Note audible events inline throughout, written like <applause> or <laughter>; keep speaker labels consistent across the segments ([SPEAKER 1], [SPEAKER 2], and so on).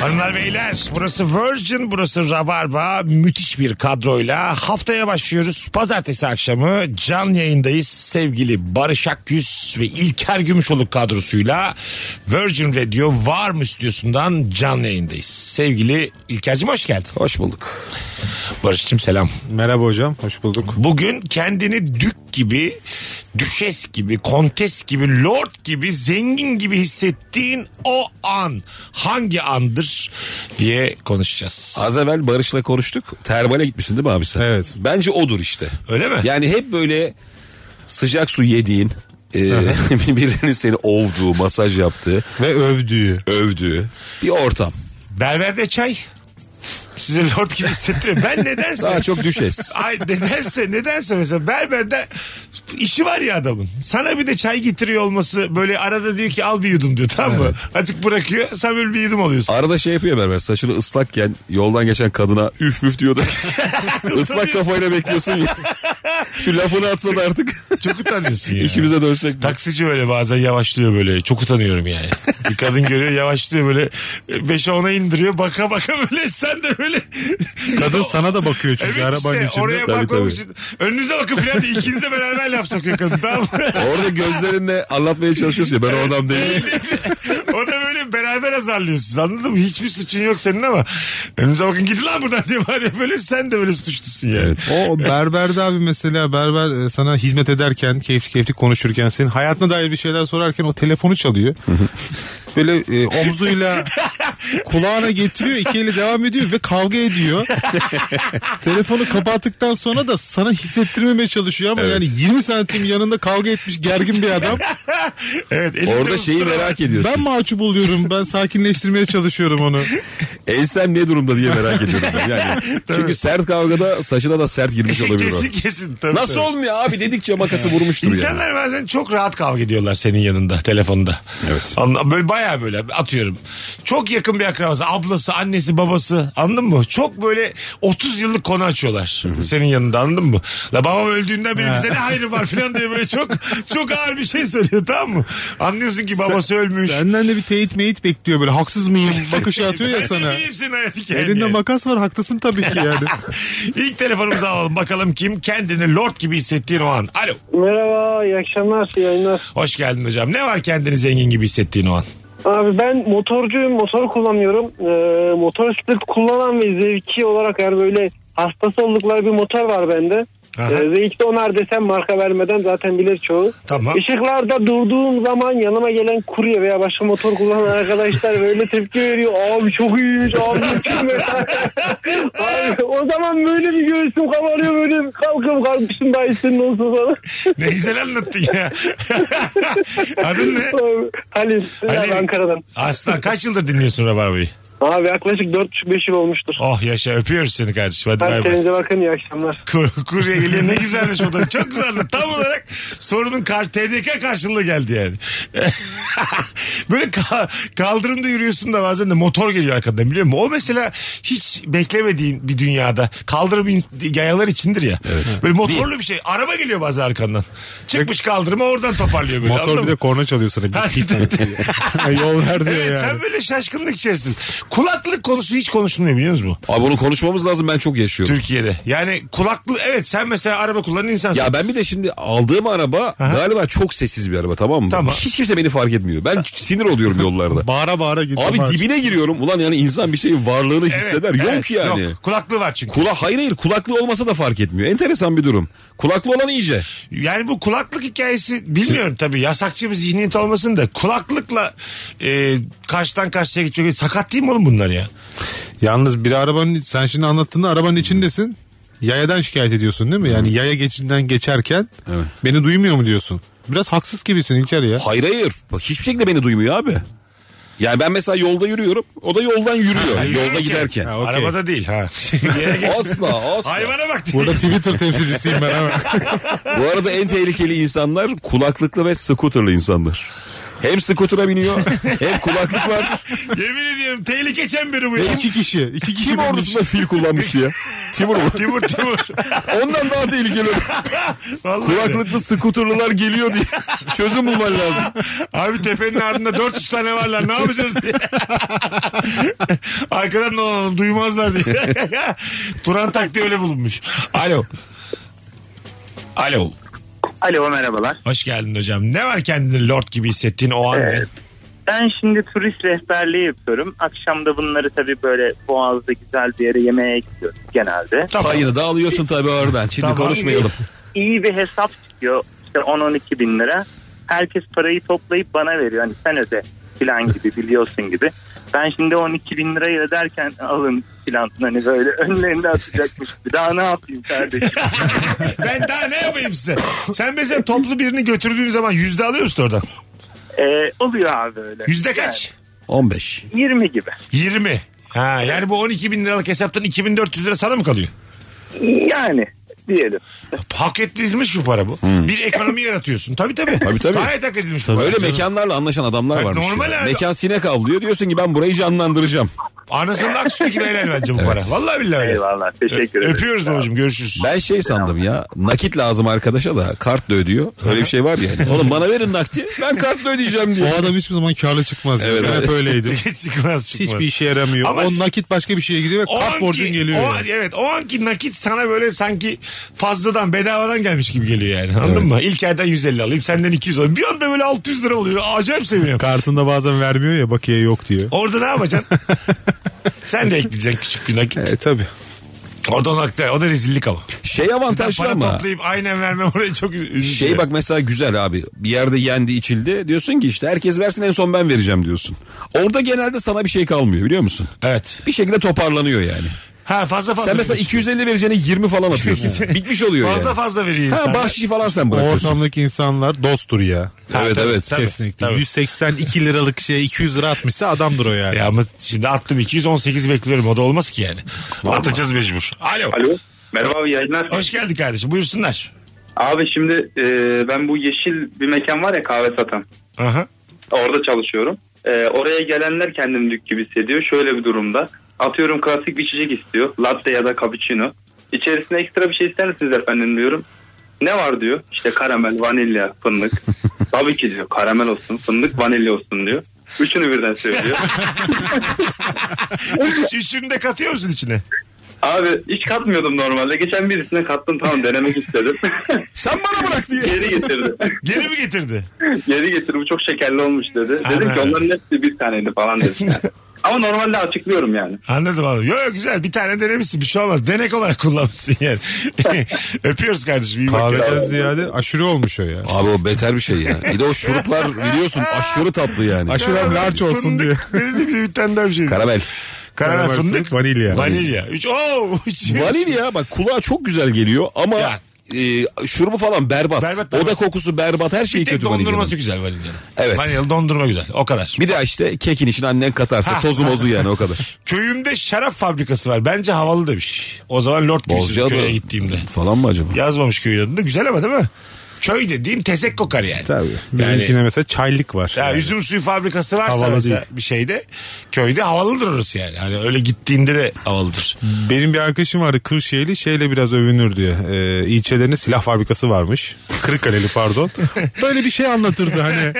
[SPEAKER 1] Hanımlar beyler burası Virgin burası Rabarba müthiş bir kadroyla haftaya başlıyoruz. Pazartesi akşamı canlı yayındayız sevgili Barış Akgüz ve İlker Gümüşoluk kadrosuyla Virgin Radio var mı stüdyosundan canlı yayındayız. Sevgili İlker'cim hoş geldin.
[SPEAKER 2] Hoş bulduk.
[SPEAKER 1] Barış'cım selam.
[SPEAKER 2] Merhaba hocam, hoş bulduk.
[SPEAKER 1] Bugün kendini dük gibi, düşes gibi, kontes gibi, lord gibi, zengin gibi hissettiğin o an hangi andır diye konuşacağız.
[SPEAKER 2] Az evvel Barış'la konuştuk. Termale gitmişsin değil mi abi sen?
[SPEAKER 3] Evet.
[SPEAKER 2] Bence odur işte.
[SPEAKER 1] Öyle mi?
[SPEAKER 2] Yani hep böyle sıcak su yediğin, e, <laughs> birilerinin seni ovduğu, masaj yaptığı,
[SPEAKER 3] Ve övdüğü.
[SPEAKER 2] övdüğü bir ortam.
[SPEAKER 1] Berberde çay size lord gibi hissettiriyor. Ben nedense...
[SPEAKER 2] Daha çok
[SPEAKER 1] <laughs>
[SPEAKER 2] düşes.
[SPEAKER 1] Ay nedense nedense mesela berberde işi var ya adamın. Sana bir de çay getiriyor olması böyle arada diyor ki al bir yudum diyor tamam mı? Açık bırakıyor sen böyle bir yudum alıyorsun.
[SPEAKER 2] Arada şey yapıyor berber saçını ıslakken yoldan geçen kadına üf müf diyordu. Islak kafayla bekliyorsun. ya. Şu lafını atsa da artık
[SPEAKER 1] Çok utanıyorsun ya.
[SPEAKER 2] işimize dönsek. mi?
[SPEAKER 1] Taksici böyle bazen yavaşlıyor böyle. Çok utanıyorum yani. Bir kadın görüyor yavaşlıyor böyle. 5'e 10'a indiriyor. Baka baka böyle sen de böyle.
[SPEAKER 3] Kadın sana da bakıyor çünkü
[SPEAKER 1] Evet
[SPEAKER 3] arabanın
[SPEAKER 1] işte
[SPEAKER 3] içinde.
[SPEAKER 1] oraya
[SPEAKER 2] Tabii,
[SPEAKER 1] bakmamak
[SPEAKER 2] tabii.
[SPEAKER 1] için. Önünüze bakın filan diye ikiniz de beraber laf sokuyor kadın tamam mı? <laughs>
[SPEAKER 2] Orada gözlerinle anlatmaya çalışıyorsun ya ben o adam değilim.
[SPEAKER 1] o da böyle beraber azarlıyorsunuz anladın mı? Hiçbir suçun yok senin ama önünüze bakın gidin lan buradan <laughs> diye var ya böyle sen de böyle suçlusun yani.
[SPEAKER 2] Evet.
[SPEAKER 3] O berberde abi mesela berber e, sana hizmet ederken, keyifli keyifli konuşurken, senin hayatına dair bir şeyler sorarken o telefonu <laughs> çalıyor. Böyle e,
[SPEAKER 1] <laughs>
[SPEAKER 3] omzuyla kulağına getiriyor, iki eli devam ediyor ve
[SPEAKER 1] <laughs>
[SPEAKER 3] kavga ediyor. Telefonu kapattıktan sonra da sana hissettirmemeye çalışıyor ama yani 20 santim yanında kavga etmiş gergin bir adam.
[SPEAKER 1] Evet, elinde
[SPEAKER 2] Orada şeyi
[SPEAKER 1] ustura <laughs> var.
[SPEAKER 2] merak ediyorsun.
[SPEAKER 3] Ben mahcup oluyorum, ben sakinleştirmeye çalışıyorum onu.
[SPEAKER 2] Ensem ne durumda diye merak ediyorum. ben.
[SPEAKER 1] <laughs>
[SPEAKER 2] Yani çünkü sert kavgada saçına da sert girmiş olabilir. o.
[SPEAKER 1] kesin kesin. Tabii,
[SPEAKER 2] Nasıl
[SPEAKER 1] tabii.
[SPEAKER 2] olmuyor abi dedikçe makası vurmuştur yani.
[SPEAKER 1] İnsanlar bazen çok rahat kavga ediyorlar senin yanında telefonda.
[SPEAKER 2] Evet.
[SPEAKER 1] Anla, böyle bayağı böyle atıyorum. Çok yakın bir akrabası, ablası, annesi, babası anladın mı? Çok böyle 30 yıllık konu açıyorlar senin yanında anladın mı? La babam öldüğünden beri bize ne hayrı var falan diye böyle çok çok ağır bir şey söylüyor tamam mı? Anlıyorsun ki babası ölmüş.
[SPEAKER 3] Senden de bir teyit meyit bekliyor böyle
[SPEAKER 1] <laughs>
[SPEAKER 3] haksız mıyım bakışı atıyor ya
[SPEAKER 1] Ben
[SPEAKER 3] sana.
[SPEAKER 1] ne bileyim senin hayat hikayen
[SPEAKER 3] Elinde
[SPEAKER 1] yani.
[SPEAKER 3] makas var haklısın tabii ki
[SPEAKER 1] <laughs>
[SPEAKER 3] yani.
[SPEAKER 1] İlk telefonumuzu alalım bakalım kim kendini lord gibi hissettiğin o an. Alo.
[SPEAKER 4] Merhaba, iyi akşamlar, iyi yayınlar.
[SPEAKER 1] Hoş geldin hocam. Ne var kendini zengin gibi hissettiğin o an?
[SPEAKER 4] Abi ben motorcuyum, motor kullanıyorum. Ee, motosiklet kullanan ve zevki olarak yani böyle hastası oldukları bir motor var bende.
[SPEAKER 1] Aha.
[SPEAKER 4] Ee, ZX onar desem marka vermeden zaten bilir çoğu.
[SPEAKER 1] Tamam.
[SPEAKER 4] Işıklarda durduğum zaman yanıma gelen kurye veya başka motor kullanan arkadaşlar böyle tepki veriyor. Abi çok iyiymiş abi mükemmel.
[SPEAKER 1] <laughs>
[SPEAKER 4] abi, o zaman böyle bir göğsüm kabarıyor böyle bir kalkıp kalkmışım daha üstünde olsun falan.
[SPEAKER 1] Ne güzel anlattın ya. <laughs> Adın ne?
[SPEAKER 4] Abi, Halil,
[SPEAKER 1] Halil.
[SPEAKER 4] Halil. Ankara'dan.
[SPEAKER 1] Aslan kaç yıldır dinliyorsun Rabarba'yı?
[SPEAKER 4] Abi yaklaşık 4-5 yıl olmuştur.
[SPEAKER 1] Oh yaşa öpüyoruz seni kardeşim. Hadi bay bay.
[SPEAKER 4] Herkese bakın iyi akşamlar.
[SPEAKER 1] Kur, kurye geliyor ne güzelmiş o da. Çok güzel anlattı. Tam olarak sorunun kar, TDK karşılığı geldi yani. <laughs> Böyle ka- kaldırımda yürüyorsun da bazen de motor geliyor arkadan biliyor musun? O mesela hiç beklemediğin bir dünyada kaldırım in- yayalar içindir ya. Böyle motorlu bir şey. Araba geliyor bazen arkandan. Çıkmış kaldırıma oradan toparlıyor böyle. anladın
[SPEAKER 3] Motor bir de
[SPEAKER 1] mı?
[SPEAKER 3] korna çalıyor sana.
[SPEAKER 1] Ha,
[SPEAKER 3] Bit, bit, bit. Yol ver diyor
[SPEAKER 1] Evet
[SPEAKER 3] yani.
[SPEAKER 1] sen böyle şaşkınlık içerisin. Kulaklık konusu hiç konuşulmuyor biliyor musun? bu?
[SPEAKER 2] Abi bunu konuşmamız lazım ben çok yaşıyorum.
[SPEAKER 1] Türkiye'de. Yani kulaklık evet sen mesela araba kullanan insansın.
[SPEAKER 2] Ya ben bir de şimdi aldığım araba galiba çok sessiz bir araba tamam mı?
[SPEAKER 1] Tamam.
[SPEAKER 2] Hiç kimse beni fark etmiyor. Ben sinir
[SPEAKER 1] <laughs>
[SPEAKER 2] oluyorum yollarda.
[SPEAKER 3] Bağıra bağıra gidiyor.
[SPEAKER 2] Abi dibine giriyorum. Ulan yani insan bir şeyin varlığını
[SPEAKER 1] Evet,
[SPEAKER 2] hisseder. Yok
[SPEAKER 1] evet,
[SPEAKER 2] yani.
[SPEAKER 1] Yok. Kulaklığı var çünkü.
[SPEAKER 2] Kula hayır hayır kulaklığı olmasa da fark etmiyor. Enteresan bir durum. Kulaklı olan iyice.
[SPEAKER 1] Yani bu kulaklık hikayesi bilmiyorum tabii yasakçı bir zihniyet olmasın da kulaklıkla e, karşıdan karşıya geçiyor. Sakat değil mi oğlum bunlar ya?
[SPEAKER 3] Yalnız bir arabanın sen şimdi anlattığında arabanın içindesin. Yayadan şikayet ediyorsun değil mi?
[SPEAKER 1] Hmm.
[SPEAKER 3] Yani yaya geçinden geçerken
[SPEAKER 2] Evet.
[SPEAKER 3] beni duymuyor mu diyorsun? Biraz haksız gibisin
[SPEAKER 1] <laughs>
[SPEAKER 3] İlker ya.
[SPEAKER 2] Hayır hayır. Bak hiçbir şekilde beni duymuyor abi. Yani ben mesela yolda yürüyorum. O da yoldan yürüyor. yolda
[SPEAKER 1] Yürürken.
[SPEAKER 2] giderken.
[SPEAKER 3] Ha, okey.
[SPEAKER 1] Arabada değil ha. Yere geçsin.
[SPEAKER 3] <laughs>
[SPEAKER 2] Asla asla.
[SPEAKER 1] Hayvana bak diye.
[SPEAKER 3] Burada Twitter temsilcisiyim ben ama.
[SPEAKER 2] Bu arada en tehlikeli insanlar kulaklıklı ve scooterlı insanlar. Hem skutura biniyor hem kulaklık var.
[SPEAKER 1] <laughs> Yemin ediyorum tehlike çemberi bu ya.
[SPEAKER 3] <laughs> Ve iki kişi. iki kişi
[SPEAKER 2] Kim
[SPEAKER 3] binmiş.
[SPEAKER 2] ordusunda fil kullanmış ya? Timur mu?
[SPEAKER 1] Timur Timur.
[SPEAKER 2] Ondan daha tehlikeli.
[SPEAKER 1] Vallahi.
[SPEAKER 2] Kulaklıklı skuturlular geliyor diye. Çözüm bulman lazım.
[SPEAKER 1] Abi tepenin ardında 400 tane varlar ne
[SPEAKER 2] <laughs>
[SPEAKER 1] yapacağız diye. Arkadan ne olur, duymazlar diye. <laughs> Turan taktiği öyle bulunmuş. Alo. Alo.
[SPEAKER 5] Alo merhabalar.
[SPEAKER 1] Hoş geldin hocam. Ne var kendini lord gibi hissettiğin o an? ne?
[SPEAKER 5] Evet. Ben şimdi turist rehberliği yapıyorum. Akşam da bunları tabii böyle Boğaz'da güzel bir yere yemeğe gidiyoruz genelde.
[SPEAKER 1] Tamam.
[SPEAKER 2] Payını da alıyorsun tabii oradan. Şimdi
[SPEAKER 1] Tamam.
[SPEAKER 2] konuşmayalım.
[SPEAKER 5] İyi bir hesap çıkıyor. İşte 10-12 bin lira. Herkes parayı toplayıp bana veriyor. Hani sen öde filan gibi biliyorsun gibi. Ben şimdi 12 bin lirayı öderken <laughs> alın filan hani böyle önlerinde atacakmış. Bir daha ne yapayım
[SPEAKER 1] <laughs>
[SPEAKER 5] kardeşim?
[SPEAKER 1] Ben daha ne yapayım size? Sen mesela toplu birini götürdüğün zaman yüzde alıyor musun oradan?
[SPEAKER 5] Ee, oluyor abi öyle.
[SPEAKER 1] Yüzde kaç?
[SPEAKER 2] 15.
[SPEAKER 5] Yani 20 gibi.
[SPEAKER 1] 20. Ha, yani bu 12 bin liralık hesaptan 2400 lira sana mı kalıyor?
[SPEAKER 5] Yani diyelim.
[SPEAKER 1] Hak edilmiş bir para bu. Bir ekonomi yaratıyorsun. Tabii tabii.
[SPEAKER 2] Hmm. Tabii, tabii.
[SPEAKER 1] Gayet hak edilmiş bir para.
[SPEAKER 2] Öyle mekanlarla anlaşan adamlar
[SPEAKER 1] Bak,
[SPEAKER 2] varmış.
[SPEAKER 1] normal
[SPEAKER 2] ya.
[SPEAKER 1] abi.
[SPEAKER 2] Mekan sinek avlıyor. Diyorsun ki ben burayı canlandıracağım.
[SPEAKER 1] Anasının aksiyonu gibi helal bence bu para. Vallahi billahi öyle.
[SPEAKER 5] Eyvallah teşekkür ederim.
[SPEAKER 1] Öpüyoruz babacığım görüşürüz.
[SPEAKER 2] Ben şey sandım ya nakit lazım arkadaşa da kartla ödüyor. Öyle bir şey var ya.
[SPEAKER 3] <laughs>
[SPEAKER 2] Oğlum bana verin nakti ben kartla ödeyeceğim
[SPEAKER 3] O
[SPEAKER 2] diyor.
[SPEAKER 3] adam hiçbir zaman karlı çıkmaz.
[SPEAKER 2] Evet,
[SPEAKER 3] Evet, ben
[SPEAKER 2] evet.
[SPEAKER 3] hep öyleydim.
[SPEAKER 1] Hiç çıkmaz çıkmaz.
[SPEAKER 3] Hiçbir işe yaramıyor.
[SPEAKER 1] Ama
[SPEAKER 3] o nakit başka bir şeye gidiyor ve kart borcun geliyor.
[SPEAKER 1] O,
[SPEAKER 3] yani.
[SPEAKER 1] evet o anki nakit sana böyle sanki fazladan bedavadan gelmiş gibi geliyor yani anladın mı? İlk aydan 150 alayım senden 200 alayım. Bir anda böyle 600 lira oluyor acayip
[SPEAKER 2] <laughs>
[SPEAKER 1] seviniyorum.
[SPEAKER 3] <laughs> Kartında bazen vermiyor ya bakiye yok diyor.
[SPEAKER 1] Orada ne yapacaksın? Sen de ekleyeceksin küçük bir nakit.
[SPEAKER 3] E tabi.
[SPEAKER 1] Orada o nakit o da rezillik ama.
[SPEAKER 2] Şey avantajlı
[SPEAKER 1] Para
[SPEAKER 2] ama.
[SPEAKER 1] toplayıp aynen vermem oraya çok üzücü.
[SPEAKER 2] Şey bak mesela güzel abi bir yerde yendi içildi diyorsun ki işte herkes versin en son ben vereceğim diyorsun. Orada genelde sana bir şey kalmıyor biliyor musun?
[SPEAKER 1] Evet.
[SPEAKER 2] Bir şekilde toparlanıyor yani.
[SPEAKER 1] Ha fazla fazla.
[SPEAKER 2] Sen mesela
[SPEAKER 1] veriyorsun.
[SPEAKER 2] 250 vereceğine 20 falan atıyorsun.
[SPEAKER 1] <laughs>
[SPEAKER 2] Bitmiş oluyor
[SPEAKER 1] Fazla
[SPEAKER 2] yani.
[SPEAKER 1] fazla veriyor
[SPEAKER 2] Ha
[SPEAKER 1] insan.
[SPEAKER 2] bahşişi falan sen
[SPEAKER 3] O
[SPEAKER 2] bırakıyorsun.
[SPEAKER 3] ortamdaki insanlar dosttur ya.
[SPEAKER 2] Evet evet.
[SPEAKER 1] Tabii,
[SPEAKER 3] Kesinlikle.
[SPEAKER 1] tabii.
[SPEAKER 3] 182 liralık şeye 200 lira atmışsa adamdır o yani.
[SPEAKER 1] Ya ama şimdi attım 218 bekliyorum. O da olmaz ki yani. Atacağız mecbur. Alo.
[SPEAKER 6] Alo. Merhaba abi yayınlar.
[SPEAKER 1] Hoş geldin kardeşim. Buyursunlar.
[SPEAKER 6] Abi şimdi e, ben bu yeşil bir mekan var ya kahve satan.
[SPEAKER 1] Aha.
[SPEAKER 6] Orada çalışıyorum. E, oraya gelenler kendini dük gibi hissediyor. Şöyle bir durumda. Atıyorum klasik bir içecek istiyor. Latte ya da cappuccino. İçerisine ekstra bir şey ister misiniz efendim diyorum. Ne var diyor. İşte karamel, vanilya,
[SPEAKER 2] <laughs>
[SPEAKER 6] fındık. Tabii ki diyor. Karamel olsun, fındık, vanilya olsun diyor. Üçünü birden söylüyor.
[SPEAKER 1] Üç, üçünü de katıyor musun içine?
[SPEAKER 6] Abi hiç katmıyordum normalde. Geçen birisine kattım tamam denemek istedim.
[SPEAKER 2] Sen bana bırak diye.
[SPEAKER 6] Geri getirdi.
[SPEAKER 1] Geri mi getirdi?
[SPEAKER 6] Geri getir bu çok şekerli olmuş dedi. Dedim
[SPEAKER 1] Ana.
[SPEAKER 6] ki onların hepsi bir taneydi falan dedim. Ama normalde açıklıyorum yani.
[SPEAKER 1] Anladım abi. Yok yok güzel. Bir tane denemişsin. Bir şey olmaz. Denek olarak <laughs> kullanmışsın yani. Öpüyoruz kardeşim. iyi bak
[SPEAKER 3] Kahveden
[SPEAKER 1] kendine.
[SPEAKER 3] ziyade aşure olmuş
[SPEAKER 1] <laughs>
[SPEAKER 3] o ya.
[SPEAKER 2] Abi o beter bir şey ya. Bir de o şuruplar biliyorsun aşırı tatlı yani.
[SPEAKER 3] Aşurem large olsun
[SPEAKER 1] Fındık.
[SPEAKER 3] diyor.
[SPEAKER 1] Denedim ya bir tane daha bir şey.
[SPEAKER 2] Karamel.
[SPEAKER 1] Karamel fındık.
[SPEAKER 3] Vanilya.
[SPEAKER 1] Vanilya. Üç. Oo. Üç.
[SPEAKER 2] Vanilya bak kulağa çok güzel geliyor ama
[SPEAKER 1] Ya.
[SPEAKER 2] e, şurubu falan berbat.
[SPEAKER 1] Berbat,
[SPEAKER 2] Oda
[SPEAKER 1] berbat.
[SPEAKER 2] kokusu berbat her şey
[SPEAKER 1] Bir tek
[SPEAKER 2] kötü vanilyanın.
[SPEAKER 1] dondurması güzel vanilyanın.
[SPEAKER 2] Evet.
[SPEAKER 1] Vanilyalı dondurma güzel. O kadar.
[SPEAKER 2] Bir de işte kekin içine annen katarsa tozu mozu yani o <laughs> kadar.
[SPEAKER 1] Köyümde şarap fabrikası var. Bence havalı demiş. O zaman Lord Bozcaada.
[SPEAKER 2] Bozcaada
[SPEAKER 1] köye gittiğimde.
[SPEAKER 2] falan mı acaba?
[SPEAKER 1] Yazmamış köyün adını. Güzel ama değil mi? Köy dediğin tezek kokar yani.
[SPEAKER 3] Tabii. Bizimkine mesela çaylık var.
[SPEAKER 1] Ya
[SPEAKER 3] Yani.
[SPEAKER 1] üzüm suyu fabrikası varsa
[SPEAKER 3] Havalı
[SPEAKER 1] mesela
[SPEAKER 3] değil.
[SPEAKER 1] bir şeyde köyde havalıdır orası yani. Hani öyle gittiğinde de havalıdır.
[SPEAKER 3] Benim bir arkadaşım vardı Kırşehirli şeyle biraz övünür diye. Ee, ilçelerinde silah fabrikası varmış. Kırıkkaleli
[SPEAKER 1] <laughs>
[SPEAKER 3] pardon. Böyle bir şey anlatırdı hani.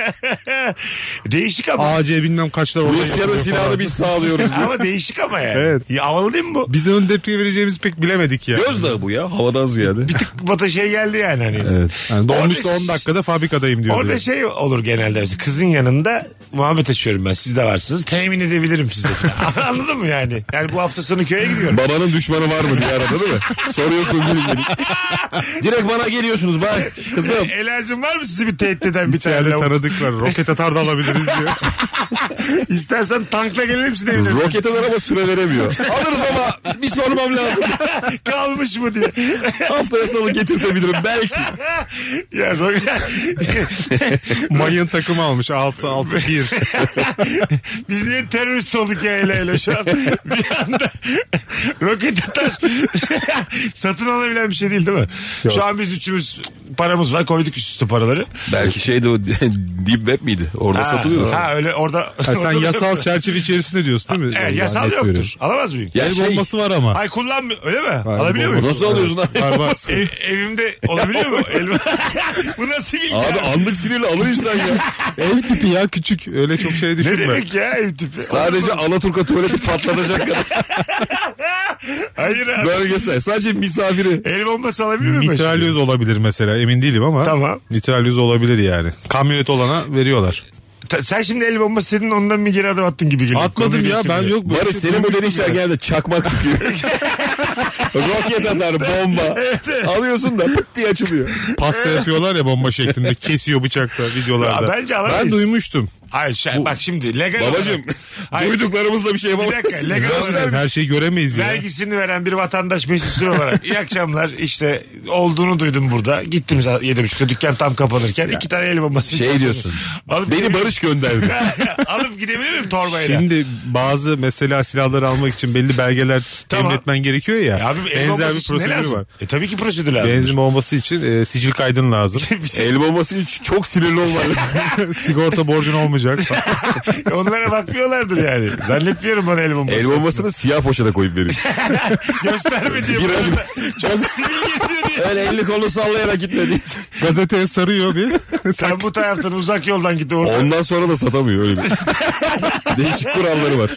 [SPEAKER 1] Değişik ama.
[SPEAKER 3] AC bilmem kaçlar orada.
[SPEAKER 2] Rusya'nın
[SPEAKER 3] yapılıyor
[SPEAKER 2] silahını
[SPEAKER 3] falan.
[SPEAKER 2] biz sağlıyoruz.
[SPEAKER 1] ama değişik ama yani.
[SPEAKER 3] Evet.
[SPEAKER 1] Ya havalı değil mi bu?
[SPEAKER 3] Biz onun tepki vereceğimizi pek bilemedik ya.
[SPEAKER 2] Gözdağı bu ya havadan ziyade.
[SPEAKER 1] Bata şey geldi yani hani.
[SPEAKER 2] Evet.
[SPEAKER 3] Yani dolmuş da
[SPEAKER 1] Orada-
[SPEAKER 3] 10 dakikada fabrikadayım diyordu.
[SPEAKER 1] Orada şey olur genelde mesela kızın yanında muhabbet açıyorum ben siz de varsınız temin edebilirim
[SPEAKER 3] <laughs>
[SPEAKER 1] sizde. Anladın mı yani? Yani bu hafta sonu köye gidiyorum.
[SPEAKER 2] Babanın düşmanı var mı diye arada değil mi? Soruyorsun değil mi? <laughs> Direkt bana geliyorsunuz bak <laughs>
[SPEAKER 1] <laughs>
[SPEAKER 2] kızım.
[SPEAKER 1] Elacım var mı sizi bir tehdit eden bir tane?
[SPEAKER 3] İçeride
[SPEAKER 1] lavuk?
[SPEAKER 3] tanıdık var. Roket atar
[SPEAKER 1] <laughs>
[SPEAKER 3] da alabiliriz diyor.
[SPEAKER 1] İstersen tankla gelelim hepsini evine.
[SPEAKER 2] Roket atar ama süre veremiyor. Alırız ama bir sormam lazım.
[SPEAKER 1] Kalmış mı diye. <laughs>
[SPEAKER 2] Haftaya salı getirtebilirim belki.
[SPEAKER 1] Ya
[SPEAKER 3] <laughs>
[SPEAKER 1] Roger
[SPEAKER 3] Mayın takımı almış 6 6 1.
[SPEAKER 1] <laughs> biz niye terörist olduk ya hele hele şu an. <laughs> Bir anda roket atar. <laughs> Satın alabilen bir şey değil değil mi? Şu an biz üçümüz paramız var koyduk üst üste paraları.
[SPEAKER 2] Belki şeydi o <laughs> deep web miydi? Orada satılıyor.
[SPEAKER 1] Ha öyle orada.
[SPEAKER 3] Ha,
[SPEAKER 1] <laughs>
[SPEAKER 3] sen
[SPEAKER 1] orada-
[SPEAKER 3] yasal çerçeve içerisinde diyorsun değil mi?
[SPEAKER 1] Evet,
[SPEAKER 3] Vallahi
[SPEAKER 1] yasal
[SPEAKER 3] net
[SPEAKER 1] yoktur.
[SPEAKER 3] veriyorum.
[SPEAKER 1] Alamaz mıyım?
[SPEAKER 2] Ya
[SPEAKER 3] El
[SPEAKER 2] şey,
[SPEAKER 3] bombası var ama.
[SPEAKER 1] Ay kullanmıyor. Öyle mi? Alabiliyor muyum?
[SPEAKER 2] Nasıl alıyorsun lan?
[SPEAKER 3] Var
[SPEAKER 1] <laughs>
[SPEAKER 3] var.
[SPEAKER 1] Ev- evimde olabiliyor
[SPEAKER 2] <laughs>
[SPEAKER 1] mu? Elma. <laughs> Bu nasıl bilgi?
[SPEAKER 2] Abi
[SPEAKER 1] ya?
[SPEAKER 2] anlık sinirle alır insan ya.
[SPEAKER 3] Ev tipi ya küçük. Öyle çok şey
[SPEAKER 1] Ne
[SPEAKER 3] düşünme.
[SPEAKER 1] demek ya ev tipi?
[SPEAKER 2] Sadece Alaturka tuvaleti patlatacak kadar
[SPEAKER 1] Hayır abi.
[SPEAKER 2] bölgesel. Sadece misafiri.
[SPEAKER 1] El bombası alabilir miyim? ben
[SPEAKER 3] Mitralyoz
[SPEAKER 1] şimdi?
[SPEAKER 3] olabilir mesela emin değilim ama.
[SPEAKER 1] Tamam.
[SPEAKER 3] Mitralyoz olabilir yani. Kamyonet olana veriyorlar.
[SPEAKER 1] Ta- sen şimdi el bombası dedin ondan bir geri adım attın gibi geliyor.
[SPEAKER 3] Atmadım
[SPEAKER 1] Konuyu
[SPEAKER 3] ya ben
[SPEAKER 1] geçirmeye.
[SPEAKER 3] yok. böyle
[SPEAKER 2] Barış
[SPEAKER 3] şey
[SPEAKER 2] senin bu
[SPEAKER 3] duymadım
[SPEAKER 2] dediğin
[SPEAKER 3] ya.
[SPEAKER 2] şeyler genelde çakmak çıkıyor. <laughs> Roket atar bomba. Alıyorsun da pıt diye açılıyor.
[SPEAKER 3] Pasta yapıyorlar ya
[SPEAKER 1] <laughs>
[SPEAKER 3] bomba şeklinde. Kesiyor bıçakla videolarda.
[SPEAKER 1] Ya bence alamayız.
[SPEAKER 3] ben duymuştum.
[SPEAKER 1] Hayır şey- bak şimdi legal
[SPEAKER 2] Babacım <laughs>
[SPEAKER 1] olarak- Hayır,
[SPEAKER 2] duyduklarımızla bir şey
[SPEAKER 1] Bir
[SPEAKER 2] yapamayız.
[SPEAKER 1] dakika legal olarak
[SPEAKER 3] Her şeyi göremeyiz ya.
[SPEAKER 1] vergisini veren bir vatandaş Mesut Süre olarak iyi akşamlar işte olduğunu duydum burada. Gittim za- yedi buçukta dükkan tam kapanırken iki tane el bombası.
[SPEAKER 2] Şey diyorsun.
[SPEAKER 1] Alıp
[SPEAKER 2] Beni
[SPEAKER 1] gidebilir- <laughs>
[SPEAKER 2] Barış Şey gönderdi.
[SPEAKER 1] Alıp gidebilir miyim torbayla?
[SPEAKER 3] Şimdi bazı mesela silahları almak için belli belgeler
[SPEAKER 1] Tamam.
[SPEAKER 3] temin etmen gerekiyor ya.
[SPEAKER 1] Ya E abi el
[SPEAKER 3] benzer
[SPEAKER 1] bombası
[SPEAKER 3] bir
[SPEAKER 1] için ne
[SPEAKER 3] prosedürü
[SPEAKER 1] lazım?
[SPEAKER 3] var.
[SPEAKER 1] E tabii ki prosedür lazım.
[SPEAKER 3] Benzin bombası için e, sicil kaydın lazım.
[SPEAKER 1] <laughs> Bir şey-
[SPEAKER 2] El bombası için çok sinirli olmalı.
[SPEAKER 3] Sigorta borcun olmayacak.
[SPEAKER 1] Onlara bakmıyorlardır yani. Zannetmiyorum bana el bombası.
[SPEAKER 2] El bombasını siyah poşete koyup veriyor.
[SPEAKER 1] Gösterme diye.
[SPEAKER 2] Bir
[SPEAKER 1] bana
[SPEAKER 2] an-
[SPEAKER 1] da Çok sinir geçiyor diye.
[SPEAKER 2] Öyle elini kolunu sallayarak gitmedi.
[SPEAKER 3] Gazeteye sarıyor bir.
[SPEAKER 1] Sen bu taraftan uzak yoldan git orada.
[SPEAKER 2] Ondan sonra da satamıyor <laughs> öyle bir. Değişik kuralları var.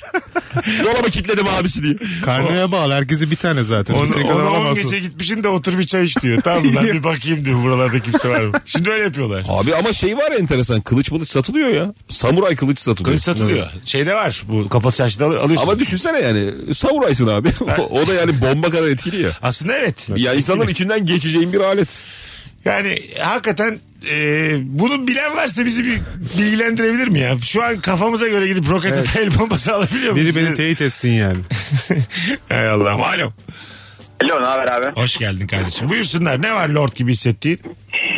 [SPEAKER 2] Dolaba kilitledim abisi diye.
[SPEAKER 3] Karnaya bağlı. Herkesi bir tane zaten.
[SPEAKER 1] Onu,
[SPEAKER 3] Kimseye kadar
[SPEAKER 1] ona on
[SPEAKER 3] alamazsın.
[SPEAKER 1] gece gitmişin de otur bir çay iç diyor. Tamam
[SPEAKER 3] <laughs>
[SPEAKER 1] lan bir bakayım diyor buralarda kimse var mı? Şimdi öyle yapıyorlar.
[SPEAKER 2] Abi ama şey var ya enteresan. Kılıç mılıç satılıyor ya. Samuray kılıç satılıyor.
[SPEAKER 1] Kılıç satılıyor. Şeyde var bu kapalı çarşıda alır, alıyorsun.
[SPEAKER 2] Ama düşünsene yani samuraysın abi. <laughs> O- o da yani bomba kadar etkili ya.
[SPEAKER 1] Aslında evet.
[SPEAKER 2] Ya insanların içinden geçeceğin bir alet.
[SPEAKER 1] Yani hakikaten e, bunu bilen varsa bizi bir bilgilendirebilir mi ya? Şu an kafamıza göre gidip roket evet. <laughs> el bombası alabiliyor muyuz?
[SPEAKER 3] Biri beni teyit etsin yani.
[SPEAKER 1] Hay Allah'ım. Alo.
[SPEAKER 7] Alo ne haber abi?
[SPEAKER 1] Hoş geldin kardeşim. Buyursunlar. Ne var lord gibi hissettiğin?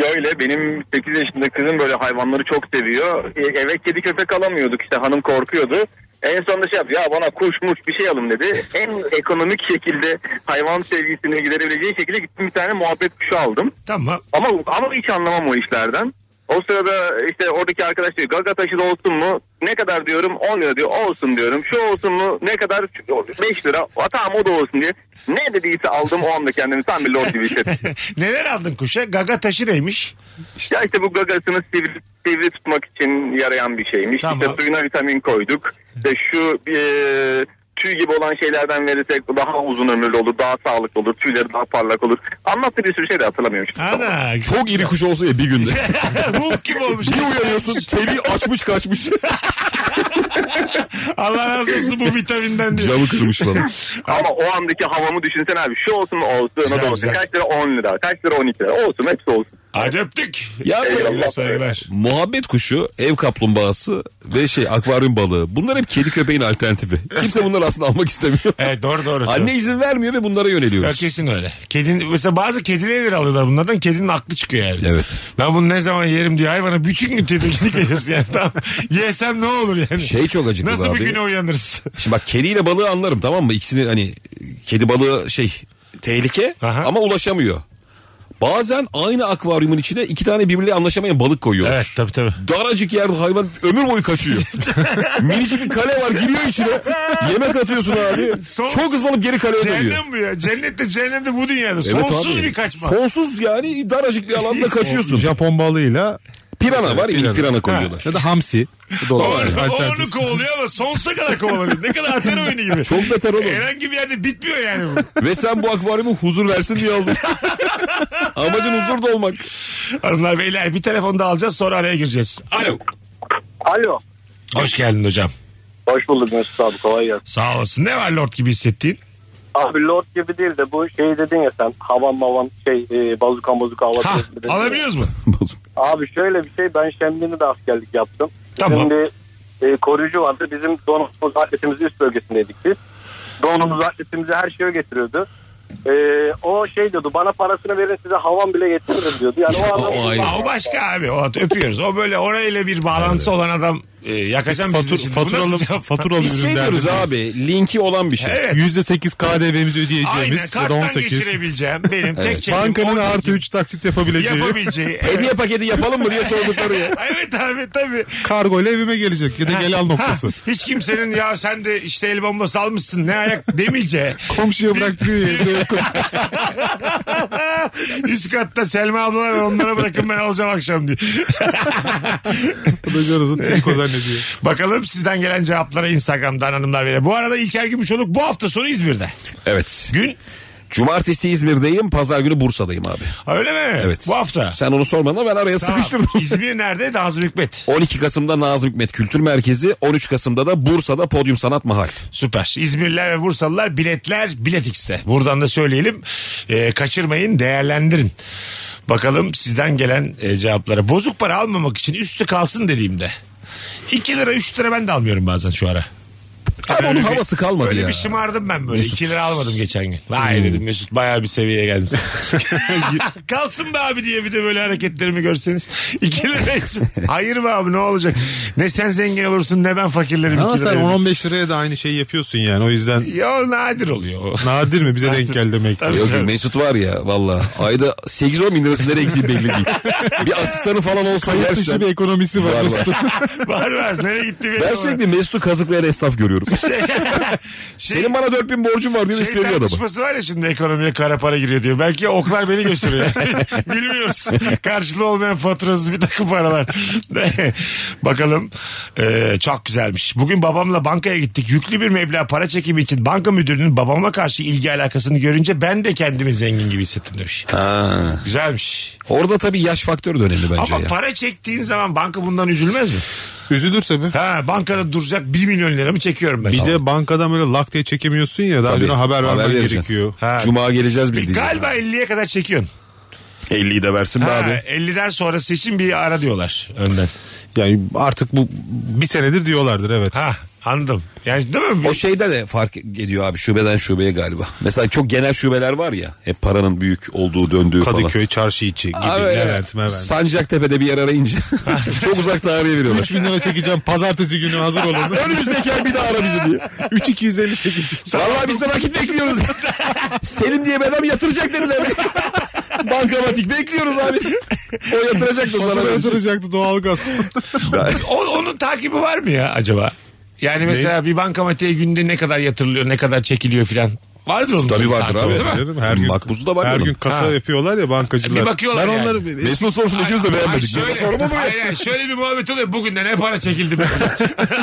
[SPEAKER 7] Şöyle benim 8 yaşında kızım böyle hayvanları çok seviyor. E, Eve kedi köpek alamıyorduk işte hanım korkuyordu. En sonunda şey yaptı ya bana kuş muş bir şey alın dedi. En ekonomik şekilde hayvan sevgisini giderebileceği şekilde gittim bir tane muhabbet kuşu aldım.
[SPEAKER 1] Tamam. <laughs>
[SPEAKER 7] Ama ama hiç anlamam o işlerden. O sırada işte oradaki arkadaş diyor gaga taşı da olsun mu? Ne kadar diyorum 10 lira diyor olsun diyorum. Şu olsun mu? Ne kadar? 5 lira. "Aa, Tamam o da olsun diye. Ne dediyse aldım o anda kendimi tam bir lord gibi
[SPEAKER 1] <laughs>
[SPEAKER 7] hissettim.
[SPEAKER 1] Neler aldın kuşa? Gaga taşı neymiş?
[SPEAKER 7] Ya işte bu gagasını sivri, sivri tutmak için yarayan bir şeymiş.
[SPEAKER 1] Tamam.
[SPEAKER 7] İşte suyuna vitamin koyduk. İşte şu e, tüy gibi olan şeylerden verirsek daha uzun ömürlü olur, daha sağlıklı olur, tüyleri daha parlak olur. Anlattı bir sürü şey de hatırlamıyorum. şimdi.
[SPEAKER 1] Ana. <laughs>
[SPEAKER 2] Çok iri kuş olsa ya bir günde.
[SPEAKER 1] Ruh gibi olmuş.
[SPEAKER 2] bir uyanıyorsun teli açmış kaçmış.
[SPEAKER 1] Allah razı olsun bu vitaminden diye.
[SPEAKER 2] Camı kırmış falan.
[SPEAKER 7] Ama o andaki havamı düşünsene abi. Şu olsun mu olsun, o
[SPEAKER 1] Güzel,
[SPEAKER 7] da olsun.
[SPEAKER 1] güzel.
[SPEAKER 7] Kaç lira 10 lira, kaç lira 12 lira. Olsun, hepsi olsun.
[SPEAKER 1] Hadi öptük.
[SPEAKER 2] Ya
[SPEAKER 7] Eyvallah.
[SPEAKER 2] böyle
[SPEAKER 1] Saygılar.
[SPEAKER 2] muhabbet kuşu, ev kaplumbağası ve şey akvaryum balığı. Bunlar hep kedi köpeğin alternatifi. Kimse bunları aslında almak istemiyor.
[SPEAKER 1] Evet doğru doğru.
[SPEAKER 2] Anne izin vermiyor ve bunlara
[SPEAKER 1] Ya
[SPEAKER 2] yöneliyoruz.
[SPEAKER 1] kesin öyle. Kedin, mesela bazı kedileri alıyorlar bunlardan. Kedinin aklı çıkıyor yani.
[SPEAKER 2] Evet.
[SPEAKER 1] Ben bunu ne zaman yerim diye hayvana bütün gün tedirginlik <laughs> ediyorsun yani. Tamam. Yesem ne olur yani.
[SPEAKER 2] Şey çok acıklı
[SPEAKER 1] Nasıl
[SPEAKER 2] abi.
[SPEAKER 1] bir güne uyanırız?
[SPEAKER 2] Şimdi bak kediyle balığı anlarım tamam mı? İkisini hani kedi balığı şey tehlike
[SPEAKER 1] Aha.
[SPEAKER 2] ama ulaşamıyor. Bazen aynı akvaryumun içine iki tane birbirleriyle anlaşamayan balık koyuyorlar.
[SPEAKER 1] Evet tabii tabii.
[SPEAKER 2] Daracık yer hayvan ömür
[SPEAKER 1] <laughs>
[SPEAKER 2] boyu kaçıyor. Minicik bir kale var giriyor içine. Yemek atıyorsun abi.
[SPEAKER 1] Son-
[SPEAKER 2] Çok hızlanıp geri kaleye dönüyor.
[SPEAKER 1] Cehennem bu ya. Cennette cehennemde bu dünyada.
[SPEAKER 2] Evet
[SPEAKER 1] Sonsuz
[SPEAKER 2] abi.
[SPEAKER 1] bir kaçma.
[SPEAKER 2] Sonsuz yani daracık bir
[SPEAKER 3] <laughs>
[SPEAKER 2] alanda kaçıyorsun.
[SPEAKER 3] Japon balığıyla
[SPEAKER 2] Pirana var ya
[SPEAKER 3] Pirana.
[SPEAKER 2] pirana koyuyorlar.
[SPEAKER 3] ya da hamsi.
[SPEAKER 1] O,
[SPEAKER 3] Dolar.
[SPEAKER 1] o
[SPEAKER 3] Alternatif.
[SPEAKER 1] onu kovalıyor ama sonsuza kadar kovalıyor. Ne kadar atar oyunu gibi. E,
[SPEAKER 2] Çok beter oğlum.
[SPEAKER 1] Herhangi bir yerde bitmiyor yani bu.
[SPEAKER 2] Ve sen bu akvaryumu huzur versin diye
[SPEAKER 1] <laughs>
[SPEAKER 2] aldın. Amacın huzurda olmak.
[SPEAKER 1] Hanımlar beyler bir telefon daha alacağız sonra araya gireceğiz. Alo.
[SPEAKER 8] Alo.
[SPEAKER 1] Hoş geldin hocam.
[SPEAKER 8] Hoş bulduk Mesut abi kolay gelsin.
[SPEAKER 1] Sağ olasın. Ne var lord gibi hissettiğin?
[SPEAKER 8] Abi Lord gibi değil de bu şey dedin ya sen havan mavan şey e, bazuka bazuka hava
[SPEAKER 1] Ha
[SPEAKER 8] tepsi dedin ya.
[SPEAKER 1] Ah, alabiliyoruz mu?
[SPEAKER 8] Abi şöyle bir şey ben Şemdin'de de askerlik yaptım.
[SPEAKER 1] Tamam.
[SPEAKER 8] Bizim bir e, koruyucu vardı. Bizim donumuz atletimizi üst bölgesindeydik biz. Donumuz atletimizi her şeye getiriyordu. E,
[SPEAKER 4] Ee, o şey diyordu bana parasını verin size havan bile getiririm diyordu. Yani o adam
[SPEAKER 1] <laughs>
[SPEAKER 2] o ayrı.
[SPEAKER 1] Aa, o başka abi. O at- öpüyoruz. O böyle orayla bir bağlantısı olan adam e, yakacağım bizi. de
[SPEAKER 3] Fatur,
[SPEAKER 1] şimdi. Bu
[SPEAKER 3] faturalı,
[SPEAKER 1] nasıl cevap?
[SPEAKER 3] faturalı
[SPEAKER 2] Biz şey
[SPEAKER 3] ürün
[SPEAKER 2] diyoruz
[SPEAKER 3] derdimiz.
[SPEAKER 2] abi linki olan bir şey.
[SPEAKER 1] Evet.
[SPEAKER 3] %8 KDV'mizi
[SPEAKER 1] Aynen
[SPEAKER 3] ödeyeceğimiz ya da
[SPEAKER 1] karttan
[SPEAKER 3] 18.
[SPEAKER 1] geçirebileceğim benim tek çekim.
[SPEAKER 3] Bankanın
[SPEAKER 1] on-
[SPEAKER 3] artı 3 taksit yapabileceği
[SPEAKER 1] yapabileceği.
[SPEAKER 2] Hediye paketi yapalım mı diye
[SPEAKER 1] <laughs>
[SPEAKER 2] sordukları ya.
[SPEAKER 1] evet abi tabii.
[SPEAKER 3] kargo ile evime gelecek ya da gel al noktası.
[SPEAKER 1] Ha, hiç kimsenin ya sen de işte el bombası almışsın ne ayak demeyeceği.
[SPEAKER 3] Komşuya bıraktırıyor ya, evde yok.
[SPEAKER 1] <laughs> Üst katta Selma ablalar var, onlara bırakın ben alacağım akşam diye.
[SPEAKER 3] Bu da canımızın teko zannediyor. <laughs>
[SPEAKER 1] Bakalım sizden gelen cevaplara Instagram'dan hanımlar beyler. Bu arada İlker Gümüşoluk bu hafta sonu İzmir'de.
[SPEAKER 2] Evet.
[SPEAKER 1] Gün
[SPEAKER 2] Cumartesi İzmir'deyim pazar günü Bursa'dayım abi.
[SPEAKER 1] Ha, öyle mi?
[SPEAKER 2] Evet.
[SPEAKER 1] Bu hafta.
[SPEAKER 2] Sen onu sormadın ama ben araya
[SPEAKER 1] Tamam.
[SPEAKER 2] sıkıştırdım. <laughs>
[SPEAKER 1] İzmir nerede? Nazım Hikmet.
[SPEAKER 2] 12 Kasım'da Nazım Hikmet Kültür Merkezi, 13 Kasım'da da Bursa'da Podyum Sanat Mahal.
[SPEAKER 1] Süper. İzmirliler ve Bursalılar biletler biletikste. Buradan da söyleyelim. Ee, kaçırmayın, değerlendirin. Bakalım sizden gelen e, cevaplara. Bozuk para almamak için üstü kalsın dediğimde. 2 lira 3 lira ben de almıyorum bazen şu ara.
[SPEAKER 2] Abi onun havası kalmadı
[SPEAKER 1] Öyle
[SPEAKER 2] ya.
[SPEAKER 1] bir şımardım ben böyle.
[SPEAKER 2] Mesut. Hmm.
[SPEAKER 1] 2 lira almadım geçen gün. Vay dedim Mesut bayağı bir seviyeye
[SPEAKER 2] <laughs>
[SPEAKER 1] gelmiş. Kalsın be abi diye bir de böyle hareketlerimi görseniz. 2 lira için. Hayır be abi ne olacak? Ne sen zengin olursun ne ben fakirlerim.
[SPEAKER 3] Ama
[SPEAKER 1] iki
[SPEAKER 3] sen
[SPEAKER 1] lira.
[SPEAKER 3] 10-15 liraya da aynı şeyi yapıyorsun yani o yüzden
[SPEAKER 1] Ya o nadir oluyor <laughs> o.
[SPEAKER 3] nadir mi bize denk gel demek.
[SPEAKER 1] Tabii.
[SPEAKER 2] Yok yok Mesut var ya valla ayda 8-10 bin lirası nereye gittiği belli değil. bir asistanı falan olsa
[SPEAKER 3] Kayıt dışı
[SPEAKER 2] gerçekten.
[SPEAKER 3] bir ekonomisi var.
[SPEAKER 2] Var, var.
[SPEAKER 1] var var. Nereye gitti benim?
[SPEAKER 2] Ben sürekli Mesut'u kazıklayan esnaf görüyorum.
[SPEAKER 3] Şey-
[SPEAKER 2] Senin bana 4000 borcun var diye
[SPEAKER 1] şey
[SPEAKER 2] üstleniyor adamı.
[SPEAKER 1] tartışması var ya şimdi ekonomiye kara para giriyor diyor. Belki oklar beni gösteriyor.
[SPEAKER 2] <laughs>
[SPEAKER 1] <laughs> Bilmiyoruz. Karşılığı olmayan faturasız bir takım paralar. <laughs> Bakalım. Ee, çok güzelmiş. Bugün babamla bankaya gittik. Yüklü bir meblağ para çekimi için banka müdürünün babama karşı ilgi alakasını görünce ben de kendimi zengin gibi hissettim demiş.
[SPEAKER 2] Ha.
[SPEAKER 1] Güzelmiş.
[SPEAKER 2] Orada tabii yaş faktörü de önemli bence
[SPEAKER 1] Ama
[SPEAKER 2] ya.
[SPEAKER 1] para çektiğin zaman banka bundan üzülmez mi?
[SPEAKER 3] Üzülür tabii.
[SPEAKER 1] Ha bankada duracak 1 milyon lira mı çekiyorum ben?
[SPEAKER 3] Bir de bankadan böyle lak diye çekemiyorsun ya daha
[SPEAKER 2] Tabii.
[SPEAKER 3] önceden haber
[SPEAKER 2] Haber
[SPEAKER 3] vermen
[SPEAKER 2] vereceksin.
[SPEAKER 3] gerekiyor.
[SPEAKER 1] Ha.
[SPEAKER 2] Cuma geleceğiz biz diye.
[SPEAKER 1] Galiba 50'ye kadar çekiyorsun.
[SPEAKER 2] 50'yi de versin be
[SPEAKER 1] Ha,
[SPEAKER 2] abi.
[SPEAKER 1] 50'den sonrası için bir ara diyorlar önden.
[SPEAKER 3] Yani artık bu bir senedir diyorlardır evet.
[SPEAKER 1] Ha anladım. Yani değil mi?
[SPEAKER 2] O şeyde de fark ediyor abi şubeden şubeye galiba. Mesela çok genel şubeler var ya. Hep paranın büyük olduğu döndüğü
[SPEAKER 3] Kadıköy çarşı içi gibi.
[SPEAKER 2] falan. Abi,
[SPEAKER 3] Levent, Mevent.
[SPEAKER 2] Sancaktepe'de bir
[SPEAKER 3] <laughs>
[SPEAKER 2] yer arayınca çok uzak tarihe veriyorlar.
[SPEAKER 3] 3000 lira çekeceğim pazartesi günü hazır
[SPEAKER 2] <laughs>
[SPEAKER 3] olun.
[SPEAKER 2] Önümüzdeki ay bir daha ara bizi diye.
[SPEAKER 3] 3250 çekeceğim.
[SPEAKER 2] Vallahi biz de nakit bekliyoruz. Selim diye bir adam yatıracak dediler. Bankamatik bekliyoruz abi. O yatıracak da sana.
[SPEAKER 3] Fatura
[SPEAKER 2] verecek.
[SPEAKER 3] yatıracaktı doğalgaz.
[SPEAKER 1] O- onun takibi var mı ya acaba? Yani mesela bir bankamatiğe günde ne kadar yatırılıyor, ne kadar çekiliyor filan. Vardır onun.
[SPEAKER 2] Tabii
[SPEAKER 1] bir
[SPEAKER 2] vardır
[SPEAKER 1] takibi,
[SPEAKER 2] abi.
[SPEAKER 1] değil mi?
[SPEAKER 3] Değil mi? Her gün-
[SPEAKER 2] Makbuzu da var.
[SPEAKER 3] Her
[SPEAKER 2] bunun.
[SPEAKER 3] gün kasa
[SPEAKER 1] Ha.
[SPEAKER 3] yapıyorlar ya bankacılar.
[SPEAKER 1] Bir bakıyorlar
[SPEAKER 3] ben
[SPEAKER 1] yani.
[SPEAKER 3] onları
[SPEAKER 2] Mesut'un sorusunu ikimiz de
[SPEAKER 1] Ay,
[SPEAKER 2] beğenmedik.
[SPEAKER 1] şöyle, Hayır, hayır, şöyle bir muhabbet oluyor. Bugünden ne para
[SPEAKER 2] <laughs>
[SPEAKER 1] çekildi? be?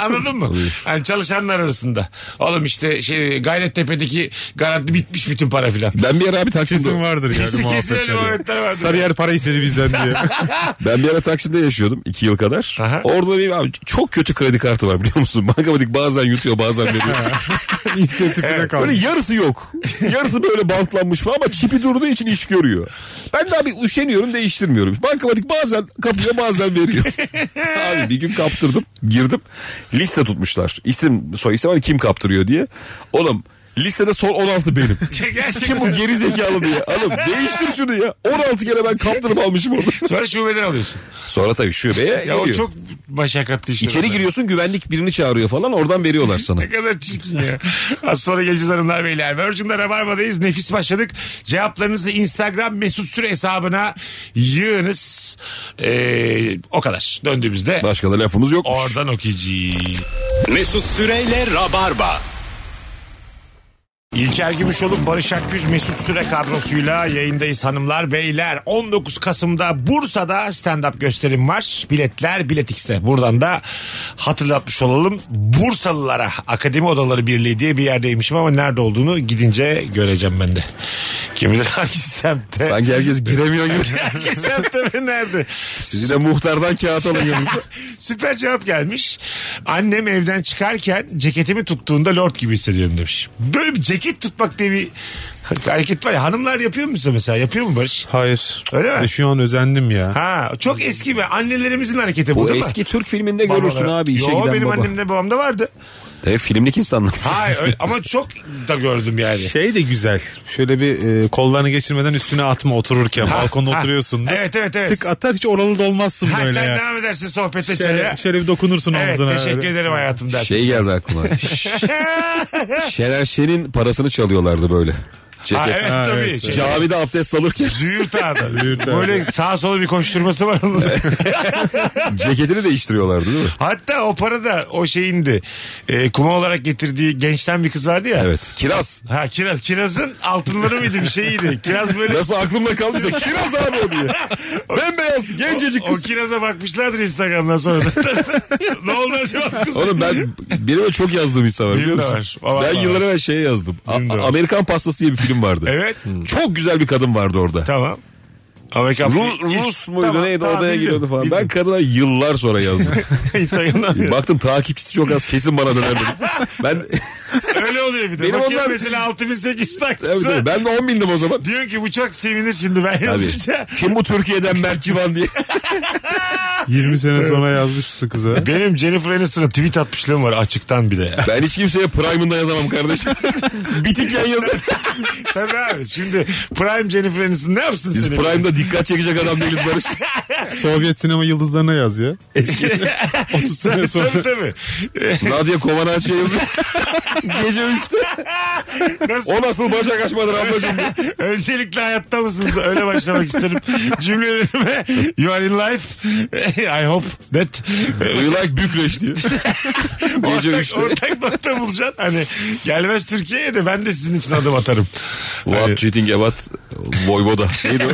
[SPEAKER 1] Anladın mı? Yani çalışanlar arasında. Oğlum işte şey Gayrettepe'deki garanti bitmiş bütün para filan.
[SPEAKER 2] Ben bir ara abi
[SPEAKER 3] kesin
[SPEAKER 2] Taksim'de,
[SPEAKER 3] vardır yani
[SPEAKER 1] Kesin kesin öyle muhabbetler vardır.
[SPEAKER 3] Sarıyer para istedi bizden diye.
[SPEAKER 1] <laughs>
[SPEAKER 2] ben bir ara Taksim'de yaşıyordum iki yıl kadar.
[SPEAKER 1] Aha.
[SPEAKER 2] Orada bir abi çok kötü kredi kartı var biliyor musun? Bankamatik bazen yutuyor bazen veriyor.
[SPEAKER 3] İnisiyatifine kaldı.
[SPEAKER 2] Böyle yarısı yok. Yarısı böyle bantlanmış falan ama çipi durduğu için iş görüyor. Ben de abi üşeniyorum değiştirmiyorum. Bankamatik bazen kapıyor bazen veriyor.
[SPEAKER 1] <laughs>
[SPEAKER 2] abi bir gün kaptırdım girdim. Liste tutmuşlar. İsim soy isim var kim kaptırıyor diye. Oğlum listede son 16 benim.
[SPEAKER 1] <laughs> Gerçekten.
[SPEAKER 2] Kim bu geri zekalı diye. Oğlum değiştir şunu ya. 16 kere ben kaptırıp almışım orada.
[SPEAKER 1] Sonra şubeden alıyorsun.
[SPEAKER 2] Sonra tabii şubeye
[SPEAKER 1] Ya
[SPEAKER 2] geliyor.
[SPEAKER 1] o çok başakatlı işler.
[SPEAKER 2] İçeri
[SPEAKER 1] onlar.
[SPEAKER 2] giriyorsun güvenlik birini çağırıyor falan oradan
[SPEAKER 1] <laughs>
[SPEAKER 2] veriyorlar sana.
[SPEAKER 1] Ne kadar çirkin ya. Az sonra geleceğiz hanımlar beyler. Virgin'de Rabarba'dayız. Nefis başladık. Cevaplarınızı Instagram mesut süre hesabına yığınız. Ee, o kadar. Döndüğümüzde
[SPEAKER 2] Başka da lafımız yok.
[SPEAKER 1] oradan okuyacağız.
[SPEAKER 9] Mesut Süreyle Rabarba.
[SPEAKER 1] İlker Gümüşoluk, Barış Akgüz, Mesut Süre kadrosuyla yayındayız hanımlar beyler. 19 Kasım'da Bursa'da stand-up gösterim var. Biletler Biletix'te. Buradan da hatırlatmış olalım. Bursalılara Akademi Odaları Birliği diye bir yerdeymişim ama nerede olduğunu gidince göreceğim ben de. Kim bilir <laughs> hangi semtte.
[SPEAKER 2] Sanki herkes giremiyor gibi.
[SPEAKER 1] <laughs> Hangi semtte ve nerede?
[SPEAKER 2] Sizi de muhtardan kağıt alın yanınıza.
[SPEAKER 1] Süper cevap gelmiş. Annem evden çıkarken ceketimi tuttuğunda lord gibi hissediyorum demiş. Böyle bir ceket tutmak diye bir hareket var ya. Hanımlar yapıyor mu size mesela? Yapıyor mu Barış?
[SPEAKER 3] Hayır.
[SPEAKER 1] Öyle mi?
[SPEAKER 3] E, Şu an özendim ya.
[SPEAKER 1] Ha çok eski ve annelerimizin hareketi bu,
[SPEAKER 2] <laughs> Bu
[SPEAKER 1] değil mi?
[SPEAKER 2] eski Türk filminde
[SPEAKER 1] Babalar-
[SPEAKER 2] görürsün abi işe
[SPEAKER 1] Yo,
[SPEAKER 2] giden
[SPEAKER 1] benim
[SPEAKER 2] baba.
[SPEAKER 1] annemde babamda vardı.
[SPEAKER 2] Tabii filmlik insanlar.
[SPEAKER 1] <laughs> Hayır öyle- ama çok da gördüm yani.
[SPEAKER 3] Şey de güzel. Şöyle bir e, kollarını geçirmeden üstüne atma otururken. balkonda
[SPEAKER 1] ha.
[SPEAKER 3] oturuyorsun. da.
[SPEAKER 1] Evet, evet, evet.
[SPEAKER 3] Tık atar hiç oralı dolmazsın
[SPEAKER 1] Ha,
[SPEAKER 3] böyle
[SPEAKER 1] sen
[SPEAKER 3] ya.
[SPEAKER 1] devam edersin sohbete çaya.
[SPEAKER 3] Şöyle, şöyle bir dokunursun
[SPEAKER 1] Evet
[SPEAKER 3] omzuna.
[SPEAKER 1] teşekkür
[SPEAKER 3] Öyle.
[SPEAKER 1] ederim hayatım dersin.
[SPEAKER 2] Şey
[SPEAKER 1] <laughs>
[SPEAKER 2] geldi aklıma. Ş- Şener Şen'in parasını çalıyorlardı böyle.
[SPEAKER 1] ha,
[SPEAKER 2] Ceket.
[SPEAKER 1] evet
[SPEAKER 3] Ha,
[SPEAKER 1] tabii.
[SPEAKER 3] evet.
[SPEAKER 1] Şey,
[SPEAKER 2] Camide
[SPEAKER 1] <laughs>
[SPEAKER 2] abdest alırken
[SPEAKER 1] Züğürt ağda.
[SPEAKER 3] Züğürt ağda.
[SPEAKER 1] Böyle sağa sola bir koşturması var onun.
[SPEAKER 2] ceketini değiştiriyorlardı değil mi?
[SPEAKER 1] Hatta o para da o şeyindi. E, kuma olarak getirdiği gençten bir kız vardı ya.
[SPEAKER 2] Evet. Kiraz.
[SPEAKER 1] Ha kiraz. Kirazın altınları mıydı bir şeyiydi. Kiraz böyle
[SPEAKER 2] Nasıl aklımda kaldıysa kiraz abi
[SPEAKER 1] <laughs>
[SPEAKER 2] o diye. Bembeyaz gencecik
[SPEAKER 1] o
[SPEAKER 2] kız.
[SPEAKER 1] kiraza bakmışlardır Instagram'dan
[SPEAKER 2] <laughs>
[SPEAKER 1] sonra. ne oldu acaba kız?
[SPEAKER 2] Oğlum ben birime çok yazdığım insanım
[SPEAKER 1] Benim
[SPEAKER 2] biliyor
[SPEAKER 1] de
[SPEAKER 2] musun?
[SPEAKER 1] var. Valla
[SPEAKER 2] ben
[SPEAKER 1] var.
[SPEAKER 2] yıllar evvel şey yazdım. A-
[SPEAKER 1] Benim de var.
[SPEAKER 2] Amerikan Pastası diye bir film vardı.
[SPEAKER 1] Evet.
[SPEAKER 2] Çok güzel bir kadın vardı orada.
[SPEAKER 1] Tamam. Amerika
[SPEAKER 2] Ru- Rus muydu
[SPEAKER 1] Tamam,
[SPEAKER 2] neydi
[SPEAKER 1] tamam,
[SPEAKER 2] odaya
[SPEAKER 1] bildim,
[SPEAKER 2] giriyordu falan. Ben
[SPEAKER 1] bildim.
[SPEAKER 2] kadına yıllar
[SPEAKER 1] <laughs>
[SPEAKER 2] sonra yazdım.
[SPEAKER 1] Instagram'dan.
[SPEAKER 2] Baktım takipçisi çok az kesin bana döner dedim.
[SPEAKER 1] <laughs>
[SPEAKER 2] Ben,
[SPEAKER 1] Öyle oluyor bir de.
[SPEAKER 2] Benim
[SPEAKER 1] Benim
[SPEAKER 2] onlar-
[SPEAKER 1] mesela 6800
[SPEAKER 2] Tabii
[SPEAKER 1] takipçisi.
[SPEAKER 2] tabii.
[SPEAKER 1] var.
[SPEAKER 2] ben de 10 bindim o zaman.
[SPEAKER 1] Diyorsun ki bu çok sevinir şimdi ben
[SPEAKER 2] Tabii.
[SPEAKER 1] yazınca.
[SPEAKER 2] Kim bu Türkiye'den Mert
[SPEAKER 1] <laughs>
[SPEAKER 2] Civan diye.
[SPEAKER 3] 20 sene sonra yazmışsın
[SPEAKER 1] <laughs>
[SPEAKER 3] kıza.
[SPEAKER 1] Benim Jennifer Aniston'a tweet atmışlığım var açıktan bir de. ya.
[SPEAKER 2] Ben hiç kimseye Prime'ında
[SPEAKER 1] <laughs>
[SPEAKER 2] yazamam kardeşim. Bitik yan yazar.
[SPEAKER 1] Tabii abi şimdi Prime Jennifer Aniston ne yapsın
[SPEAKER 2] Biz
[SPEAKER 1] seni? <laughs>
[SPEAKER 2] Prime'da dikkat çekecek adam değiliz Barış.
[SPEAKER 3] Sovyet sinema yıldızlarına yaz ya. 30 sene sonra.
[SPEAKER 1] tabii tabii.
[SPEAKER 2] Nadia
[SPEAKER 1] <laughs>
[SPEAKER 2] Kovanacı'ya yazıyor. Gece 3'te.
[SPEAKER 1] Nasıl?
[SPEAKER 2] O nasıl bacak açmadır ablacığım
[SPEAKER 1] <laughs>
[SPEAKER 2] diye.
[SPEAKER 1] Öncelikle hayatta mısınız? Öyle başlamak isterim. Cümlelerime you are in life. I hope that.
[SPEAKER 2] We like Bükreş diye. Gece
[SPEAKER 1] Ortak,
[SPEAKER 2] 3'te.
[SPEAKER 1] ortak nokta bulacaksın. Hani gelmez Türkiye'ye de ben de sizin için adım atarım. Hani
[SPEAKER 2] What cheating about Voyvoda.
[SPEAKER 1] <laughs>
[SPEAKER 2] Neydi o?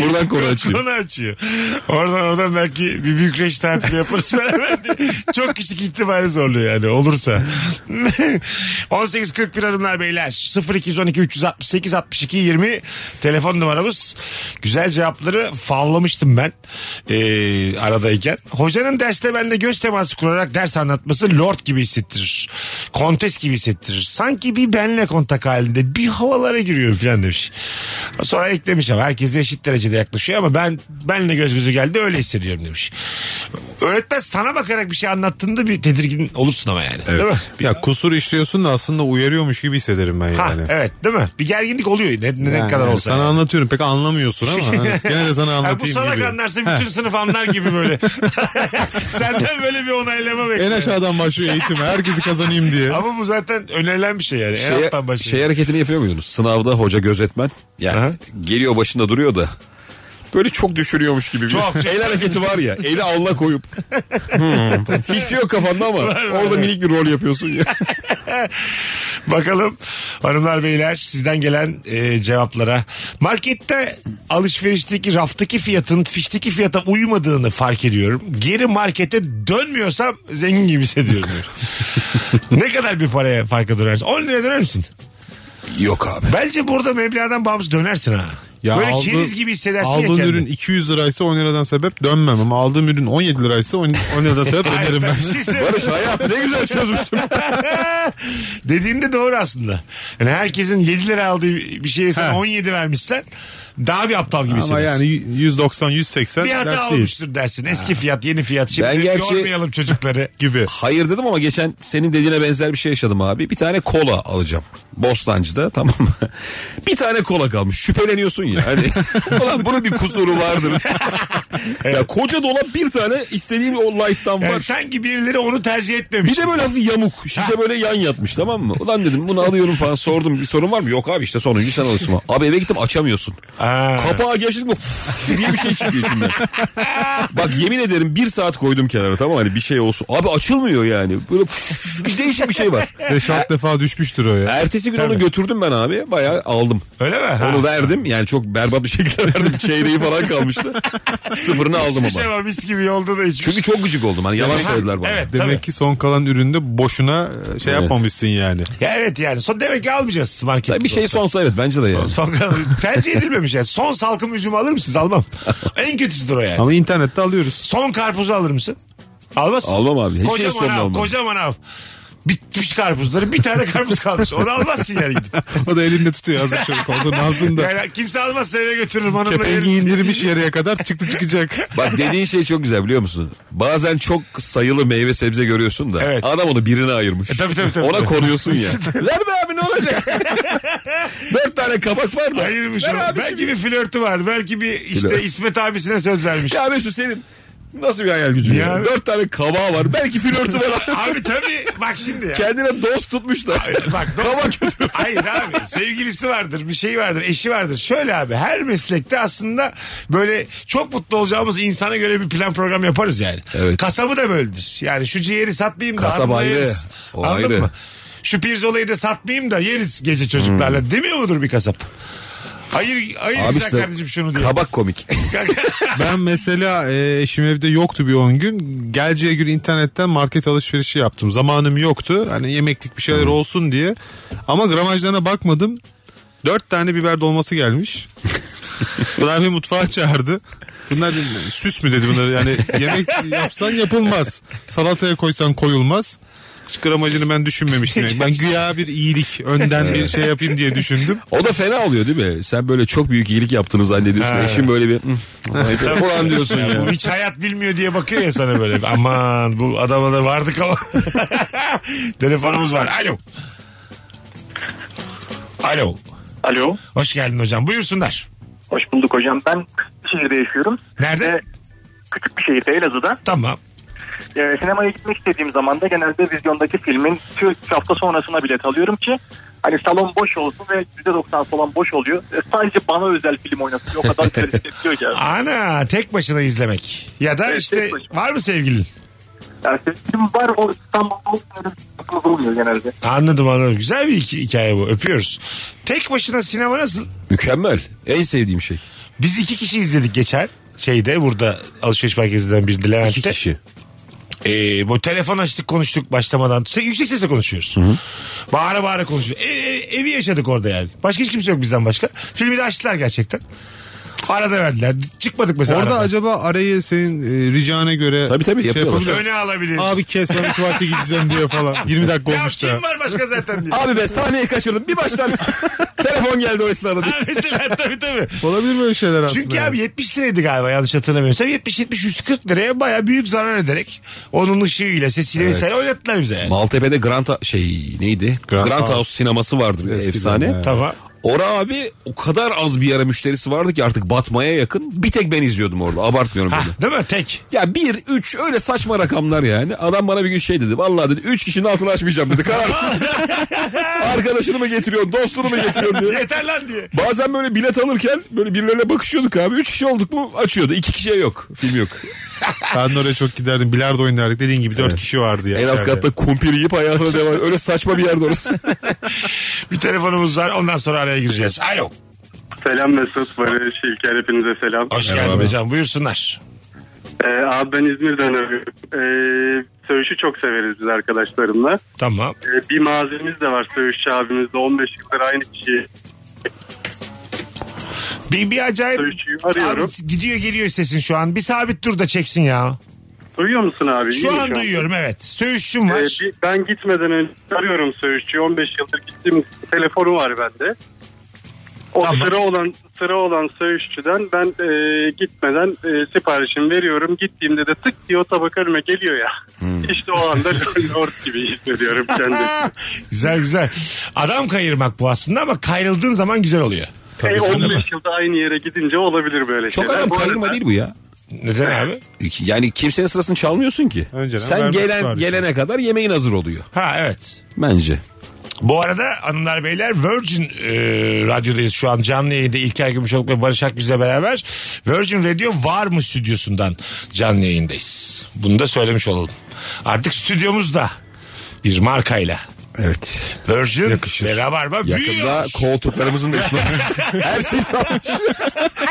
[SPEAKER 2] Buradan konu açıyor.
[SPEAKER 1] Konu açıyor. Oradan oradan belki bir büyük reş tatili yaparız
[SPEAKER 2] <laughs>
[SPEAKER 1] beraber diye. Çok küçük ihtimali zorluyor yani olursa. <laughs> 18.41 hanımlar beyler. 0212 368 62 20 telefon numaramız. Güzel cevapları favlamıştım ben ee, aradayken. Hocanın <laughs> derste benimle göz teması kurarak ders anlatması lord gibi hissettirir. Kontes gibi hissettirir. Sanki bir benle kontak halinde bir havalara giriyor falan demiş. Sonra eklemiş ama herkese eşit derecede yaklaşıyor ama ben benle göz gözü geldi öyle hissediyorum demiş. Öğretmen sana bakarak bir şey anlattığında bir tedirgin olursun ama yani. Değil mi? Bir-
[SPEAKER 3] Ya kusur işliyorsun da aslında uyarıyormuş gibi hissederim ben
[SPEAKER 1] Ha,
[SPEAKER 3] yani.
[SPEAKER 1] evet değil mi? Bir gerginlik oluyor ne, ne
[SPEAKER 3] Yani
[SPEAKER 1] kadar olsa.
[SPEAKER 3] Sana
[SPEAKER 1] yani.
[SPEAKER 3] anlatıyorum pek
[SPEAKER 1] <laughs>
[SPEAKER 3] anlamıyorsun ama hani gene de sana
[SPEAKER 1] Ha,
[SPEAKER 3] anlatayım
[SPEAKER 1] bu salak
[SPEAKER 3] gibi.
[SPEAKER 1] anlarsa bütün sınıf anlar gibi
[SPEAKER 3] <laughs>
[SPEAKER 1] böyle. Senden böyle bir onaylama
[SPEAKER 3] En
[SPEAKER 1] bekliyor.
[SPEAKER 3] aşağıdan başlıyor eğitim. Herkesi kazanayım diye.
[SPEAKER 1] Ama bu zaten önerilen bir şey yani. en
[SPEAKER 2] Şey,
[SPEAKER 1] alttan başlıyor.
[SPEAKER 2] şey hareketini yapıyor muydunuz? Sınavda hoca gözetmen. Yani
[SPEAKER 1] Aha.
[SPEAKER 2] geliyor başında duruyor da. Böyle çok düşürüyormuş gibi. bir-
[SPEAKER 1] Çok.
[SPEAKER 2] El hareketi var ya. Eli alnına koyup. Hmm. Hiçbir şey yok kafanda ama. orada minik bir rol yapıyorsun ya.
[SPEAKER 1] Bakalım hanımlar beyler sizden gelen e, cevaplara. Markette alışverişteki raftaki fiyatın fişteki fiyata uymadığını fark ediyorum. Geri markete dönmüyorsam zengin gibi
[SPEAKER 3] <laughs>
[SPEAKER 1] hissediyorum. ne kadar bir paraya farka dönersin? 10 liraya döner misin?
[SPEAKER 2] yok abi.
[SPEAKER 1] Bence burada meblağdan bağımsız dönersin ha. Böyle
[SPEAKER 3] aldığın-
[SPEAKER 1] keriz gibi hissedersin ya
[SPEAKER 3] Aldığın
[SPEAKER 1] kendini.
[SPEAKER 3] ürün 200 liraysa 10 liradan sebep dönmem ama aldığım ürün 17 liraysa 10 10 liradan sebep
[SPEAKER 1] <laughs> Ben
[SPEAKER 3] dönerim ben.
[SPEAKER 1] bir şey
[SPEAKER 3] <laughs>
[SPEAKER 1] söyleyeyim.
[SPEAKER 2] Barış hayatı ne güzel çözmüşsün.
[SPEAKER 1] <laughs> Dediğin de doğru aslında. Yani herkesin 7 lira aldığı bir şeye sen
[SPEAKER 3] Ha.
[SPEAKER 1] 17 vermişsen daha bir aptal gibi
[SPEAKER 3] Ama
[SPEAKER 1] hissediyorsun.
[SPEAKER 3] yani 190 180
[SPEAKER 1] şey bir hata
[SPEAKER 3] ders değil.
[SPEAKER 1] olmuştur dersin. Eski fiyat yeni fiyat. Şimdi
[SPEAKER 2] Ben gerçi-
[SPEAKER 1] yormayalım çocukları gibi.
[SPEAKER 2] Hayır dedim ama geçen senin dediğine benzer bir şey yaşadım abi. Bir tane kola alacağım. Bostancı'da tamam mı? <laughs> Bir tane kola kalmış. Şüpheleniyorsun ya. Hani, <laughs> Ulan bunun bir
[SPEAKER 1] <laughs>
[SPEAKER 2] kusuru vardır. Ya koca dolap bir tane istediğim o light'tan var.
[SPEAKER 1] Yani sanki birileri onu tercih etmemiş.
[SPEAKER 2] Bir de böyle hafif yamuk. Şişe böyle yan yatmış tamam mı? Ulan dedim bunu alıyorum falan sordum. Bir sorun var mı? Yok abi işte sonuncu sen alırsın. Abi eve gittim açamıyorsun.
[SPEAKER 1] Aa.
[SPEAKER 2] Kapağı gevşedik mi fff diye bir şey çıkıyor içinden. Bak yemin ederim bir saat koydum kenara tamam mı? hani bir şey olsun. Abi açılmıyor yani. Böyle fff, bir değişik bir şey var.
[SPEAKER 3] 5-6 defa düşmüştür o ya.
[SPEAKER 2] Ertesi gün onu götürdüm ben abi. Bayağı aldım.
[SPEAKER 1] Öyle mi? Ha.
[SPEAKER 2] Onu verdim. Yani çok berbat bir şekilde verdim. Çeyreği falan kalmıştı. Sıfırını aldım
[SPEAKER 1] Hiçbir şey
[SPEAKER 2] ama.
[SPEAKER 1] var mis gibi yolda da hiçbir
[SPEAKER 2] Çünkü
[SPEAKER 1] şey.
[SPEAKER 2] çok gıcık oldum. Hani yalan
[SPEAKER 1] Ha,
[SPEAKER 2] söylediler bana.
[SPEAKER 1] Evet,
[SPEAKER 3] Demek
[SPEAKER 1] tabii.
[SPEAKER 3] ki son kalan üründe boşuna e, şey
[SPEAKER 2] Evet.
[SPEAKER 3] yapmamışsın yani.
[SPEAKER 1] şey. Ya evet yani. Son demek ki almayacağız market.
[SPEAKER 2] Tabii bir şey sonsa evet bence de yani.
[SPEAKER 1] Son <laughs> kalan- tercih edilmemiş yani. Son salkım üzümü alır mısınız? Almam. en kötüsüdür o yani.
[SPEAKER 3] Ama internette alıyoruz. <laughs>
[SPEAKER 1] Son karpuzu alır mısın? Almazsın.
[SPEAKER 2] Almam abi. Hiçbir şey
[SPEAKER 1] Kocaman
[SPEAKER 2] sorun
[SPEAKER 1] av,
[SPEAKER 2] almam.
[SPEAKER 1] kocaman av. Bitmiş karpuzları bir tane karpuz kalmış. Onu almazsın yani gidip.
[SPEAKER 3] O da elinde tutuyor hazır şöyle
[SPEAKER 1] <laughs>
[SPEAKER 3] konsolun altında.
[SPEAKER 1] Yani kimse almazsa eve götürürüm hanımla.
[SPEAKER 3] Kepengi
[SPEAKER 1] yerim. <laughs>
[SPEAKER 3] indirmiş yarıya kadar çıktı çıkacak.
[SPEAKER 2] Bak dediğin şey çok güzel biliyor musun? Bazen çok sayılı meyve sebze görüyorsun da
[SPEAKER 1] Evet.
[SPEAKER 2] adam onu birine ayırmış.
[SPEAKER 1] E, tabii, tabii, tabii.
[SPEAKER 2] Ona
[SPEAKER 1] <laughs>
[SPEAKER 2] koruyorsun ya. Ver be abi ne olacak? Dört tane kabak var da.
[SPEAKER 1] Ayırmış
[SPEAKER 2] Ver
[SPEAKER 1] onu.
[SPEAKER 2] abi
[SPEAKER 1] Belki
[SPEAKER 2] şimdi.
[SPEAKER 1] bir flörtü var. Belki bir işte
[SPEAKER 2] Flört.
[SPEAKER 1] İsmet abisine söz vermiş.
[SPEAKER 2] Ya Mesut senin nasıl bir hayal gücün ya?
[SPEAKER 1] Ya.
[SPEAKER 2] Dört tane kabağı var. Belki
[SPEAKER 1] <laughs>
[SPEAKER 2] flörtü var.
[SPEAKER 1] Abi tabii bak şimdi ya.
[SPEAKER 2] Kendine dost tutmuş da.
[SPEAKER 1] <laughs> Bak
[SPEAKER 2] Kabak
[SPEAKER 1] dost,
[SPEAKER 2] götürüyor.
[SPEAKER 1] <laughs> hayır abi sevgilisi vardır bir şey vardır eşi vardır. Şöyle abi her meslekte aslında böyle çok mutlu olacağımız insana göre bir plan program yaparız yani.
[SPEAKER 2] Evet.
[SPEAKER 1] Kasabı da böyledir. Yani şu ciğeri satmayayım da
[SPEAKER 2] Kasap
[SPEAKER 1] hanımla
[SPEAKER 2] ayrı,
[SPEAKER 1] yeriz.
[SPEAKER 2] o
[SPEAKER 1] Anladın
[SPEAKER 2] ayrı.
[SPEAKER 1] mı? Şu pirzolayı da satmayayım da yeriz gece çocuklarla demiyor mudur bir kasap? Hayır, hayır
[SPEAKER 2] Hmm. Abi
[SPEAKER 1] güzel
[SPEAKER 2] işte
[SPEAKER 1] kardeşim şunu diyor.
[SPEAKER 2] kabak komik.
[SPEAKER 3] Ben mesela e, eşim evde yoktu bir 10 gün. Geleceği gün internetten market alışverişi yaptım. Zamanım yoktu. Hani yemeklik bir şeyler olsun diye. Ama gramajlarına bakmadım. Dört tane biber dolması
[SPEAKER 2] <laughs>
[SPEAKER 3] gelmiş. Bunlar bir mutfağa çağırdı. Bunlar bir süs mü dedi bunları yani yemek yapsan yapılmaz. Salataya koysan koyulmaz. Hiç gramajını ben düşünmemiştim. Ben güya bir iyilik önden bir şey yapayım diye düşündüm.
[SPEAKER 2] O da fena oluyor değil mi? Sen böyle çok büyük iyilik yaptığını zannediyorsun. Eşin
[SPEAKER 1] <laughs>
[SPEAKER 2] böyle bir "Hı, falan diyorsun
[SPEAKER 1] Ya
[SPEAKER 2] ya.
[SPEAKER 1] bu hiç hayat bilmiyor diye bakıyor ya sana böyle. Aman bu adama da vardık ama. <laughs> Telefonumuz var. Alo. Alo.
[SPEAKER 8] Alo.
[SPEAKER 1] Hoş geldin hocam. Buyursunlar.
[SPEAKER 8] Hoş bulduk hocam. Ben şehirde yaşıyorum.
[SPEAKER 1] Nerede?
[SPEAKER 8] Ee, küçük bir şehirde Elazığ'da.
[SPEAKER 1] Tamam.
[SPEAKER 8] Ee, sinemaya gitmek istediğim zaman da genelde vizyondaki filmin iki üç hafta sonrasına bilet alıyorum ki hani salon boş olsun ve %90 salon boş oluyor. Ee, sadece bana özel film oynasın. O kadar karıştırıyor ki.
[SPEAKER 7] <laughs>
[SPEAKER 1] Ana tek başına izlemek. Ya da
[SPEAKER 8] Evet,
[SPEAKER 1] işte
[SPEAKER 8] tek başına.
[SPEAKER 1] var mı sevgilin?
[SPEAKER 8] Yani film var o İstanbul'da aklımız olmuyor genelde.
[SPEAKER 1] Anladım anladım. Güzel bir hi- hikaye bu. Öpüyoruz. Tek başına sinema nasıl?
[SPEAKER 2] Mükemmel. En sevdiğim şey.
[SPEAKER 1] Biz iki kişi izledik geçen şeyde burada alışveriş merkezinden bir Levent'te.
[SPEAKER 2] İki kişi.
[SPEAKER 1] Ee, bu telefon açtık konuştuk başlamadan. Se- Yüksek sesle konuşuyoruz. Bağıra bağıra konuşuyoruz. E- e- evi yaşadık orada yani. Başka hiç kimse yok bizden başka. Filmi de açtılar gerçekten. Arada verdiler. Çıkmadık mesela.
[SPEAKER 3] Orada
[SPEAKER 1] aradan.
[SPEAKER 3] acaba arayı senin e, ricana göre şey
[SPEAKER 2] Tabii, tabii, yapıyorlar.
[SPEAKER 3] yapabilir.
[SPEAKER 1] Öne alabilir.
[SPEAKER 3] Abi kes ben bir tuvalete gideceğim diye falan. <laughs> 20 dakika
[SPEAKER 1] ya
[SPEAKER 3] olmuş da.
[SPEAKER 1] kim var başka zaten
[SPEAKER 3] <laughs>
[SPEAKER 1] diye.
[SPEAKER 2] Abi be sahneyi kaçırdım. Bir baştan telefon geldi o esnada.
[SPEAKER 1] Ha, <laughs> mesela tabii tabii.
[SPEAKER 3] Olabilir böyle şeyler aslında.
[SPEAKER 1] Çünkü
[SPEAKER 3] yani.
[SPEAKER 1] abi 70 liraydı galiba yanlış hatırlamıyorsam. 70-70-140 liraya baya büyük zarar ederek onun ışığıyla sesiyle vesaire oynattılar bize yani.
[SPEAKER 2] Maltepe'de Grand Ha- şey neydi? Grand,
[SPEAKER 3] Grand
[SPEAKER 2] House.
[SPEAKER 3] House
[SPEAKER 2] sineması vardır efsane.
[SPEAKER 3] evet.
[SPEAKER 1] Tamam.
[SPEAKER 2] Ora abi o kadar az bir yere müşterisi vardı ki artık batmaya yakın. Bir tek ben izliyordum orada. Abartmıyorum
[SPEAKER 1] Ha,
[SPEAKER 2] bunu.
[SPEAKER 1] Ah, değil mi?
[SPEAKER 3] <laughs>
[SPEAKER 1] Tek.
[SPEAKER 2] Ya bir, üç öyle saçma rakamlar yani. Adam bana bir gün şey dedi. Vallahi dedi üç kişinin altını açmayacağım
[SPEAKER 3] <laughs>
[SPEAKER 2] dedi. Karar. Arkadaşını mı getiriyorsun, dostunu mu getiriyorsun diye.
[SPEAKER 1] Yeter lan diye.
[SPEAKER 2] Bazen böyle bilet alırken böyle birilerine bakışıyorduk abi. Üç kişi olduk mu açıyordu. İki kişiye yok. Film yok.
[SPEAKER 3] Ben de oraya çok giderdim. Bilardo oynardık. Dediğin gibi 4 kişi vardı ya.
[SPEAKER 2] En alt
[SPEAKER 3] içeride.
[SPEAKER 2] katta kumpir yiyip hayatına devam. Öyle saçma bir yerde orası.
[SPEAKER 1] Bir telefonumuz var ondan sonra araya gireceğiz. Alo.
[SPEAKER 7] Selam Mesut, Barış, İlker hepinize selam.
[SPEAKER 1] Hoş geldin hocam buyursunlar.
[SPEAKER 7] Ee, abi ben İzmir'den arıyorum. Ee, söğüşü çok severiz biz arkadaşlarımla.
[SPEAKER 1] Tamam.
[SPEAKER 7] Ee, bir mazimiz de var söğüşçü abimizde. 15 yıldır aynı kişi
[SPEAKER 1] Bir, bir acayip
[SPEAKER 7] söğüşçüyü arıyorum.
[SPEAKER 1] Abi gidiyor geliyor sesin şu an. Bir sabit dur da çeksin ya.
[SPEAKER 7] Duyuyor musun abi? İyi mi
[SPEAKER 1] Şu an duyuyorum evet. Söğüşçüm var.
[SPEAKER 7] Ee, bir- ben gitmeden önce arıyorum söğüşçüyü. 15 yıldır gittiğim telefonu var bende. O
[SPEAKER 1] Tamam.
[SPEAKER 7] sıra olan sıra olan söğüşçüden ben e, gitmeden e, siparişimi veriyorum. Gittiğimde de tık diye o tabak önüme geliyor ya.
[SPEAKER 1] Hmm.
[SPEAKER 7] İşte o anda <laughs> lord gibi hissediyorum kendimi.
[SPEAKER 1] güzel güzel. Adam kayırmak bu aslında ama kayrıldığın zaman güzel oluyor.
[SPEAKER 7] E, 15 yılda aynı yere gidince olabilir böyle
[SPEAKER 2] <laughs> Çok
[SPEAKER 7] şeyler.
[SPEAKER 2] adam
[SPEAKER 7] Bu arada-
[SPEAKER 2] kayırma değil bu ya.
[SPEAKER 1] Neden abi?
[SPEAKER 2] Yani kimsenin sırasını çalmıyorsun ki.
[SPEAKER 3] Önceden
[SPEAKER 2] Sen
[SPEAKER 3] vermesi
[SPEAKER 2] gelen
[SPEAKER 3] var işte.
[SPEAKER 2] gelene kadar yemeğin hazır oluyor.
[SPEAKER 1] Ha evet.
[SPEAKER 2] Bence.
[SPEAKER 1] Bu arada hanımlar beyler Virgin e, Radyo'dayız şu an canlı yayında İlker Gümüşoluk ve Barış Akgüz'le beraber Virgin Radio var mı stüdyosundan canlı yayındayız. Bunu da söylemiş olalım. Artık stüdyomuzda bir markayla
[SPEAKER 2] Evet.
[SPEAKER 1] Virgin ve Rabarba
[SPEAKER 2] Yakında
[SPEAKER 1] büyüyor.
[SPEAKER 2] koltuklarımızın
[SPEAKER 3] <laughs>
[SPEAKER 2] da üstüne. Her şey salmış.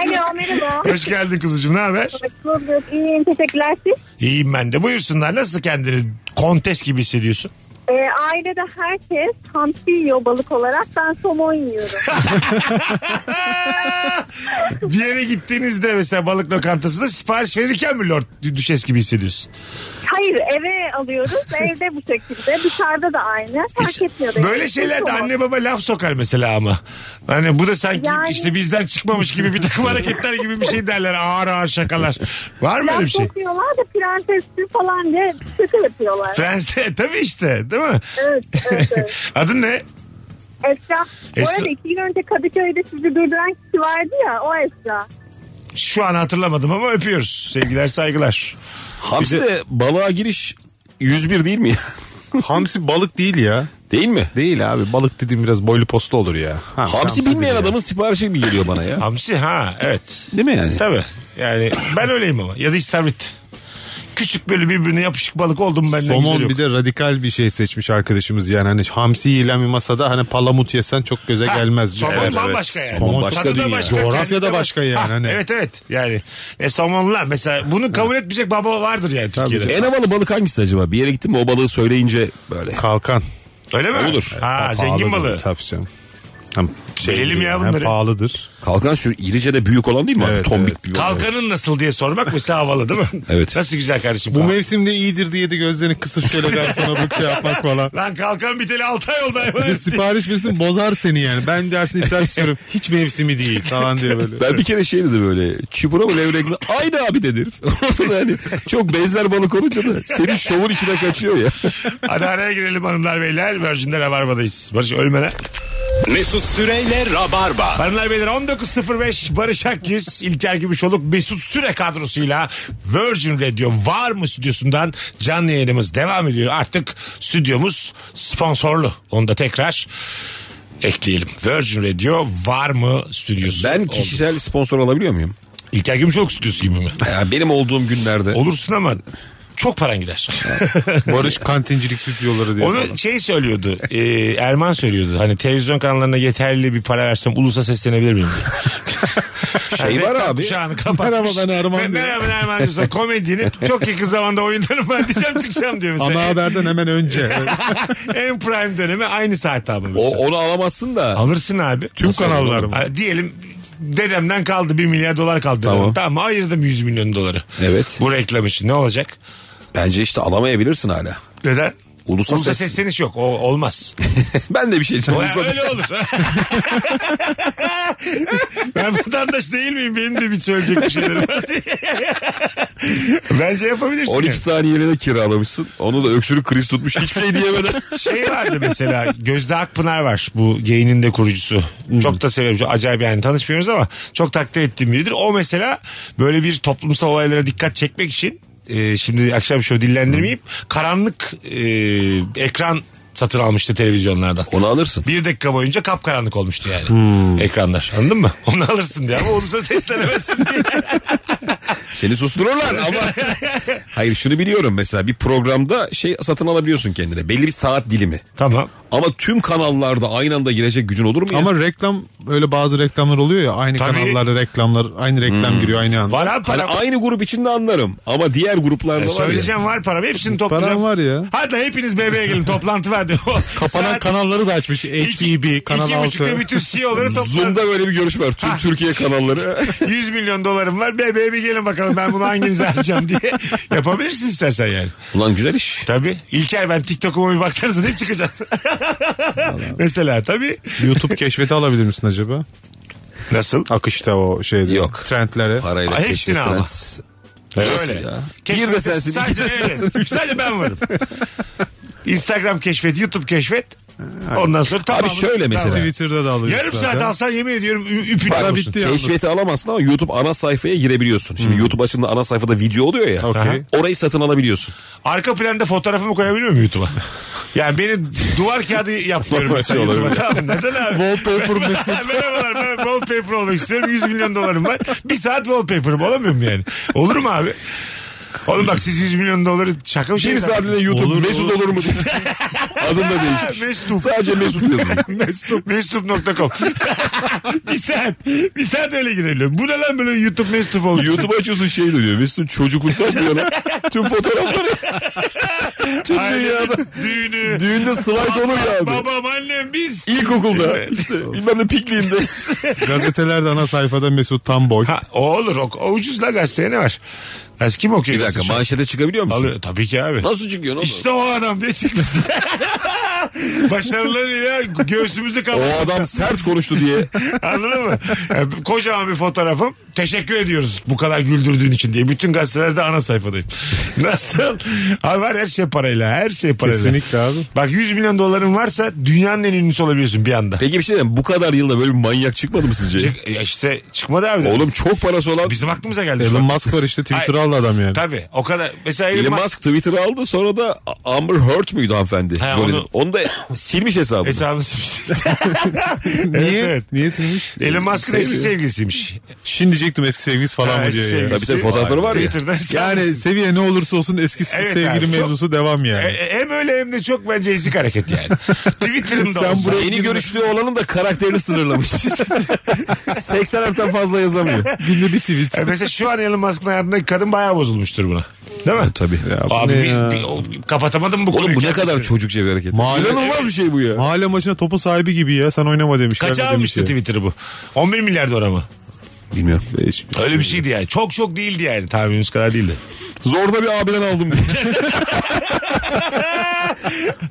[SPEAKER 10] Alo merhaba.
[SPEAKER 1] Hoş geldin kuzucuğum ne haber?
[SPEAKER 10] Hoş bulduk. İyiyim teşekkürler siz.
[SPEAKER 1] İyiyim ben de. Buyursunlar. Nasıl kendini kontes gibi hissediyorsun?
[SPEAKER 10] Ee, ailede herkes hamsi yiyor balık olarak. Ben somon
[SPEAKER 1] <laughs>
[SPEAKER 10] yiyorum.
[SPEAKER 1] Bir yere gittiğinizde mesela balık lokantasında sipariş verirken mi Lord Düşes gibi hissediyorsun?
[SPEAKER 10] Hayır eve
[SPEAKER 1] <laughs>
[SPEAKER 10] alıyoruz. Evde bu şekilde. Dışarıda da aynı. Fark etmiyor. da
[SPEAKER 1] Böyle
[SPEAKER 10] yani.
[SPEAKER 1] şeyler de
[SPEAKER 10] Yok.
[SPEAKER 1] anne baba laf sokar mesela ama. Hani bu da sanki
[SPEAKER 10] Yani-
[SPEAKER 1] işte bizden çıkmamış gibi bir takım hareketler gibi bir şey derler. Ağır ağır şakalar. Var mı öyle bir
[SPEAKER 10] Laf
[SPEAKER 1] şey?
[SPEAKER 10] sokuyorlar da prensesli falan diye şaka yapıyorlar.
[SPEAKER 1] <laughs> Fransa tabii işte değil mi?
[SPEAKER 10] Evet, evet, evet.
[SPEAKER 1] Adın ne?
[SPEAKER 10] Esra. Bu
[SPEAKER 1] Esra-
[SPEAKER 10] arada iki gün önce Kadıköy'de sizi durduran kişi vardı ya o Esra.
[SPEAKER 1] Şu an hatırlamadım ama öpüyoruz. Sevgiler saygılar.
[SPEAKER 2] Hamsi de balığa giriş 101 değil mi ya?
[SPEAKER 3] <laughs> Hamsi balık değil ya.
[SPEAKER 2] Değil mi?
[SPEAKER 3] Değil abi balık dediğim biraz boylu poslu olur ya. Ha,
[SPEAKER 2] Hamsi bilmeyen
[SPEAKER 3] değil ya.
[SPEAKER 2] adamın siparişi mi geliyor bana ya?
[SPEAKER 1] Hamsi ha evet.
[SPEAKER 2] Değil mi yani?
[SPEAKER 1] Tabii. Yani <coughs> ben öyleyim ama. Ya da istavrit. Küçük böyle birbirine yapışık balık oldum ben de güzel
[SPEAKER 3] Somon
[SPEAKER 1] yok.
[SPEAKER 3] bir de radikal bir şey seçmiş arkadaşımız yani hani hamsi yiyen bir masada hani palamut yesen çok göze
[SPEAKER 1] Ha,
[SPEAKER 3] gelmez. diyor.
[SPEAKER 1] Somon
[SPEAKER 2] Evet, evet.
[SPEAKER 1] bambaşka yani.
[SPEAKER 2] Somon başka
[SPEAKER 1] Tadı da
[SPEAKER 2] dünya.
[SPEAKER 1] başka,
[SPEAKER 3] Coğrafya
[SPEAKER 1] kendi
[SPEAKER 3] da
[SPEAKER 1] de
[SPEAKER 3] başka yani,
[SPEAKER 1] Ha,
[SPEAKER 3] hani.
[SPEAKER 1] Evet evet yani. E, somonla mesela bunu kabul etmeyecek baba vardır yani Türkiye'de.
[SPEAKER 2] En havalı balık hangisi acaba? Bir yere gittin mi o balığı söyleyince böyle.
[SPEAKER 3] Kalkan.
[SPEAKER 1] Öyle
[SPEAKER 3] E,
[SPEAKER 1] mi?
[SPEAKER 2] Olur.
[SPEAKER 1] Ha zengin
[SPEAKER 3] Pahalıdır,
[SPEAKER 1] balığı.
[SPEAKER 3] Tabii canım. Hem şey
[SPEAKER 1] Bilelim ya
[SPEAKER 3] yani, hem
[SPEAKER 1] bunları.
[SPEAKER 3] Pahalıdır.
[SPEAKER 2] Kalkan şu irice de büyük olan değil mi? abi?
[SPEAKER 3] Evet,
[SPEAKER 2] Tombik
[SPEAKER 3] evet.
[SPEAKER 2] büyük olan.
[SPEAKER 1] Kalkanın nasıl diye sormak mesela havalı değil mi?
[SPEAKER 3] <laughs>
[SPEAKER 2] Evet.
[SPEAKER 1] Nasıl güzel kardeşim.
[SPEAKER 3] Bu
[SPEAKER 1] kalkan.
[SPEAKER 3] mevsimde iyidir diye de gözlerini kısıp şöyle ben sana bu şey yapmak <laughs> falan.
[SPEAKER 1] Lan kalkan biteli 6 ay oldu hayvan.
[SPEAKER 3] <laughs> Bir de sipariş verirsin bozar seni yani. Ben dersin ister <laughs> istiyorum. Hiç mevsimi değil falan diye böyle.
[SPEAKER 2] Ben bir kere şey dedi böyle çipura mı levrek mi? Aynı abi dedi. <laughs> Orada da hani çok benzer balık olunca da senin şovun içine kaçıyor ya.
[SPEAKER 1] Hadi araya girelim hanımlar beyler. Virgin'de Rabarba'dayız. Barış ölmeden.
[SPEAKER 9] Mesut Süreyle Rabarba.
[SPEAKER 1] Hanımlar beyler 19.05 Barış Akgüz, İlker Gümüşoluk, Mesut Süre kadrosuyla Virgin Radio var mı stüdyosundan canlı yayınımız devam ediyor. Artık stüdyomuz sponsorlu. Onu da tekrar ekleyelim. Virgin Radio var mı stüdyosu?
[SPEAKER 2] Ben
[SPEAKER 1] oldu.
[SPEAKER 2] kişisel sponsor alabiliyor muyum?
[SPEAKER 1] İlker Gümüşoluk stüdyosu gibi
[SPEAKER 2] <laughs>
[SPEAKER 1] mi?
[SPEAKER 2] Ya benim olduğum günlerde.
[SPEAKER 1] Olursun ama çok paran gider.
[SPEAKER 3] Barış kantincilik stüdyoları diye. falan.
[SPEAKER 1] Onu şey söylüyordu. e, Erman söylüyordu. Hani televizyon kanallarına yeterli bir para versem ulusa seslenebilir miyim? diye.
[SPEAKER 2] Şey var
[SPEAKER 1] Reklam
[SPEAKER 2] abi.
[SPEAKER 1] kuşağını kapatmış.
[SPEAKER 3] Merhaba ben Erman
[SPEAKER 1] Ve
[SPEAKER 3] diyor.
[SPEAKER 1] Merhaba ben Erman diyorsa komedyini çok yakın zamanda oyunlarım var diyeceğim çıkacağım diyor mesela.
[SPEAKER 3] Ana haberden hemen <laughs> önce.
[SPEAKER 1] <laughs> en prime dönemi aynı saatte abi.
[SPEAKER 2] O,
[SPEAKER 1] mesela.
[SPEAKER 2] onu alamazsın da.
[SPEAKER 1] Alırsın abi.
[SPEAKER 3] Tüm kanallar mı?
[SPEAKER 1] Ha, Diyelim dedemden kaldı 1 milyar dolar kaldı.
[SPEAKER 2] Tamam.
[SPEAKER 1] Tamam. tamam ayırdım 100 milyon doları.
[SPEAKER 2] Evet.
[SPEAKER 1] Bu reklam için ne olacak?
[SPEAKER 2] Bence işte alamayabilirsin hala. <laughs>
[SPEAKER 1] Neden?
[SPEAKER 2] Ulusa
[SPEAKER 1] Ulusa
[SPEAKER 2] ses-
[SPEAKER 1] sesleniş yok. O, olmaz.
[SPEAKER 2] ben de bir şey
[SPEAKER 1] O
[SPEAKER 2] diyeceğim.
[SPEAKER 1] ya öyle olur. <laughs> ben vatandaş değil miyim? Benim de bir söyleyecek bir şeylerim var diye. Bence yapabilirsin.
[SPEAKER 2] 12 saniyeliğine kiralamışsın. Onu da öksürük kriz tutmuş. Hiçbir şey diyemeden.
[SPEAKER 1] Şey vardı mesela Gözde Akpınar var bu geyinin de kurucusu. Çok da severim. Çok acayip yani tanışmıyoruz ama çok takdir ettiğim biridir. O mesela böyle bir toplumsal olaylara dikkat çekmek için e, şimdi akşam şöyle dillendirmeyip karanlık e, ekran satın almıştı televizyonlardan.
[SPEAKER 2] <laughs> Onu alırsın.
[SPEAKER 1] Bir dakika boyunca kapkaranlık olmuştu yani
[SPEAKER 3] Hmm.
[SPEAKER 1] ekranlar. Anladın mı? <laughs> Onu alırsın diye ama olursa seslenemezsin
[SPEAKER 3] <laughs>
[SPEAKER 1] diye.
[SPEAKER 2] Seni sustururlar ama.
[SPEAKER 1] <laughs>
[SPEAKER 2] Hayır şunu biliyorum mesela bir programda şey satın alabiliyorsun kendine. Belli bir saat dilimi.
[SPEAKER 1] tamam.
[SPEAKER 2] Ama tüm kanallarda aynı anda girecek gücün olur mu ya?
[SPEAKER 3] Ama reklam öyle bazı reklamlar oluyor ya aynı
[SPEAKER 1] Tabii.
[SPEAKER 3] kanallarda reklamlar aynı reklam giriyor aynı anda.
[SPEAKER 1] Var abi
[SPEAKER 2] Hani
[SPEAKER 1] param.
[SPEAKER 2] aynı grup içinde anlarım ama diğer gruplarda
[SPEAKER 1] E,
[SPEAKER 2] var ya.
[SPEAKER 1] söyleyeceğim var param. Hepsini toplayacağım.
[SPEAKER 3] Param var ya.
[SPEAKER 1] Hadi hepiniz bebeğe gelin toplantı var diyor.
[SPEAKER 3] <laughs> Kapanan
[SPEAKER 1] Saat
[SPEAKER 3] kanalları da açmış. HBB, Kanal
[SPEAKER 1] iki
[SPEAKER 3] 6.
[SPEAKER 1] buçukta bütün E CEO'ları <laughs> toplandı.
[SPEAKER 2] Zoom'da böyle bir görüş var.
[SPEAKER 1] Ah.
[SPEAKER 2] Tüm
[SPEAKER 1] <laughs>
[SPEAKER 2] Türkiye kanalları.
[SPEAKER 1] 100 milyon dolarım var. Bebeğe bir gelin bakalım ben bunu hanginize harcayacağım diye.
[SPEAKER 3] <laughs>
[SPEAKER 1] Yapabilirsin istersen yani.
[SPEAKER 2] Ulan güzel iş.
[SPEAKER 1] Tabii. İlker ben TikTok'uma bir baksanıza ne
[SPEAKER 3] <laughs>
[SPEAKER 1] çıkacak? Mesela tabii.
[SPEAKER 3] YouTube keşfeti alabilir misin acaba?
[SPEAKER 1] Nasıl?
[SPEAKER 3] Akışta o şeyde.
[SPEAKER 2] Yok.
[SPEAKER 3] Trendlere.
[SPEAKER 2] Parayla
[SPEAKER 1] Aa, hepsini
[SPEAKER 2] keşfet-
[SPEAKER 1] ama.
[SPEAKER 2] Nasıl
[SPEAKER 1] Şöyle.
[SPEAKER 2] ya?
[SPEAKER 1] Keşfete
[SPEAKER 2] Bir de sensin.
[SPEAKER 1] Sadece, şey
[SPEAKER 2] iki de
[SPEAKER 1] evet.
[SPEAKER 2] sensin.
[SPEAKER 1] Sadece ben
[SPEAKER 2] <laughs>
[SPEAKER 1] varım. Instagram keşfet, YouTube keşfet. Ondan sonra tamam.
[SPEAKER 2] Abi şöyle mesela.
[SPEAKER 3] Twitter'da da alıyorsun.
[SPEAKER 1] Yarım saat alsan yemin ediyorum ü- üpün
[SPEAKER 2] Bak,
[SPEAKER 1] olursun.
[SPEAKER 3] bitti yalnız.
[SPEAKER 2] keşfeti alamazsın ama YouTube ana sayfaya girebiliyorsun.
[SPEAKER 1] Hmm.
[SPEAKER 2] Şimdi YouTube açında ana sayfada video oluyor ya.
[SPEAKER 3] Okey.
[SPEAKER 2] Orayı satın alabiliyorsun.
[SPEAKER 1] Arka planda fotoğrafımı koyabiliyor muyum YouTube'a? yani beni duvar kağıdı yapmıyorum
[SPEAKER 2] Normal
[SPEAKER 1] mesela
[SPEAKER 2] şey
[SPEAKER 1] YouTube'a.
[SPEAKER 2] olabilir.
[SPEAKER 1] Tamam, neden abi? <laughs>
[SPEAKER 3] Wallpaper mesut.
[SPEAKER 1] Merhabalar ben wallpaper olmak istiyorum. 100 milyon dolarım var. Bir saat wallpaper'ım olamıyorum yani. Olur mu abi? Oğlum bak siz 100 milyon doları şaka bir şey.
[SPEAKER 2] Bir
[SPEAKER 1] mi?
[SPEAKER 2] saatliğine YouTube
[SPEAKER 3] Olur,
[SPEAKER 2] Mesut
[SPEAKER 1] <laughs>
[SPEAKER 2] olur mu? diye. Adını da değişmiş.
[SPEAKER 1] Mesut.
[SPEAKER 2] Sadece Mesut yazıyor.
[SPEAKER 1] Mesut. Mesut.com <laughs> Bir saat. Bir saat öyle girebiliyorum. Bu ne lan böyle YouTube Mesut oldu.
[SPEAKER 2] YouTube açıyorsun şey diyor. Mesut çocukluktan bu yana tüm fotoğrafları. Tüm
[SPEAKER 1] Ailenin
[SPEAKER 2] dünyada.
[SPEAKER 1] <laughs> Düğünü.
[SPEAKER 2] Düğünde slide olur ya abi.
[SPEAKER 1] Babam annem biz.
[SPEAKER 2] İlkokulda. İşte bilmem ne pikniğinde.
[SPEAKER 3] Gazetelerde ana sayfada Mesut Tamboy.
[SPEAKER 1] Ha, o olur. O, o ucuz la gazeteye ne var? Ya kim okuyor?
[SPEAKER 2] Bir dakika
[SPEAKER 1] gazete?
[SPEAKER 2] manşete çıkabiliyor musun?
[SPEAKER 1] Alıyor, tabii ki abi.
[SPEAKER 2] Nasıl çıkıyorsun oğlum?
[SPEAKER 1] İşte o adam diye
[SPEAKER 2] <laughs>
[SPEAKER 1] çıkmasın. Başarıları ya göğsümüzü
[SPEAKER 2] O
[SPEAKER 1] kapatıyor.
[SPEAKER 2] adam sert konuştu diye.
[SPEAKER 1] <laughs> Anladın mı? Yani kocaman bir fotoğrafım. Teşekkür ediyoruz bu kadar güldürdüğün için diye. Bütün gazetelerde ana sayfadayım. <laughs> Nasıl? Abi var her şey parayla. Her şey parayla.
[SPEAKER 3] Kesinlikle abi.
[SPEAKER 1] Bak 100 milyon doların varsa dünyanın en ünlüsü olabiliyorsun bir anda.
[SPEAKER 2] Peki bir şey diyeyim. Bu kadar yılda böyle bir manyak çıkmadı mı sizce?
[SPEAKER 1] Çık- ya işte çıkmadı abi.
[SPEAKER 2] Oğlum çok parası olan
[SPEAKER 1] Bizim aklımıza geldi. şu
[SPEAKER 3] Elon
[SPEAKER 1] an.
[SPEAKER 3] Musk var işte Twitter'ı
[SPEAKER 1] Ay,
[SPEAKER 3] aldı adam yani.
[SPEAKER 1] Tabii o kadar. Mesela
[SPEAKER 2] Elon Musk Twitter'ı aldı sonra da Amber Heard müydü hanımefendi?
[SPEAKER 1] Ha,
[SPEAKER 2] Johnny'nin?
[SPEAKER 1] onu-
[SPEAKER 2] onu... da silmiş hesabını.
[SPEAKER 1] Hesabını
[SPEAKER 3] <laughs>
[SPEAKER 1] silmiş. Evet,
[SPEAKER 3] Niye?
[SPEAKER 1] evet.
[SPEAKER 3] Niye silmiş?
[SPEAKER 1] Elon Musk'ın eski
[SPEAKER 2] Sevgili.
[SPEAKER 1] sevgilisiymiş.
[SPEAKER 3] Şimdi diyecektim eski sevgilisi falan
[SPEAKER 1] Ha,
[SPEAKER 3] mı
[SPEAKER 1] eski
[SPEAKER 3] diye. yani.
[SPEAKER 1] sevgilisi.
[SPEAKER 2] Tabii tabii fotoğrafları var ya.
[SPEAKER 1] Twitter'dan <laughs>
[SPEAKER 3] Yani
[SPEAKER 1] sevgilisi.
[SPEAKER 3] seviye ne olursa olsun eski
[SPEAKER 1] Evet
[SPEAKER 3] sevgili
[SPEAKER 1] abi, çok-
[SPEAKER 3] mevzusu devam yani.
[SPEAKER 1] E- e- hem öyle hem de çok bence ezik hareket
[SPEAKER 3] <laughs>
[SPEAKER 1] yani. Twitter'ın da
[SPEAKER 2] Sen
[SPEAKER 1] olsa.
[SPEAKER 2] buraya yeni görüştüğü olanın da karakterini <laughs> sınırlamış. 80 harften fazla yazamıyor.
[SPEAKER 3] Günde bir tweet.
[SPEAKER 1] E mesela şu an Elon Musk'ın hayatındaki kadın bayağı bozulmuştur buna. Değil mi?
[SPEAKER 2] Tabii.
[SPEAKER 1] Abi
[SPEAKER 3] ne
[SPEAKER 1] biz,
[SPEAKER 3] ya?
[SPEAKER 1] bir- o- kapatamadım bu konuyu.
[SPEAKER 2] Oğlum bu ne
[SPEAKER 1] kendisi.
[SPEAKER 2] kadar çocukça bir hareket.
[SPEAKER 3] Mahalle-
[SPEAKER 2] İnanılmaz bir şey bu ya.
[SPEAKER 3] Mahalle maçına topu sahibi gibi ya sen oynama demiş.
[SPEAKER 1] Kaça almıştı Twitter'ı bu? 11 milyar dolara mı?
[SPEAKER 2] Bilmiyorum.
[SPEAKER 1] Öyle bir şeydi yani. Çok çok değildi yani. Tahminimiz kadar değildi.
[SPEAKER 2] Zorda bir abiden <laughs> aldım. diye.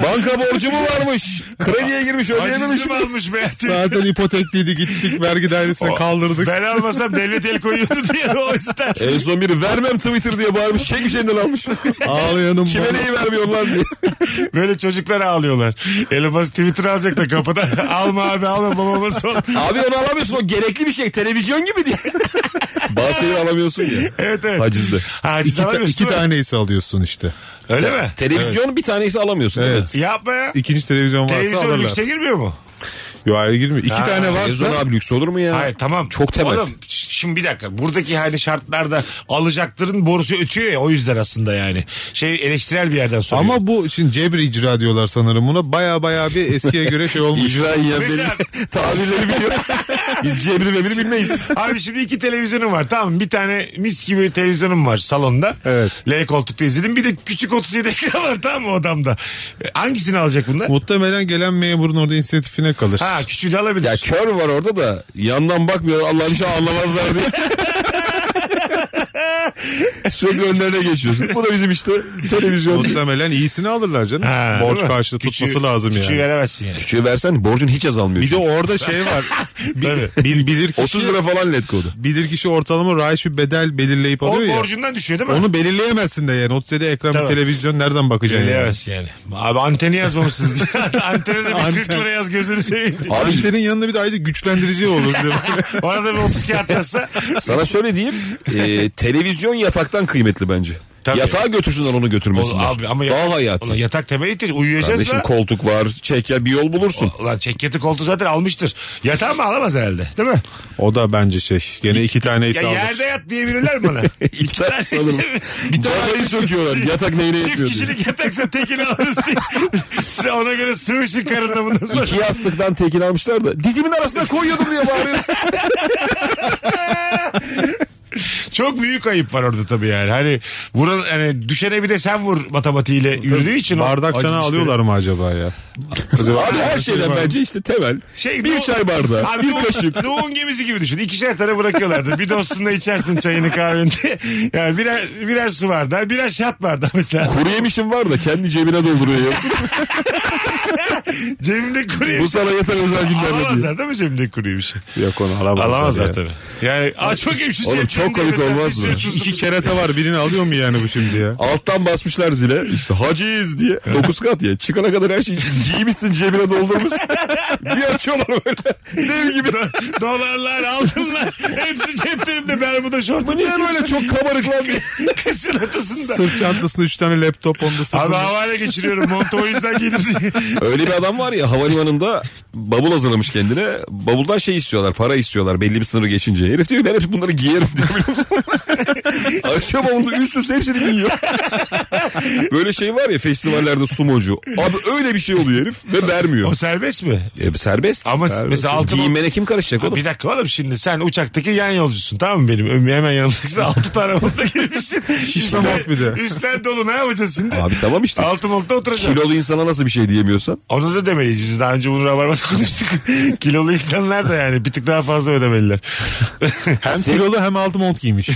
[SPEAKER 2] Banka borcu mu varmış? Krediye girmiş ödeyememiş.
[SPEAKER 1] Acizli mi almış <laughs> be?
[SPEAKER 3] Zaten ipotekliydi gittik
[SPEAKER 1] <laughs>
[SPEAKER 3] vergi dairesine kaldırdık.
[SPEAKER 1] Ben almasam devlet el koyuyordu diye o yüzden.
[SPEAKER 2] En son biri vermem Twitter diye bağırmış. Çekmiş elinden almış.
[SPEAKER 3] Ağlayanım
[SPEAKER 2] Kime
[SPEAKER 3] bana.
[SPEAKER 2] neyi vermiyorlar diye.
[SPEAKER 1] Böyle çocuklar ağlıyorlar. Elon Musk Twitter alacak da kapıda. <laughs> alma abi alma babama son.
[SPEAKER 2] Abi onu alamıyorsun. O gerekli bir şey. Televizyon gibi diye. Bazı şeyleri alamıyorsun ya.
[SPEAKER 1] Evet evet.
[SPEAKER 2] Hacizde.
[SPEAKER 1] Ha, haciz
[SPEAKER 3] İki, ta-
[SPEAKER 1] alamıyorsun
[SPEAKER 3] iki
[SPEAKER 1] değil mi?
[SPEAKER 3] taneyse alıyorsun işte.
[SPEAKER 1] Öyle mi?
[SPEAKER 2] Televizyon bir tanesi alamıyorsun. değil mi?
[SPEAKER 3] Evet.
[SPEAKER 1] Yapma ya.
[SPEAKER 3] İkinci televizyon varsa
[SPEAKER 1] Televizyon
[SPEAKER 3] alırlar.
[SPEAKER 1] lükse girmiyor mu?
[SPEAKER 3] Yo, hayır girmiyor. İki
[SPEAKER 1] Ha,
[SPEAKER 3] tane
[SPEAKER 2] Televizyon
[SPEAKER 3] varsa
[SPEAKER 2] abi lüks olur mu ya?
[SPEAKER 1] Hayır tamam.
[SPEAKER 2] Çok temel.
[SPEAKER 1] Oğlum ş- şimdi bir dakika. Buradaki hani şartlarda alacakların borusu ötüyor ya o yüzden aslında yani. Şey eleştirel bir yerden soruyor.
[SPEAKER 3] ama bu şimdi cebri icra diyorlar sanırım buna. Baya baya bir eskiye göre
[SPEAKER 1] <laughs>
[SPEAKER 3] şey olmuş.
[SPEAKER 2] İcra yiyen
[SPEAKER 1] Mesela-
[SPEAKER 2] <laughs> belli. Tabirleri
[SPEAKER 1] <laughs>
[SPEAKER 2] biliyor. Biz cebri mebri bilmeyiz.
[SPEAKER 1] Abi şimdi iki televizyonum var tamam mı? Bir tane mis gibi televizyonum var salonda.
[SPEAKER 3] Evet.
[SPEAKER 1] L koltukta izledim. Bir de küçük 37 <laughs> ekran var tamam mı odamda? E, Hangisini alacak bunlar?
[SPEAKER 3] Muhtemelen gelen memurun orada inisiyatifine kalır.
[SPEAKER 1] Ha küçüğü de alabilir.
[SPEAKER 2] Ya kör var orada da yandan bakmıyor Allah'ın işi anlamazlar
[SPEAKER 1] <laughs>
[SPEAKER 2] diye. Sürekli önlerine geçiyorsun. Bu da bizim işte televizyon.
[SPEAKER 3] Muhtemelen iyisini alırlar canım.
[SPEAKER 1] Ha,
[SPEAKER 3] Borç
[SPEAKER 1] değil mi?
[SPEAKER 3] karşılığı
[SPEAKER 1] Küçüğü-
[SPEAKER 3] tutması lazım yani.
[SPEAKER 1] Küçüğü veremezsin yani.
[SPEAKER 2] Küçüğü versen borcun hiç azalmıyor.
[SPEAKER 3] Bir de orada şey var.
[SPEAKER 1] Tabii.
[SPEAKER 3] <laughs> Bil, bilir kişi,
[SPEAKER 2] 30 lira falan led kodu.
[SPEAKER 3] bilir kişi ortalama rayiç bir bedel belirleyip
[SPEAKER 1] O
[SPEAKER 3] alıyor ya.
[SPEAKER 1] borcundan düşüyor değil mi?
[SPEAKER 3] Onu belirleyemezsin de yani. 37 ekran
[SPEAKER 1] Tabii.
[SPEAKER 3] bir televizyon nereden bakacaksın yani?
[SPEAKER 1] Belirleyemezsin Şey, yani. Abi anteni yazmamışsınız.
[SPEAKER 3] <laughs>
[SPEAKER 1] Antene de bir 40
[SPEAKER 3] Anten.
[SPEAKER 1] lira yaz gözünü seveyim. diye.
[SPEAKER 2] Abi
[SPEAKER 3] Antenin yanında bir de ayrıca güçlendirici olur. Bir de
[SPEAKER 2] <laughs>
[SPEAKER 3] böyle.
[SPEAKER 1] <laughs> Ona da bir 30 kağıt yazsa.
[SPEAKER 2] sana şöyle diyeyim. e, televizyon yataktan kıymetli bence.
[SPEAKER 1] Tabii.
[SPEAKER 2] Yatağa götürsünler onu
[SPEAKER 1] Oğlum,
[SPEAKER 2] götürmesinler.
[SPEAKER 1] abi ama
[SPEAKER 2] Daha
[SPEAKER 1] yatak,
[SPEAKER 2] hayati.
[SPEAKER 1] Ulan yatak temel ihtiyaç. Uyuyacağız
[SPEAKER 2] Kardeşim
[SPEAKER 1] da.
[SPEAKER 2] koltuk var. Çeker bir yol bulursun.
[SPEAKER 1] Ulan çekyatı koltuğu zaten almıştır. Yatağı mı alamaz herhalde değil mi?
[SPEAKER 3] o da bence şey. Gene iki tane ise
[SPEAKER 1] Ya
[SPEAKER 3] alır.
[SPEAKER 1] yerde yat diyebilirler
[SPEAKER 2] <laughs>
[SPEAKER 1] bana.
[SPEAKER 2] İki tane sanırım.
[SPEAKER 1] Bir
[SPEAKER 2] Bazayı söküyorlar. Yatak neyine
[SPEAKER 1] Çift
[SPEAKER 2] yetmiyor diye.
[SPEAKER 1] kişilik yataksa tekini alırız
[SPEAKER 2] <laughs>
[SPEAKER 1] diye. Size ona göre sığışın karınla bundan sonra.
[SPEAKER 2] İki yastıktan tekini almışlar da dizimin arasına koyuyordum
[SPEAKER 1] <laughs>
[SPEAKER 2] diye bağırıyorsun.
[SPEAKER 1] Çok büyük ayıp var orada tabii yani. Hani vuran hani düşene bir de sen vur matematiğiyle yürüdüğü için. o
[SPEAKER 3] Bardak çana
[SPEAKER 1] aciz
[SPEAKER 3] alıyorlar mı acaba ya?
[SPEAKER 2] Abi her şeyden bence işte temel.
[SPEAKER 1] Şey,
[SPEAKER 2] bir
[SPEAKER 1] no-
[SPEAKER 2] çay bardağı,
[SPEAKER 1] Abi
[SPEAKER 2] bir
[SPEAKER 1] no-
[SPEAKER 2] kaşık.
[SPEAKER 1] Doğum gemisi gibi düşün. İkişer tane bırakıyorlardı. Bir dostunla içersin çayını kahveni. <laughs> Yani birer, birer su bardağı, birer şat bardağı mesela.
[SPEAKER 2] Kuru yemişim var da kendi cebine dolduruyor yiyorsun.
[SPEAKER 1] Cebimde kuruyor.
[SPEAKER 2] Bu sana yeter özel günlerde diye.
[SPEAKER 1] Alamazlar değil mi cebimde kuruyor bir şey?
[SPEAKER 3] Yok onu alamazlar.
[SPEAKER 1] Alamazlar
[SPEAKER 3] yani.
[SPEAKER 1] tabii. Yani aç bakayım şu
[SPEAKER 2] Oğlum
[SPEAKER 1] cebimde
[SPEAKER 2] çok komik
[SPEAKER 1] mesela
[SPEAKER 2] olmaz
[SPEAKER 1] bir
[SPEAKER 2] mı?
[SPEAKER 1] sürü
[SPEAKER 3] İki kerata var birini alıyor mu yani bu şimdi ya?
[SPEAKER 2] Alttan basmışlar zile işte
[SPEAKER 3] <laughs>
[SPEAKER 2] haciz diye. Dokuz kat diye. Çıkana kadar her şeyi giymişsin
[SPEAKER 3] <laughs>
[SPEAKER 2] cebine doldurmuşsun. bir açıyorlar böyle. Dev gibi.
[SPEAKER 1] Do- Dolarlar, altınlar hepsi ceplerimde bermuda şortum.
[SPEAKER 2] Niye böyle çok kabarık lan diye.
[SPEAKER 1] Kışın ortasında.
[SPEAKER 3] Sırt çantasında üç tane laptop onda
[SPEAKER 1] Abi
[SPEAKER 3] sırtında.
[SPEAKER 1] havale geçiriyorum montu o yüzden giydim diye.
[SPEAKER 2] Öyle bir adam var ya havalimanında bavul hazırlamış kendine. Bavuldan şey istiyorlar para istiyorlar belli bir sınırı geçince. Herif diyor ben hep bunları giyerim <laughs> diyor
[SPEAKER 1] <laughs>
[SPEAKER 2] biliyor musun? Açıyor bavulu üst üste hepsini giyiyor. Böyle şey var ya festivallerde sumocu. Abi öyle bir şey oluyor herif ve
[SPEAKER 1] <laughs> O
[SPEAKER 2] vermiyor.
[SPEAKER 1] serbest mi?
[SPEAKER 2] E, serbest.
[SPEAKER 1] Ama
[SPEAKER 2] Serbest.
[SPEAKER 1] mesela altın-
[SPEAKER 2] Giyinmene kim karışacak
[SPEAKER 1] Ha,
[SPEAKER 2] oğlum?
[SPEAKER 1] bir dakika oğlum şimdi sen uçaktaki yan yolcusun tamam mı benim? Ömrü hemen <laughs> yanımdakisin 6 tane olta girmişsin. Üstler,
[SPEAKER 3] yok bir de.
[SPEAKER 1] üstler dolu ne yapacağız şimdi?
[SPEAKER 2] Abi tamam işte.
[SPEAKER 1] Altı molta oturacağım.
[SPEAKER 2] Kilolu insana nasıl bir şey diyemiyorsan.
[SPEAKER 1] Onu da demeyiz. Biz daha önce bunu Rabarba'da <laughs> konuştuk. Kilolu insanlar da yani bir tık daha fazla ödemeliler. <laughs>
[SPEAKER 3] Hem kilolu hem altı mont giymiş.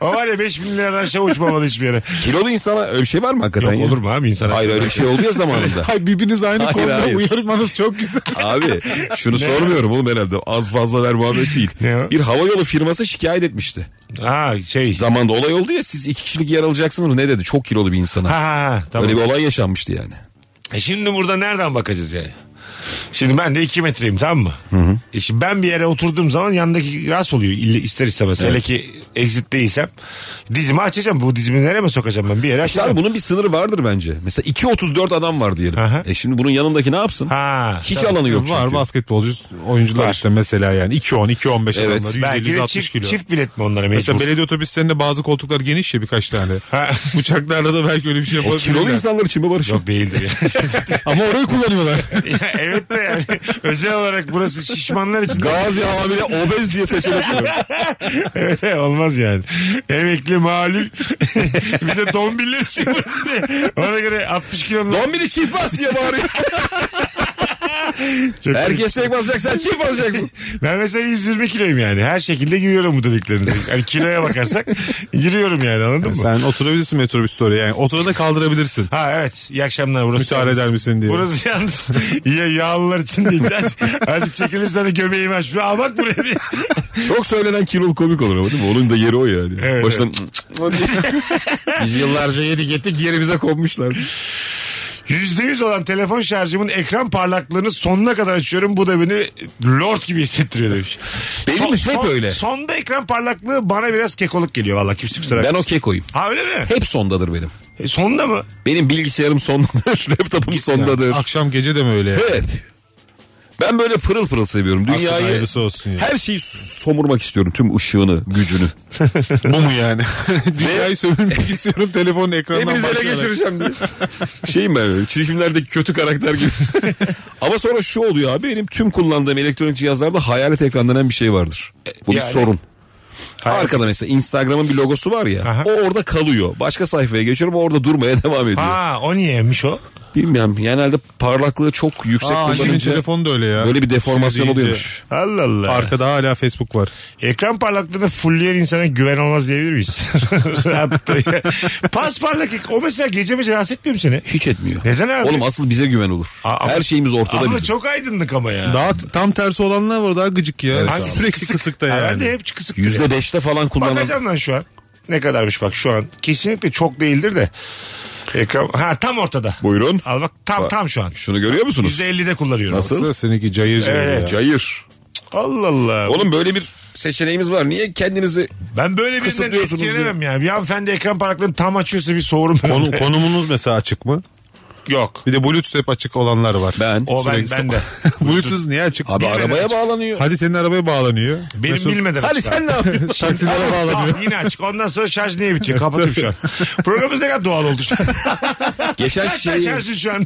[SPEAKER 1] o var ya 5000 liradan aşağı uçmamalı hiçbir yere.
[SPEAKER 2] Kilolu insana öyle bir şey var mı hakikaten
[SPEAKER 1] Yok
[SPEAKER 2] ya?
[SPEAKER 1] olur mu abi insan?
[SPEAKER 2] Hayır öyle bir şey
[SPEAKER 1] <laughs>
[SPEAKER 2] oluyor zamanında.
[SPEAKER 3] Hay birbiriniz aynı
[SPEAKER 2] Hayır,
[SPEAKER 3] konuda
[SPEAKER 2] hayır.
[SPEAKER 3] uyarmanız çok güzel.
[SPEAKER 2] Abi şunu sormuyorum oğlum herhalde. Az fazla ver muhabbet değil.
[SPEAKER 1] Ne o?
[SPEAKER 2] bir hava yolu firması şikayet etmişti.
[SPEAKER 1] Ha şey.
[SPEAKER 2] Zamanda olay oldu ya siz iki kişilik yer alacaksınız. Ne dedi? Çok kilolu bir insana.
[SPEAKER 1] Ha, ha, ha, tamam.
[SPEAKER 2] Öyle bir olay yaşanmıştı yani.
[SPEAKER 1] E şimdi burada nereden bakacağız yani? Şimdi ben de 2 metreyim tamam mı? E şimdi ben bir yere oturduğum zaman yandaki rast oluyor ille- ister istemez. Hele ki exit değilsem dizimi açacağım. Bu dizimi nereye mi sokacağım ben bir yere
[SPEAKER 2] İşte
[SPEAKER 1] açacağım.
[SPEAKER 2] abi bunun bir sınırı vardır bence. Mesela 2.34 adam var diyelim.
[SPEAKER 1] Aha.
[SPEAKER 2] E şimdi bunun yanındaki ne yapsın?
[SPEAKER 1] Ha.
[SPEAKER 2] Hiç alanı yok çünkü.
[SPEAKER 3] Var basketbolcu oyuncular işte mesela yani 2-10, 2-15
[SPEAKER 2] Evet.
[SPEAKER 3] adamlar 150,
[SPEAKER 1] Belki de
[SPEAKER 3] 160
[SPEAKER 1] çift,
[SPEAKER 3] kilo.
[SPEAKER 1] çift bilet mi onlara mecbur?
[SPEAKER 3] Mesela belediye otobüslerinde bazı koltuklar geniş ya
[SPEAKER 1] <laughs>
[SPEAKER 3] birkaç tane.
[SPEAKER 1] Ha.
[SPEAKER 3] Uçaklarda da belki öyle bir şey
[SPEAKER 2] O E, kilolu
[SPEAKER 3] yapabilirler.
[SPEAKER 2] insanlar için mi Barış?
[SPEAKER 1] Yok değildir.
[SPEAKER 3] Ama orayı kullanıyorlar.
[SPEAKER 1] <laughs> ya, evet de yani özel olarak burası şişmanlar
[SPEAKER 3] <laughs>
[SPEAKER 1] için.
[SPEAKER 2] <laughs> Gazi hamile obez diye seçenek var.
[SPEAKER 1] Evet olmaz yani. Emekli malul. <laughs> bir de dombiller için burası ne? Ona göre 60 kilonun
[SPEAKER 2] Dombili çift bas
[SPEAKER 3] <laughs>
[SPEAKER 2] diye bağırıyor.
[SPEAKER 1] çok
[SPEAKER 2] Herkes tek basacak sen çift basacaksın.
[SPEAKER 1] Ben mesela 120 kiloyum yani. Her şekilde giriyorum bu dediklerinize. Yani kiloya bakarsak giriyorum yani anladın mı?
[SPEAKER 3] Sen oturabilirsin metrobüste oraya yani. Otura da kaldırabilirsin.
[SPEAKER 1] Ha evet. İyi akşamlar. Burası
[SPEAKER 3] Müsaade
[SPEAKER 1] yalnız.
[SPEAKER 3] eder misin diye.
[SPEAKER 1] Burası yalnız. Ya yağlılar için diyeceğiz. Azıcık çekilirsen hani göbeğimi aç. Şuna al bak buraya diye.
[SPEAKER 2] Çok söylenen kilolu <laughs> komik olur ama değil mi? Onun da yeri o yani.
[SPEAKER 1] Evet,
[SPEAKER 2] Baştan Biz yıllarca yedik ettik yerimize konmuşlar.
[SPEAKER 1] %100 olan telefon şarjımın ekran parlaklığını sonuna kadar açıyorum. Bu da beni lord gibi hissettiriyor demiş.
[SPEAKER 2] Benim hep
[SPEAKER 1] son-
[SPEAKER 2] öyle.
[SPEAKER 1] Sonda ekran parlaklığı bana biraz kekoluk geliyor valla kimse kusura
[SPEAKER 2] Ben o
[SPEAKER 1] bakmasın.
[SPEAKER 2] kekoyum.
[SPEAKER 1] Ha öyle mi?
[SPEAKER 2] Hep sondadır benim.
[SPEAKER 1] E, sonda mı?
[SPEAKER 2] Benim bilgisayarım sondadır. <laughs> Laptopum sondadır.
[SPEAKER 3] Akşam gece de mi öyle?
[SPEAKER 2] Hep. Ben böyle pırıl pırıl seviyorum. Dünyayı
[SPEAKER 3] hayırlısı olsun ya.
[SPEAKER 2] her şeyi somurmak istiyorum. Tüm ışığını, gücünü.
[SPEAKER 3] Bu mu
[SPEAKER 2] <laughs>
[SPEAKER 3] yani? <laughs> Dünyayı sömürmek istiyorum telefonun ekranından
[SPEAKER 2] Hepinizi ele
[SPEAKER 3] başlayarak.
[SPEAKER 2] geçireceğim diye. <laughs> Şeyim ben öyle, çizgi filmlerdeki kötü
[SPEAKER 1] <laughs>
[SPEAKER 2] karakter gibi. Ama sonra şu oluyor abi benim tüm kullandığım elektronik cihazlarda hayalet ekran denen bir şey vardır. Bu bir
[SPEAKER 1] yani-
[SPEAKER 2] sorun. Arkada mesela Instagram'ın bir logosu var ya
[SPEAKER 1] Aha.
[SPEAKER 2] o orada kalıyor. Başka sayfaya geçiyorum o orada durmaya <laughs> devam ediyor.
[SPEAKER 1] Ha o niyemiş o?
[SPEAKER 2] Bilmiyorum genelde parlaklığı çok yüksek
[SPEAKER 3] Aa, annemin
[SPEAKER 2] kullanınca
[SPEAKER 3] telefonu da öyle ya.
[SPEAKER 2] böyle bir deformasyon
[SPEAKER 3] Sinir iyice.
[SPEAKER 2] oluyormuş.
[SPEAKER 1] Allah Allah.
[SPEAKER 3] Arkada hala Facebook var.
[SPEAKER 1] Ekran parlaklığını fullleyen insana güven olmaz diyebilir miyiz? <laughs> Rahatlıkla. Pas parlak o mesela gece mi rahatsız etmiyor mu seni?
[SPEAKER 2] Hiç etmiyor.
[SPEAKER 1] Neden abi?
[SPEAKER 2] Oğlum asıl bize güven olur.
[SPEAKER 1] Aa, ama-
[SPEAKER 2] Her şeyimiz ortada
[SPEAKER 1] Ama
[SPEAKER 2] bizim.
[SPEAKER 1] çok aydınlık ama ya.
[SPEAKER 3] Daha t- tam tersi olanlar var daha gıcık ya.
[SPEAKER 1] Hangisi
[SPEAKER 3] Sürekli kısıkta yani.
[SPEAKER 1] Ben de hep kısık.
[SPEAKER 2] Yüzde beşte falan kullanan.
[SPEAKER 1] Bakacağım lan şu an. Ne kadarmış bak şu an. Kesinlikle çok değildir de. Ekran ha tam ortada.
[SPEAKER 2] Buyurun.
[SPEAKER 1] Al bak tam
[SPEAKER 2] Bak.
[SPEAKER 1] tam şu an.
[SPEAKER 2] Şunu görüyor musunuz?
[SPEAKER 1] %50'de kullanıyorum.
[SPEAKER 2] Nasıl?
[SPEAKER 3] Baksana Seninki cayır cayır
[SPEAKER 1] Evet.
[SPEAKER 3] ya.
[SPEAKER 2] Cayır.
[SPEAKER 1] Allah Allah.
[SPEAKER 2] Oğlum böyle bir seçeneğimiz var. Niye kendinizi
[SPEAKER 1] ben böyle birinden
[SPEAKER 2] kısıtlıyorsunuz
[SPEAKER 1] etkilenemem ya. Bir hanımefendi ekran parlaklığını tam açıyorsa bir sorum.
[SPEAKER 3] Konu- konumunuz mesela açık mı?
[SPEAKER 1] Yok.
[SPEAKER 3] Bir de Bluetooth hep açık olanlar var.
[SPEAKER 2] ben
[SPEAKER 1] O ben,
[SPEAKER 3] Sürekli-
[SPEAKER 1] ben de.
[SPEAKER 3] <laughs> Bluetooth niye açık?
[SPEAKER 2] abi
[SPEAKER 3] Bilmeden
[SPEAKER 2] arabaya
[SPEAKER 3] açık.
[SPEAKER 2] bağlanıyor.
[SPEAKER 3] Hadi senin arabaya bağlanıyor.
[SPEAKER 1] Benim
[SPEAKER 3] Mesut-
[SPEAKER 1] bilmeden
[SPEAKER 2] Hadi
[SPEAKER 1] açık abi.
[SPEAKER 2] sen
[SPEAKER 3] <laughs>
[SPEAKER 2] ne yapıyorsun?
[SPEAKER 3] Taksilere bağlanıyor.
[SPEAKER 1] Tamam, yine açık. Ondan sonra şarj niye bitiyor? Kapatayım şu an. <laughs> Programımız ne kadar doğal oldu şu an.
[SPEAKER 2] geçen
[SPEAKER 1] Kaç tane
[SPEAKER 2] şeyi
[SPEAKER 1] şarjın şu an?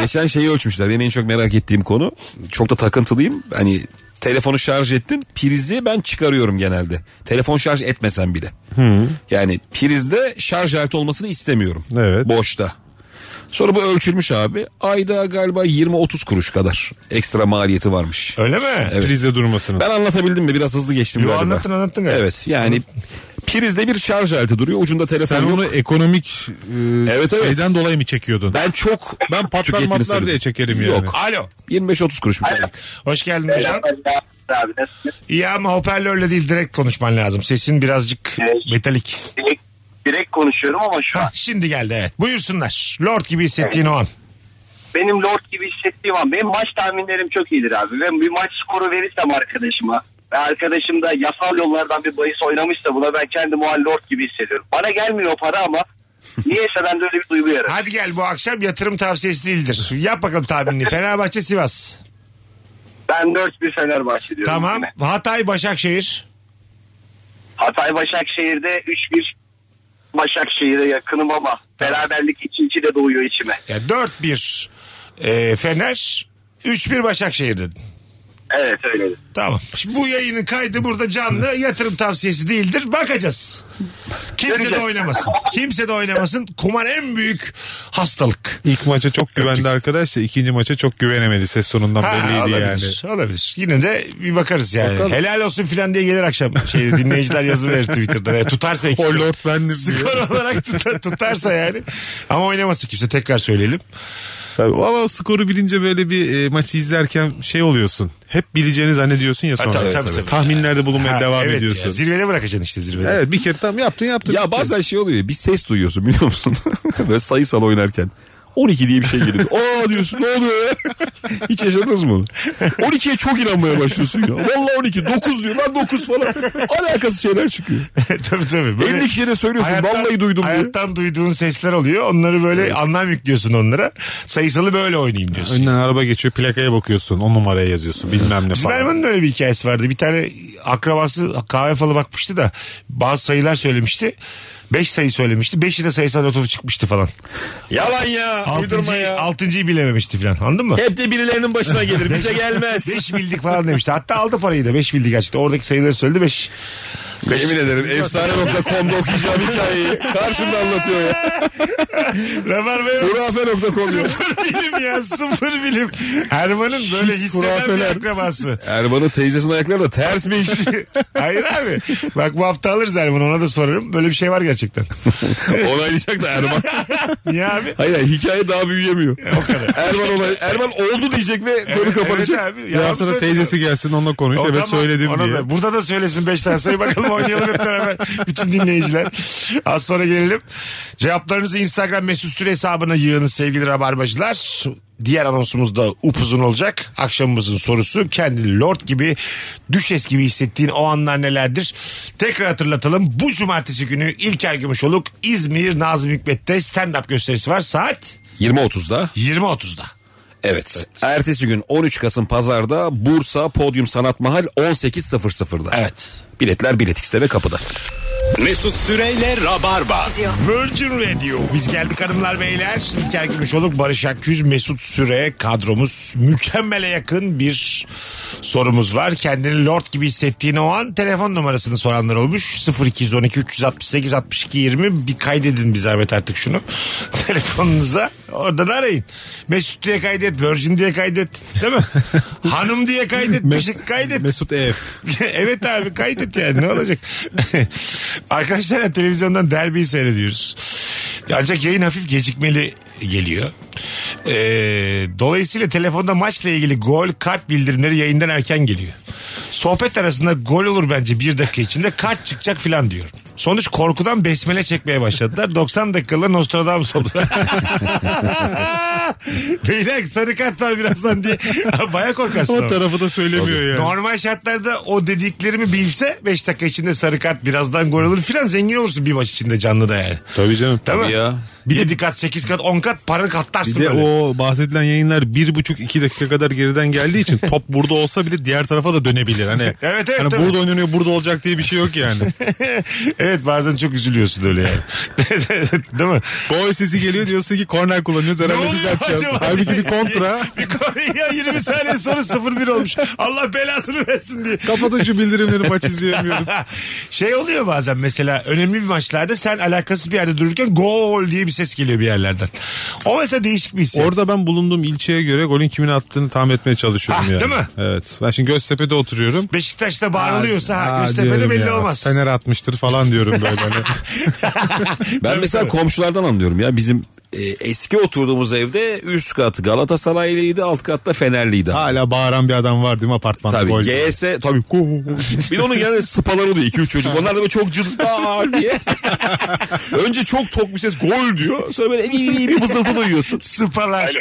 [SPEAKER 2] geçen şeyi ölçmüşler. Benim en çok merak ettiğim konu. Çok da takıntılıyım. Hani telefonu şarj ettin. Prizi ben çıkarıyorum genelde. Telefon şarj etmesen bile. Yani prizde şarj aleti olmasını istemiyorum.
[SPEAKER 3] Evet.
[SPEAKER 2] Boşta. Sonra bu ölçülmüş abi. Ayda galiba 20-30 kuruş kadar ekstra maliyeti
[SPEAKER 1] <laughs> <laughs>
[SPEAKER 2] varmış.
[SPEAKER 1] Öyle mi?
[SPEAKER 2] Evet.
[SPEAKER 3] Prizde durmasını.
[SPEAKER 2] Ben anlatabildim mi? Biraz hızlı geçtim
[SPEAKER 1] Yo,
[SPEAKER 2] galiba.
[SPEAKER 1] anlattın, anlattın galiba.
[SPEAKER 2] Evet yani prizde bir şarj aleti duruyor. Ucunda telefon
[SPEAKER 3] Sen
[SPEAKER 2] yok.
[SPEAKER 3] onu ekonomik e,
[SPEAKER 2] Evet, evet.
[SPEAKER 3] şeyden dolayı mı çekiyordun?
[SPEAKER 2] Ben çok
[SPEAKER 3] Ben patlar
[SPEAKER 2] tüketimi
[SPEAKER 3] matlar
[SPEAKER 2] sevdim.
[SPEAKER 3] diye çekerim yani.
[SPEAKER 2] Yok.
[SPEAKER 1] Alo.
[SPEAKER 2] 25-30 kuruş bir tane.
[SPEAKER 1] Hoş geldin hocam.
[SPEAKER 8] Abi nasılsınız?
[SPEAKER 1] İyi ama hoparlörle değil direkt konuşman lazım. Sesin birazcık metalik.
[SPEAKER 8] Direkt, direkt konuşuyorum ama şu an
[SPEAKER 1] Ha, <laughs> şimdi geldi evet. Buyursunlar. Lord gibi hissettiğin o an.
[SPEAKER 8] benim lord gibi hissettiğim an benim maç tahminlerim çok iyidir abi. Ben bir maç skoru verirsem arkadaşıma ve arkadaşım da yasal yollardan bir bahis oynamışsa buna ben kendimi o an lord gibi hissediyorum. Bana gelmiyor o para ama Niyeyse bende öyle bir duygu yaratıyor.
[SPEAKER 1] Hadi gel bu akşam yatırım tavsiyesi değildir. Yap bakalım tahminini. Fenerbahçe Sivas.
[SPEAKER 8] Ben 4-1 Fenerbahçe diyorum.
[SPEAKER 1] Tamam.
[SPEAKER 8] yine.
[SPEAKER 1] Hatay Başakşehir.
[SPEAKER 8] Hatay Başakşehir'de 3-1 Başakşehir'e yakınım ama beraberlik ikinci de doğuyor içime.
[SPEAKER 1] Ya 4-1 e, Fener. 3-1 Başakşehir dedin.
[SPEAKER 8] Evet öyle.
[SPEAKER 1] Tamam. Şimdi bu yayının kaydı burada canlı. Yatırım tavsiyesi değildir. Bakacağız. Kimse de
[SPEAKER 8] Göreceğiz.
[SPEAKER 1] oynamasın. Kimse de oynamasın. Kumar en büyük hastalık.
[SPEAKER 3] İlk maça çok güvendi arkadaş da ikinci maça çok güvenemedi. Ses sonundan
[SPEAKER 1] Ha,
[SPEAKER 3] belliydi yani.
[SPEAKER 1] olabilir, Olabilir. Yine de bir bakarız yani. Helal olsun filan diye gelir akşam. Şey, dinleyiciler yazı verir Twitter'da. Yani tutarsa ikisi.
[SPEAKER 3] O lord bendim diyor.
[SPEAKER 1] Skor olarak tuta- tutarsa yani. Ama oynaması kimse tekrar söyleyelim.
[SPEAKER 3] Tabii. Ama o skoru bilince böyle bir e, maçı izlerken şey oluyorsun. Hep bileceğini zannediyorsun ya
[SPEAKER 1] Ha,
[SPEAKER 3] sonra.
[SPEAKER 1] tabii, tabii, tabii.
[SPEAKER 3] Tahminlerde bulunmaya
[SPEAKER 1] Ha,
[SPEAKER 3] devam
[SPEAKER 1] evet
[SPEAKER 3] ediyorsun.
[SPEAKER 1] ya, zirvede bırakacaksın işte zirvede.
[SPEAKER 3] Evet bir kere tam yaptın yaptın.
[SPEAKER 2] Ya bazen şey oluyor ya, bir ses duyuyorsun biliyor musun? <laughs> Böyle sayısal oynarken. 12 diye bir şey
[SPEAKER 3] <laughs>
[SPEAKER 2] geliyor. Aa diyorsun ne oluyor ya? Hiç yaşadınız mı? onu? 12'ye çok inanmaya başlıyorsun ya. Vallahi 12. 9 diyorlar 9 falan. Alakasız
[SPEAKER 3] <laughs>
[SPEAKER 2] şeyler çıkıyor.
[SPEAKER 1] <laughs> tabii tabii.
[SPEAKER 2] 50 kişiye de söylüyorsun. vallahi duydum diye.
[SPEAKER 1] Hayattan duyduğun sesler oluyor. Onları böyle anlam yüklüyorsun onlara. Sayısalı böyle oynayayım diyorsun.
[SPEAKER 3] Önden araba geçiyor plakaya bakıyorsun. O numaraya yazıyorsun bilmem ne
[SPEAKER 1] Bizim
[SPEAKER 3] falan.
[SPEAKER 1] Erman'ın da öyle bir hikayesi vardı. Bir tane akrabası kahve falı bakmıştı da bazı sayılar söylemişti. Beş sayı söylemişti. Beşi de sayısal lotosu çıkmıştı falan.
[SPEAKER 2] Yalan ya. Uydurma
[SPEAKER 1] Altıncıyı,
[SPEAKER 2] ya.
[SPEAKER 1] altıncıyı bilememişti falan. Anladın mı?
[SPEAKER 2] Hep de birilerinin başına gelir. Bize gelmez.
[SPEAKER 1] Beş bildik falan demişti. Hatta aldı parayı da. Beş bildik gerçekten. Oradaki sayıları söyledi. Beş.
[SPEAKER 2] Yemin ederim efsane.com'da okuyacağım hikayeyi karşımda anlatıyor ya.
[SPEAKER 1] Rabarbaya
[SPEAKER 2] Hurafe.com diyor.
[SPEAKER 1] sıfır bilim ya. Sıfır bilim. Erman'ın böyle hisseden bir
[SPEAKER 2] kurafeler.
[SPEAKER 1] akrabası.
[SPEAKER 2] Erman'ın teyzesinin ayakları da <laughs> tersmiş.
[SPEAKER 1] <laughs> Hayır abi. Bak bu hafta alırız Erman ona da sorarım. Böyle bir şey var gerçekten.
[SPEAKER 2] Onaylayacak da Erman.
[SPEAKER 1] Niye abi?
[SPEAKER 2] Hayır hayır, hikaye daha büyüyemiyor. O kadar. Erman, olay, Erman oldu diyecek ve konu
[SPEAKER 1] Evet,
[SPEAKER 2] kapanacak.
[SPEAKER 1] evet abi.
[SPEAKER 3] Bir
[SPEAKER 1] Yalan
[SPEAKER 3] hafta da
[SPEAKER 1] söylüyorum.
[SPEAKER 3] teyzesi gelsin onunla konuş.
[SPEAKER 1] O
[SPEAKER 3] <laughs> evet
[SPEAKER 1] tamam,
[SPEAKER 3] söyledim
[SPEAKER 1] ona
[SPEAKER 3] diye.
[SPEAKER 1] da- burada da söylesin 5 tane sayı bakalım oynayalım hep beraber. Bütün dinleyiciler. Az sonra gelelim. Cevaplarınızı Instagram mesut süre hesabına yığınız sevgili rabarbacılar. Diğer anonsumuz da upuzun olacak. Akşamımızın sorusu kendi lord gibi düşes gibi hissettiğin o anlar nelerdir? Tekrar hatırlatalım. Bu cumartesi günü İlker Gümüşoluk İzmir Nazım Hikmet'te stand-up gösterisi var. Saat
[SPEAKER 2] 20.30'da
[SPEAKER 1] 20.30'da.
[SPEAKER 2] evet. Ertesi gün 13 Kasım Pazar'da Bursa Podyum Sanat Mahal 18.00'da.
[SPEAKER 1] Evet.
[SPEAKER 2] Biletler biletikste ve kapıda.
[SPEAKER 9] Mesut Süreyle Rabarba.
[SPEAKER 1] Virgin Radio. Biz geldik hanımlar beyler. İlker Gümüşoluk, Barış Akgüz, Mesut Süre kadromuz. Mükemmele yakın bir sorumuz var. Kendini lord gibi hissettiğin o an telefon numarasını soranlar olmuş. 0212 368 62 20 bir kaydedin bir zahmet artık şunu. <laughs> Telefonunuza oradan arayın. Mesut diye kaydet, Virgin diye kaydet. Değil mi? Hanım diye kaydet,
[SPEAKER 3] Mes-
[SPEAKER 1] müzik kaydet. <laughs>
[SPEAKER 3] Mesut Ev.
[SPEAKER 1] evet abi kaydet yani ne olacak? <laughs> Arkadaşlar televizyondan derbiyi seyrediyoruz. Ancak yayın hafif gecikmeli geliyor. Ee, dolayısıyla telefonda maçla ilgili gol kart bildirimleri yayından erken geliyor. Sohbet arasında gol olur bence bir dakika içinde kart çıkacak filan diyor. Sonuç korkudan besmele çekmeye başladılar. <laughs> 90 dakikada Nostradamus oldu. <laughs> Beyler sarı kart var birazdan diye. <laughs> Baya korkarsın. ama.
[SPEAKER 3] O tarafı da söylemiyor yani.
[SPEAKER 1] Normal şartlarda o dediklerimi bilse 5 dakika içinde sarı kart birazdan gol olur filan zengin olursun bir maç içinde canlıda yani.
[SPEAKER 3] Tabii canım.
[SPEAKER 1] Değil mi?
[SPEAKER 2] Tabii ya.
[SPEAKER 1] 7 kat 8 kat 10 kat para
[SPEAKER 3] Bir
[SPEAKER 1] katlarsın
[SPEAKER 3] de
[SPEAKER 1] böyle.
[SPEAKER 3] o bahsedilen yayınlar bir buçuk iki dakika kadar geriden geldiği
[SPEAKER 1] <laughs>
[SPEAKER 3] için top burada olsa bile diğer tarafa da dönebilir. Hani,
[SPEAKER 1] Evet, evet,
[SPEAKER 3] hani
[SPEAKER 1] tabii.
[SPEAKER 3] burada oynanıyor burada olacak diye bir şey
[SPEAKER 1] <laughs>
[SPEAKER 3] yok yani.
[SPEAKER 1] <laughs> evet bazen çok üzülüyorsun öyle yani. <laughs> Değil mi?
[SPEAKER 3] Gol sesi geliyor diyorsun ki korner kullanıyoruz
[SPEAKER 1] Ne
[SPEAKER 3] herhalde
[SPEAKER 1] oluyor
[SPEAKER 3] düzelteceğiz.
[SPEAKER 1] acaba?
[SPEAKER 3] Halbuki
[SPEAKER 1] <laughs>
[SPEAKER 3] bir kontra.
[SPEAKER 1] bir Konya 20 saniye sonra 0-1 olmuş. Allah belasını versin diye.
[SPEAKER 3] Kapatın şu bildirimleri
[SPEAKER 1] <laughs>
[SPEAKER 3] maç izleyemiyoruz.
[SPEAKER 1] şey oluyor bazen mesela önemli bir maçlarda sen alakasız bir yerde dururken gol diye bir ses geliyor bir yerlerden. O mesela değişik bir hissiyat.
[SPEAKER 3] Orada ben bulunduğum ilçeye göre golün kimin attığını tahmin etmeye çalışıyorum
[SPEAKER 1] Ah,
[SPEAKER 3] yani.
[SPEAKER 1] değil mi?
[SPEAKER 3] Evet. Ben şimdi Göztepe'de oturuyorum.
[SPEAKER 1] Beşiktaş'ta bağırılıyorsa ha,
[SPEAKER 3] Aa,
[SPEAKER 1] Göztepe'de
[SPEAKER 3] diyorum
[SPEAKER 1] belli
[SPEAKER 3] ya,
[SPEAKER 1] olmaz.
[SPEAKER 3] Fener atmıştır falan diyorum böyle.
[SPEAKER 2] <laughs>
[SPEAKER 3] Hani.
[SPEAKER 2] Ben mesela komşulardan anlıyorum ya bizim e, eski oturduğumuz evde üst kat Galatasaraylıydı alt katta Fenerliydi.
[SPEAKER 3] Hala bağıran bir adam var değil mi apartmanda?
[SPEAKER 2] Tabii
[SPEAKER 3] gol diye.
[SPEAKER 2] GS tabii. bir de onun
[SPEAKER 1] <laughs>
[SPEAKER 2] yanında spaları oluyor 2 3 çocuk. Onlar da böyle çok cılız "Aa!" diye. Önce çok tok bir ses gol diyor. Sonra böyle iyi, iyi bir
[SPEAKER 1] <laughs>
[SPEAKER 2] fısıltı duyuyorsun.
[SPEAKER 1] Sıpalar.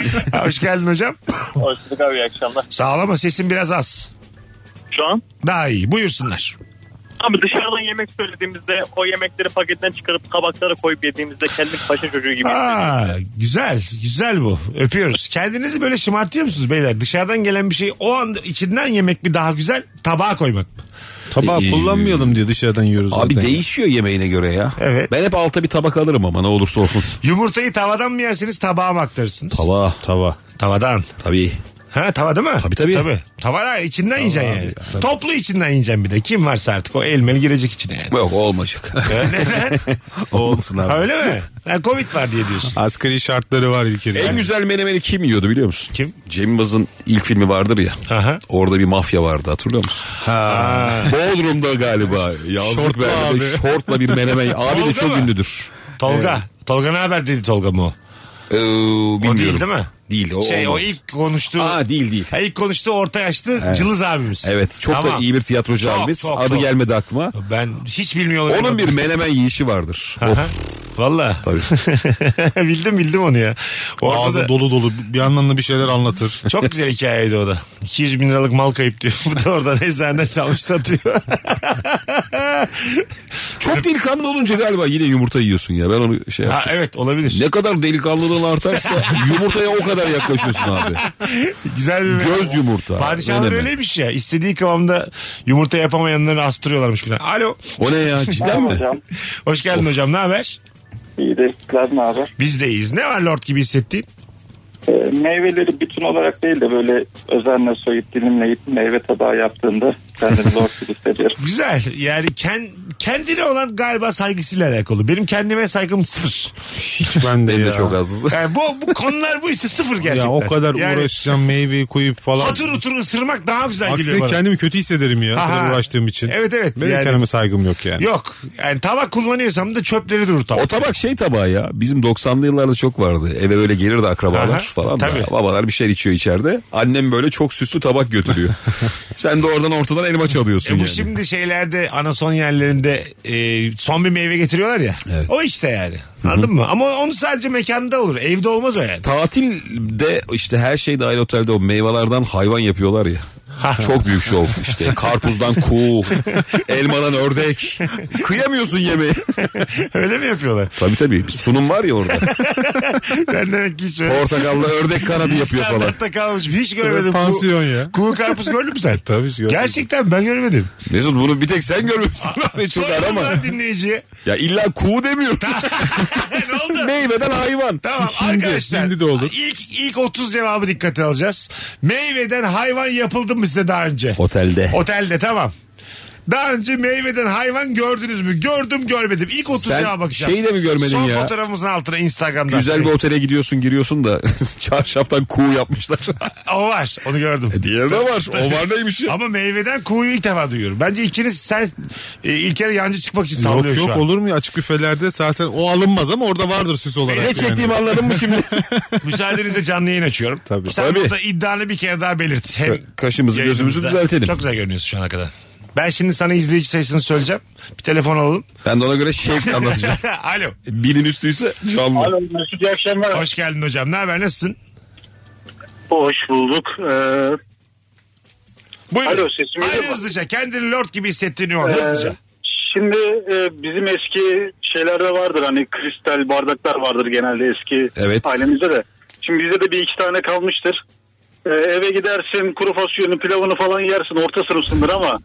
[SPEAKER 1] Hoş geldin hocam.
[SPEAKER 8] Hoş bulduk abi iyi akşamlar.
[SPEAKER 1] Sağ ol ama sesin biraz az.
[SPEAKER 8] Şu an
[SPEAKER 1] Daha iyi. Buyursunlar.
[SPEAKER 8] Abi dışarıdan yemek söylediğimizde o yemekleri paketten çıkarıp kabaklara koyup yediğimizde kendik paşa çocuğu gibi.
[SPEAKER 1] Aa, güzel güzel bu öpüyoruz kendinizi böyle şımartıyor musunuz beyler dışarıdan gelen bir şey o anda içinden yemek mi daha güzel tabağa koymak mı?
[SPEAKER 3] Tabağı
[SPEAKER 2] Ee,
[SPEAKER 3] kullanmayalım diye dışarıdan yiyoruz
[SPEAKER 2] Abi
[SPEAKER 3] zaten.
[SPEAKER 2] değişiyor yemeğine göre ya.
[SPEAKER 1] Evet.
[SPEAKER 2] Ben hep alta bir tabak alırım ama ne
[SPEAKER 1] <laughs>
[SPEAKER 2] olursa olsun.
[SPEAKER 1] Yumurtayı tavadan mı yersiniz tabağa mı aktarırsınız?
[SPEAKER 2] Tava. Tava.
[SPEAKER 1] Tavadan.
[SPEAKER 2] Tabii.
[SPEAKER 1] Ha tava değil mi?
[SPEAKER 2] Tabii, tabii.
[SPEAKER 1] Tavada içinden yiyeceksin yani.
[SPEAKER 2] abi, tabii.
[SPEAKER 1] Toplu içinden yiyeceksin bir de. Kim varsa artık o elmeli girecek içine
[SPEAKER 2] <laughs>
[SPEAKER 1] yani. <laughs>
[SPEAKER 2] Yok olmayacak.
[SPEAKER 1] Neden?
[SPEAKER 2] Olmasın
[SPEAKER 1] Ha,
[SPEAKER 2] abi.
[SPEAKER 1] Öyle mi? Ha, Covid var diye diyorsun.
[SPEAKER 3] Asgari şartları var ülkede.
[SPEAKER 2] En güzel menemeni kim yiyordu biliyor musun?
[SPEAKER 1] Kim?
[SPEAKER 2] Cem Yılmaz'ın ilk filmi vardır ya.
[SPEAKER 1] Aha.
[SPEAKER 2] Orada bir mafya vardı hatırlıyor musun?
[SPEAKER 1] Ha.
[SPEAKER 2] <laughs> Bodrum'da galiba. Yazlık
[SPEAKER 3] Şortlu
[SPEAKER 2] verdi.
[SPEAKER 3] abi.
[SPEAKER 2] Şortla bir <laughs> menemen. Abi de
[SPEAKER 1] Oldu
[SPEAKER 2] çok
[SPEAKER 1] mu?
[SPEAKER 2] ünlüdür.
[SPEAKER 1] Tolga. Tolga ne haber dedi Tolga mı o?
[SPEAKER 2] Ee, bilmiyorum.
[SPEAKER 1] değil, değil mi?
[SPEAKER 2] Değil. O,
[SPEAKER 1] Şey o
[SPEAKER 2] olmaz.
[SPEAKER 1] ilk konuştuğu.
[SPEAKER 2] Aa değil değil.
[SPEAKER 1] Ha, ilk konuştuğu orta yaşlı cılız abimiz.
[SPEAKER 2] Evet çok da
[SPEAKER 1] Tamam.
[SPEAKER 2] iyi bir tiyatrocu
[SPEAKER 1] Çok,
[SPEAKER 2] abimiz.
[SPEAKER 1] çok,
[SPEAKER 2] Adı
[SPEAKER 1] çok.
[SPEAKER 2] gelmedi aklıma.
[SPEAKER 1] Ben hiç bilmiyor olabilirim.
[SPEAKER 2] Onun bir menemen yiyişi vardır. Of,
[SPEAKER 1] Aha. Valla. <laughs>
[SPEAKER 2] tabii.
[SPEAKER 1] bildim bildim onu ya. Orada
[SPEAKER 3] Ağzı
[SPEAKER 1] da-
[SPEAKER 3] dolu dolu bir yandan da bir şeyler anlatır.
[SPEAKER 1] Çok güzel hikayeydi o da. 200 bin liralık mal kayıp diyor. Bu da oradan eczaneden çalmış
[SPEAKER 2] <laughs>
[SPEAKER 1] satıyor.
[SPEAKER 2] Çok delikanlı olunca galiba yine yumurta yiyorsun ya. Ben onu şey
[SPEAKER 1] ha,
[SPEAKER 2] yaptım.
[SPEAKER 1] evet olabilir.
[SPEAKER 2] Ne kadar delikanlılığın
[SPEAKER 1] <laughs>
[SPEAKER 2] artarsa yumurtaya o kadar yaklaşıyorsun abi.
[SPEAKER 1] Güzel bir
[SPEAKER 2] Göz yumurta.
[SPEAKER 1] Padişahlar
[SPEAKER 2] Menemen.
[SPEAKER 1] öyleymiş ya. İstediği kıvamda yumurta yapamayanları astırıyorlarmış falan. Alo.
[SPEAKER 2] O ne ya cidden mi?
[SPEAKER 7] Hocam
[SPEAKER 1] Hoş geldin hocam. Ne haber?
[SPEAKER 7] iyi de sizler ne haber?
[SPEAKER 1] Biz de iyiyiz. Ne var lord gibi hissettiğin?
[SPEAKER 7] Ee, meyveleri bütün olarak değil de böyle özenle soyup dilimleyip meyve tabağı yaptığımda kendimi zor hissediyorum.
[SPEAKER 1] Güzel. Yani ken, kendine olan galiba saygısıyla alakalı. Benim kendime saygım sıfır.
[SPEAKER 3] Hiç ben de
[SPEAKER 2] Benim
[SPEAKER 3] ya.
[SPEAKER 2] de çok az.
[SPEAKER 1] Yani bu, bu konular bu ise sıfır gerçekten.
[SPEAKER 3] Ya o kadar
[SPEAKER 1] yani,
[SPEAKER 3] uğraşacağım meyveyi koyup falan.
[SPEAKER 1] Hatır otur ısırmak daha güzel geliyor
[SPEAKER 3] Aksine
[SPEAKER 1] bana.
[SPEAKER 3] kendimi kötü hissederim ya. o kadar
[SPEAKER 1] Aha.
[SPEAKER 3] uğraştığım için.
[SPEAKER 1] Evet, evet.
[SPEAKER 3] Benim
[SPEAKER 1] Yani-
[SPEAKER 3] kendime saygım yok yani.
[SPEAKER 1] Yok. Yani tabak kullanıyorsam da çöpleri durur tabak.
[SPEAKER 2] O tabak şey tabağı ya. Bizim 90'lı yıllarda çok vardı. Eve böyle gelirdi akrabalar
[SPEAKER 1] Aha,
[SPEAKER 2] falan da.
[SPEAKER 1] tabii.
[SPEAKER 2] Babalar bir şey içiyor içeride. Annem böyle çok süslü
[SPEAKER 1] <laughs>
[SPEAKER 2] tabak götürüyor. Sen de oradan ortadan elma çalıyorsun
[SPEAKER 1] E bu
[SPEAKER 2] yani.
[SPEAKER 1] şimdi şeylerde anason yerlerinde e, son bir meyve getiriyorlar ya.
[SPEAKER 2] Evet.
[SPEAKER 1] O işte yani. Anladın mı? Ama onu sadece mekanda olur. Evde olmaz o yani.
[SPEAKER 2] Tatilde işte her şey dahil otelde o meyvelerden hayvan yapıyorlar ya. Çok büyük şov işte.
[SPEAKER 1] <laughs>
[SPEAKER 2] Karpuzdan kuğu, elmadan ördek. Kıyamıyorsun yemeği.
[SPEAKER 1] <laughs> Öyle mi yapıyorlar?
[SPEAKER 2] Tabii tabii. Bir sunum var ya orada.
[SPEAKER 1] Ben demek ki hiç öyle.
[SPEAKER 2] Portakallı ördek kanadı yapıyor falan.
[SPEAKER 1] Standartta kalmış. Hiç görmedim.
[SPEAKER 3] Pansiyon ya.
[SPEAKER 1] Kuğu karpuz gördün mü sen?
[SPEAKER 3] Tabii ki görmedim.
[SPEAKER 1] Gerçekten ben görmedim.
[SPEAKER 2] Mesut bunu bir tek sen görmemişsin. abi, Çok
[SPEAKER 1] Sorun
[SPEAKER 2] arama.
[SPEAKER 1] var dinleyiciye.
[SPEAKER 2] Ya illa kuğu demiyorum.
[SPEAKER 1] ne
[SPEAKER 2] <laughs>
[SPEAKER 1] oldu?
[SPEAKER 2] Meyveden hayvan.
[SPEAKER 1] Tamam arkadaşlar.
[SPEAKER 3] şimdi de olur.
[SPEAKER 1] İlk, ilk 30 cevabı dikkate alacağız. Meyveden hayvan yapıldı mı size daha önce?
[SPEAKER 2] Otelde.
[SPEAKER 1] Otelde tamam. Daha önce meyveden hayvan gördünüz mü? Gördüm görmedim. İlk 30
[SPEAKER 2] Sen
[SPEAKER 1] cevaba bakacağım.
[SPEAKER 2] şeyi de mi görmedin
[SPEAKER 1] Son
[SPEAKER 2] ya?
[SPEAKER 1] fotoğrafımızın altına Instagram'da.
[SPEAKER 2] Güzel bir şey. otele gidiyorsun giriyorsun da <laughs> çarşaftan kuğu yapmışlar.
[SPEAKER 1] O var onu gördüm.
[SPEAKER 2] E, Diğeri de var. O var neymiş ya?
[SPEAKER 1] Ama meyveden kuğuyu ilk defa duyuyorum. Bence ikiniz sen e, İlker yancı çıkmak için sallıyor
[SPEAKER 3] Yok
[SPEAKER 1] şu
[SPEAKER 3] yok
[SPEAKER 1] an.
[SPEAKER 3] olur mu ya? açık büfelerde zaten o alınmaz ama orada vardır süs olarak.
[SPEAKER 2] Ne
[SPEAKER 3] yani.
[SPEAKER 2] çektiğimi anladın mı şimdi?
[SPEAKER 1] Müsaadenizle canlı yayın açıyorum.
[SPEAKER 3] Tabii.
[SPEAKER 1] Sen
[SPEAKER 2] Tabii.
[SPEAKER 1] burada iddianı bir kere daha belirt. Hem
[SPEAKER 2] Ka- kaşımızı,
[SPEAKER 1] yayınımızda.
[SPEAKER 2] gözümüzü düzeltelim.
[SPEAKER 1] Çok güzel görünüyorsun şu ana kadar. Ben şimdi sana izleyici sayısını söyleyeceğim. Bir telefon alalım.
[SPEAKER 2] Ben de ona göre şevkle anlatacağım.
[SPEAKER 1] <laughs> Alo.
[SPEAKER 2] Binin üstüyse canlı.
[SPEAKER 4] Alo Mesut iyi akşamlar.
[SPEAKER 1] Hoş geldin hocam. Ne haber? Nasılsın?
[SPEAKER 4] Hoş bulduk. Ee,
[SPEAKER 1] Buyurun.
[SPEAKER 4] Alo, sesim geliyor
[SPEAKER 1] Haydi
[SPEAKER 4] mu?
[SPEAKER 1] hızlıca. Kendini lord gibi hissettiğini o. Hızlıca.
[SPEAKER 4] Şimdi e, bizim eski şeylerde vardır hani kristal bardaklar vardır genelde eski
[SPEAKER 2] Evet.
[SPEAKER 4] ailemizde de. Şimdi bizde de bir iki tane kalmıştır. E, eve gidersin kuru fasulyeni pilavını falan yersin orta sınıfsındır ama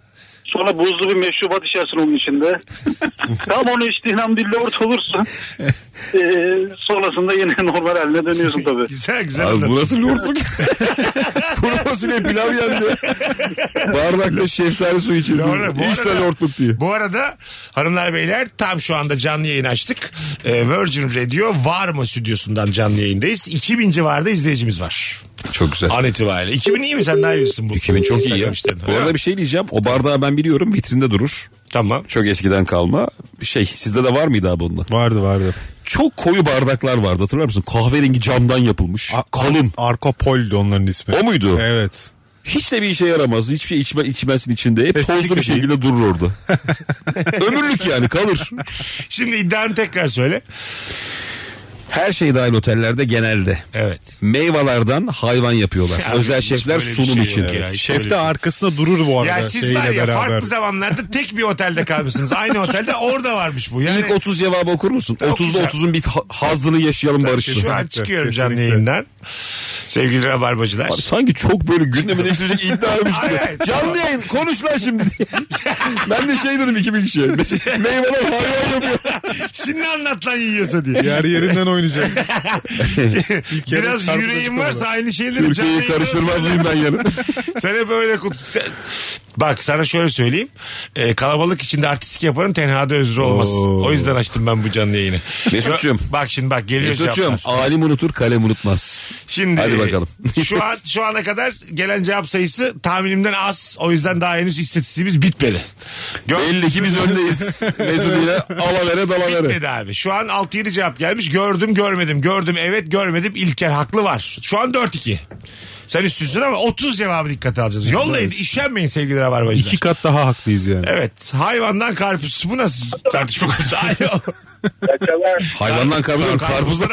[SPEAKER 4] sonra buzlu bir meşrubat içersin onun
[SPEAKER 2] <laughs>
[SPEAKER 4] içinde. Tam onu içtiğin an bir lord olursun. E, sonrasında yine <laughs> normal haline dönüyorsun
[SPEAKER 7] <laughs>
[SPEAKER 4] tabii.
[SPEAKER 1] Güzel güzel.
[SPEAKER 2] Abi
[SPEAKER 1] anladın.
[SPEAKER 2] bu nasıl lordluk? <laughs> Kuru fasulye pilav yendi. Bardakta şeftali suyu içildi.
[SPEAKER 1] Doğru, bu
[SPEAKER 2] İşte
[SPEAKER 1] arada-
[SPEAKER 2] lordluk diye.
[SPEAKER 1] Bu arada hanımlar beyler tam şu anda canlı yayın açtık. Ee, Virgin Radio var mı stüdyosundan canlı yayındayız. 2000 civarında izleyicimiz var.
[SPEAKER 2] Çok güzel.
[SPEAKER 1] An itibariyle. 2000 iyi mi sen daha iyisin bu.
[SPEAKER 2] 2000 çok iyi ya.
[SPEAKER 1] Instagram işlerinde.
[SPEAKER 2] Bu
[SPEAKER 1] Ha,
[SPEAKER 2] arada bir şey diyeceğim. O bardağı ben biliyorum vitrinde durur.
[SPEAKER 1] Tamam.
[SPEAKER 2] Çok eskiden kalma. Bir Şey sizde de var mıydı abi onunla?
[SPEAKER 3] Vardı vardı.
[SPEAKER 2] Çok koyu bardaklar vardı hatırlar mısın? Kahverengi camdan yapılmış. Kalın.
[SPEAKER 3] Arkopol'du onların ismi.
[SPEAKER 2] O muydu?
[SPEAKER 3] Evet.
[SPEAKER 2] Hiç de bir işe yaramaz. Hiçbir şey içme, içmezsin içinde. Hep
[SPEAKER 3] Estetik
[SPEAKER 2] tozlu
[SPEAKER 3] de
[SPEAKER 2] bir şekilde durur
[SPEAKER 1] <laughs>
[SPEAKER 2] orada. Ömürlük yani kalır.
[SPEAKER 1] Şimdi iddianı tekrar söyle.
[SPEAKER 2] Her şey dahil otellerde genelde.
[SPEAKER 1] Evet.
[SPEAKER 2] Meyvelerden hayvan yapıyorlar.
[SPEAKER 1] Ya
[SPEAKER 2] Özel
[SPEAKER 1] hiç
[SPEAKER 2] şefler
[SPEAKER 1] böyle bir
[SPEAKER 2] sunum
[SPEAKER 1] şey
[SPEAKER 2] için.
[SPEAKER 1] yok ya. Hiç
[SPEAKER 3] Şef
[SPEAKER 1] böyle-
[SPEAKER 3] de arkasında durur bu arada.
[SPEAKER 1] Ya siz
[SPEAKER 3] şeyle
[SPEAKER 1] var ya
[SPEAKER 3] beraber.
[SPEAKER 1] farklı zamanlarda tek bir otelde kalmışsınız. Aynı otelde orada varmış bu. Yani
[SPEAKER 2] İlk 30 cevabı okur musun?
[SPEAKER 1] Okuyacağım.
[SPEAKER 2] 30'da 30'un bir ha- hazzını yaşayalım barışçı.
[SPEAKER 1] şu an
[SPEAKER 3] Kesinlikle,
[SPEAKER 1] çıkıyorum canlı
[SPEAKER 3] kesinlikle.
[SPEAKER 1] yayından. Sevgili Rabarbacılar.
[SPEAKER 2] Abi sanki çok böyle gündeme
[SPEAKER 1] <laughs>
[SPEAKER 2] değiştirecek iddiaymış
[SPEAKER 1] Hayır,
[SPEAKER 2] gibi.
[SPEAKER 1] hayır.
[SPEAKER 2] Canlı yayın konuş lan
[SPEAKER 1] <laughs>
[SPEAKER 2] şimdi. diye. ben de şey dedim 2000 kişiye.
[SPEAKER 1] Şey-
[SPEAKER 2] Meyveler hayvan yapıyor.
[SPEAKER 1] Şimdi anlat lan yiyorsa diye. <laughs>
[SPEAKER 3] Yer yerinden oynayacak.
[SPEAKER 2] <laughs>
[SPEAKER 3] kere
[SPEAKER 1] Biraz
[SPEAKER 3] çarpılacak
[SPEAKER 1] yüreğim
[SPEAKER 3] orada.
[SPEAKER 1] varsa aynı şeyleri canlı
[SPEAKER 2] Türkiye'yi
[SPEAKER 1] yayında
[SPEAKER 2] karıştırmaz
[SPEAKER 1] söyle.
[SPEAKER 2] mıyım ben yarın?
[SPEAKER 1] <laughs> Sen hep öyle kut... Sen- Bak sana şöyle söyleyeyim. Ee, kalabalık içinde artistik yapanın tenhada özrü olmaz.
[SPEAKER 3] Oo.
[SPEAKER 1] O yüzden açtım ben bu canlı yayını.
[SPEAKER 2] Mesut'cum.
[SPEAKER 1] Bak şimdi bak geliyor şey
[SPEAKER 2] Mesut'cum
[SPEAKER 1] cevaplar.
[SPEAKER 2] alim unutur kalem unutmaz.
[SPEAKER 1] Şimdi
[SPEAKER 2] Hadi bakalım.
[SPEAKER 1] <laughs> şu an şu ana kadar gelen cevap sayısı tahminimden az. O yüzden daha henüz istatistiğimiz bitmedi. Gör-
[SPEAKER 2] Belli ki biz öndeyiz. Mesut ile alavere dalavere.
[SPEAKER 1] Bitmedi abi. Şu an 6-7 cevap gelmiş. Gördüm görmedim. Gördüm evet görmedim. İlker haklı var. Şu an 4-2. Sen üstüsün ama 30 cevabı dikkate alacağız. Yoldayın. işenmeyin sevgili Rabarbacılar.
[SPEAKER 3] İki kat
[SPEAKER 2] Ah,
[SPEAKER 3] daha haklıyız yani.
[SPEAKER 1] Evet. Hayvandan karpuz. Bu nasıl tartışma konusu? Alo.
[SPEAKER 2] Hayvandan kavruluyorum karpuzlar. <laughs>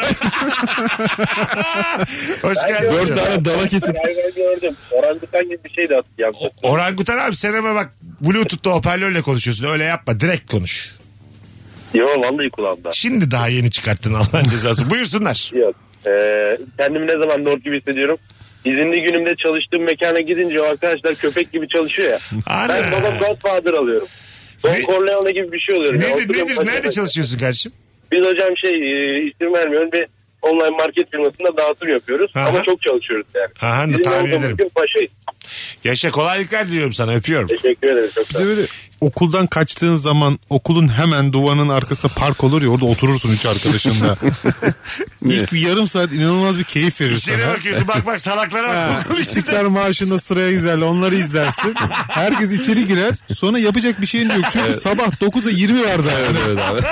[SPEAKER 1] Hoş geldin.
[SPEAKER 2] Dört tane dala kesip.
[SPEAKER 7] Hayvan gördüm. Orangutan gibi bir şeydi aslında.
[SPEAKER 1] Orangutan abi sen ama bak Bluetooth'ta hoparlörle konuşuyorsun. Öyle yapma. Direkt konuş.
[SPEAKER 7] Yo vallahi kulağımda.
[SPEAKER 1] Şimdi daha yeni çıkarttın Allah'ın cezası. Buyursunlar.
[SPEAKER 7] Yok. Ee, kendimi ne zaman lord gibi hissediyorum. İzinli günümde çalıştığım mekana gidince o arkadaşlar köpek gibi çalışıyor ya.
[SPEAKER 1] Ana.
[SPEAKER 7] Ben babam Godfather alıyorum. Don
[SPEAKER 1] Ne-
[SPEAKER 7] Corleone gibi bir şey oluyorum. ya.
[SPEAKER 1] Nedir,
[SPEAKER 7] Oturuyorum
[SPEAKER 1] nedir,
[SPEAKER 7] kaç
[SPEAKER 1] nerede
[SPEAKER 7] arkadaş-
[SPEAKER 1] çalışıyorsun kardeşim?
[SPEAKER 7] Biz hocam şey e, isim vermiyorum bir online market firmasında dağıtım yapıyoruz.
[SPEAKER 1] Aha.
[SPEAKER 7] Ama çok çalışıyoruz yani.
[SPEAKER 1] Aha,
[SPEAKER 7] İzinli
[SPEAKER 1] tahmin
[SPEAKER 7] olduğumuz
[SPEAKER 1] ederim.
[SPEAKER 7] gün paşayız.
[SPEAKER 1] Yaşa kolaylıklar diliyorum sana öpüyorum.
[SPEAKER 7] Teşekkür ederim. Çok
[SPEAKER 3] Bir
[SPEAKER 7] sağ
[SPEAKER 3] de
[SPEAKER 7] olun.
[SPEAKER 3] böyle okuldan kaçtığın zaman okulun hemen duvarının arkasında park olur ya orada oturursun üç
[SPEAKER 2] <laughs>
[SPEAKER 3] arkadaşınla. İlk bir yarım saat inanılmaz bir keyif verir
[SPEAKER 1] İçeri
[SPEAKER 3] sana.
[SPEAKER 1] bakıyorsun bak bak salaklara <laughs>
[SPEAKER 3] Ha,
[SPEAKER 1] bak. Okul içinde.
[SPEAKER 3] İstiklal Marşı'nda sıraya izlerler onları izlersin. Herkes içeri girer. Sonra yapacak bir şeyin yok. Çünkü sabah 9'a 20 vardı.
[SPEAKER 2] Evet, evet abi.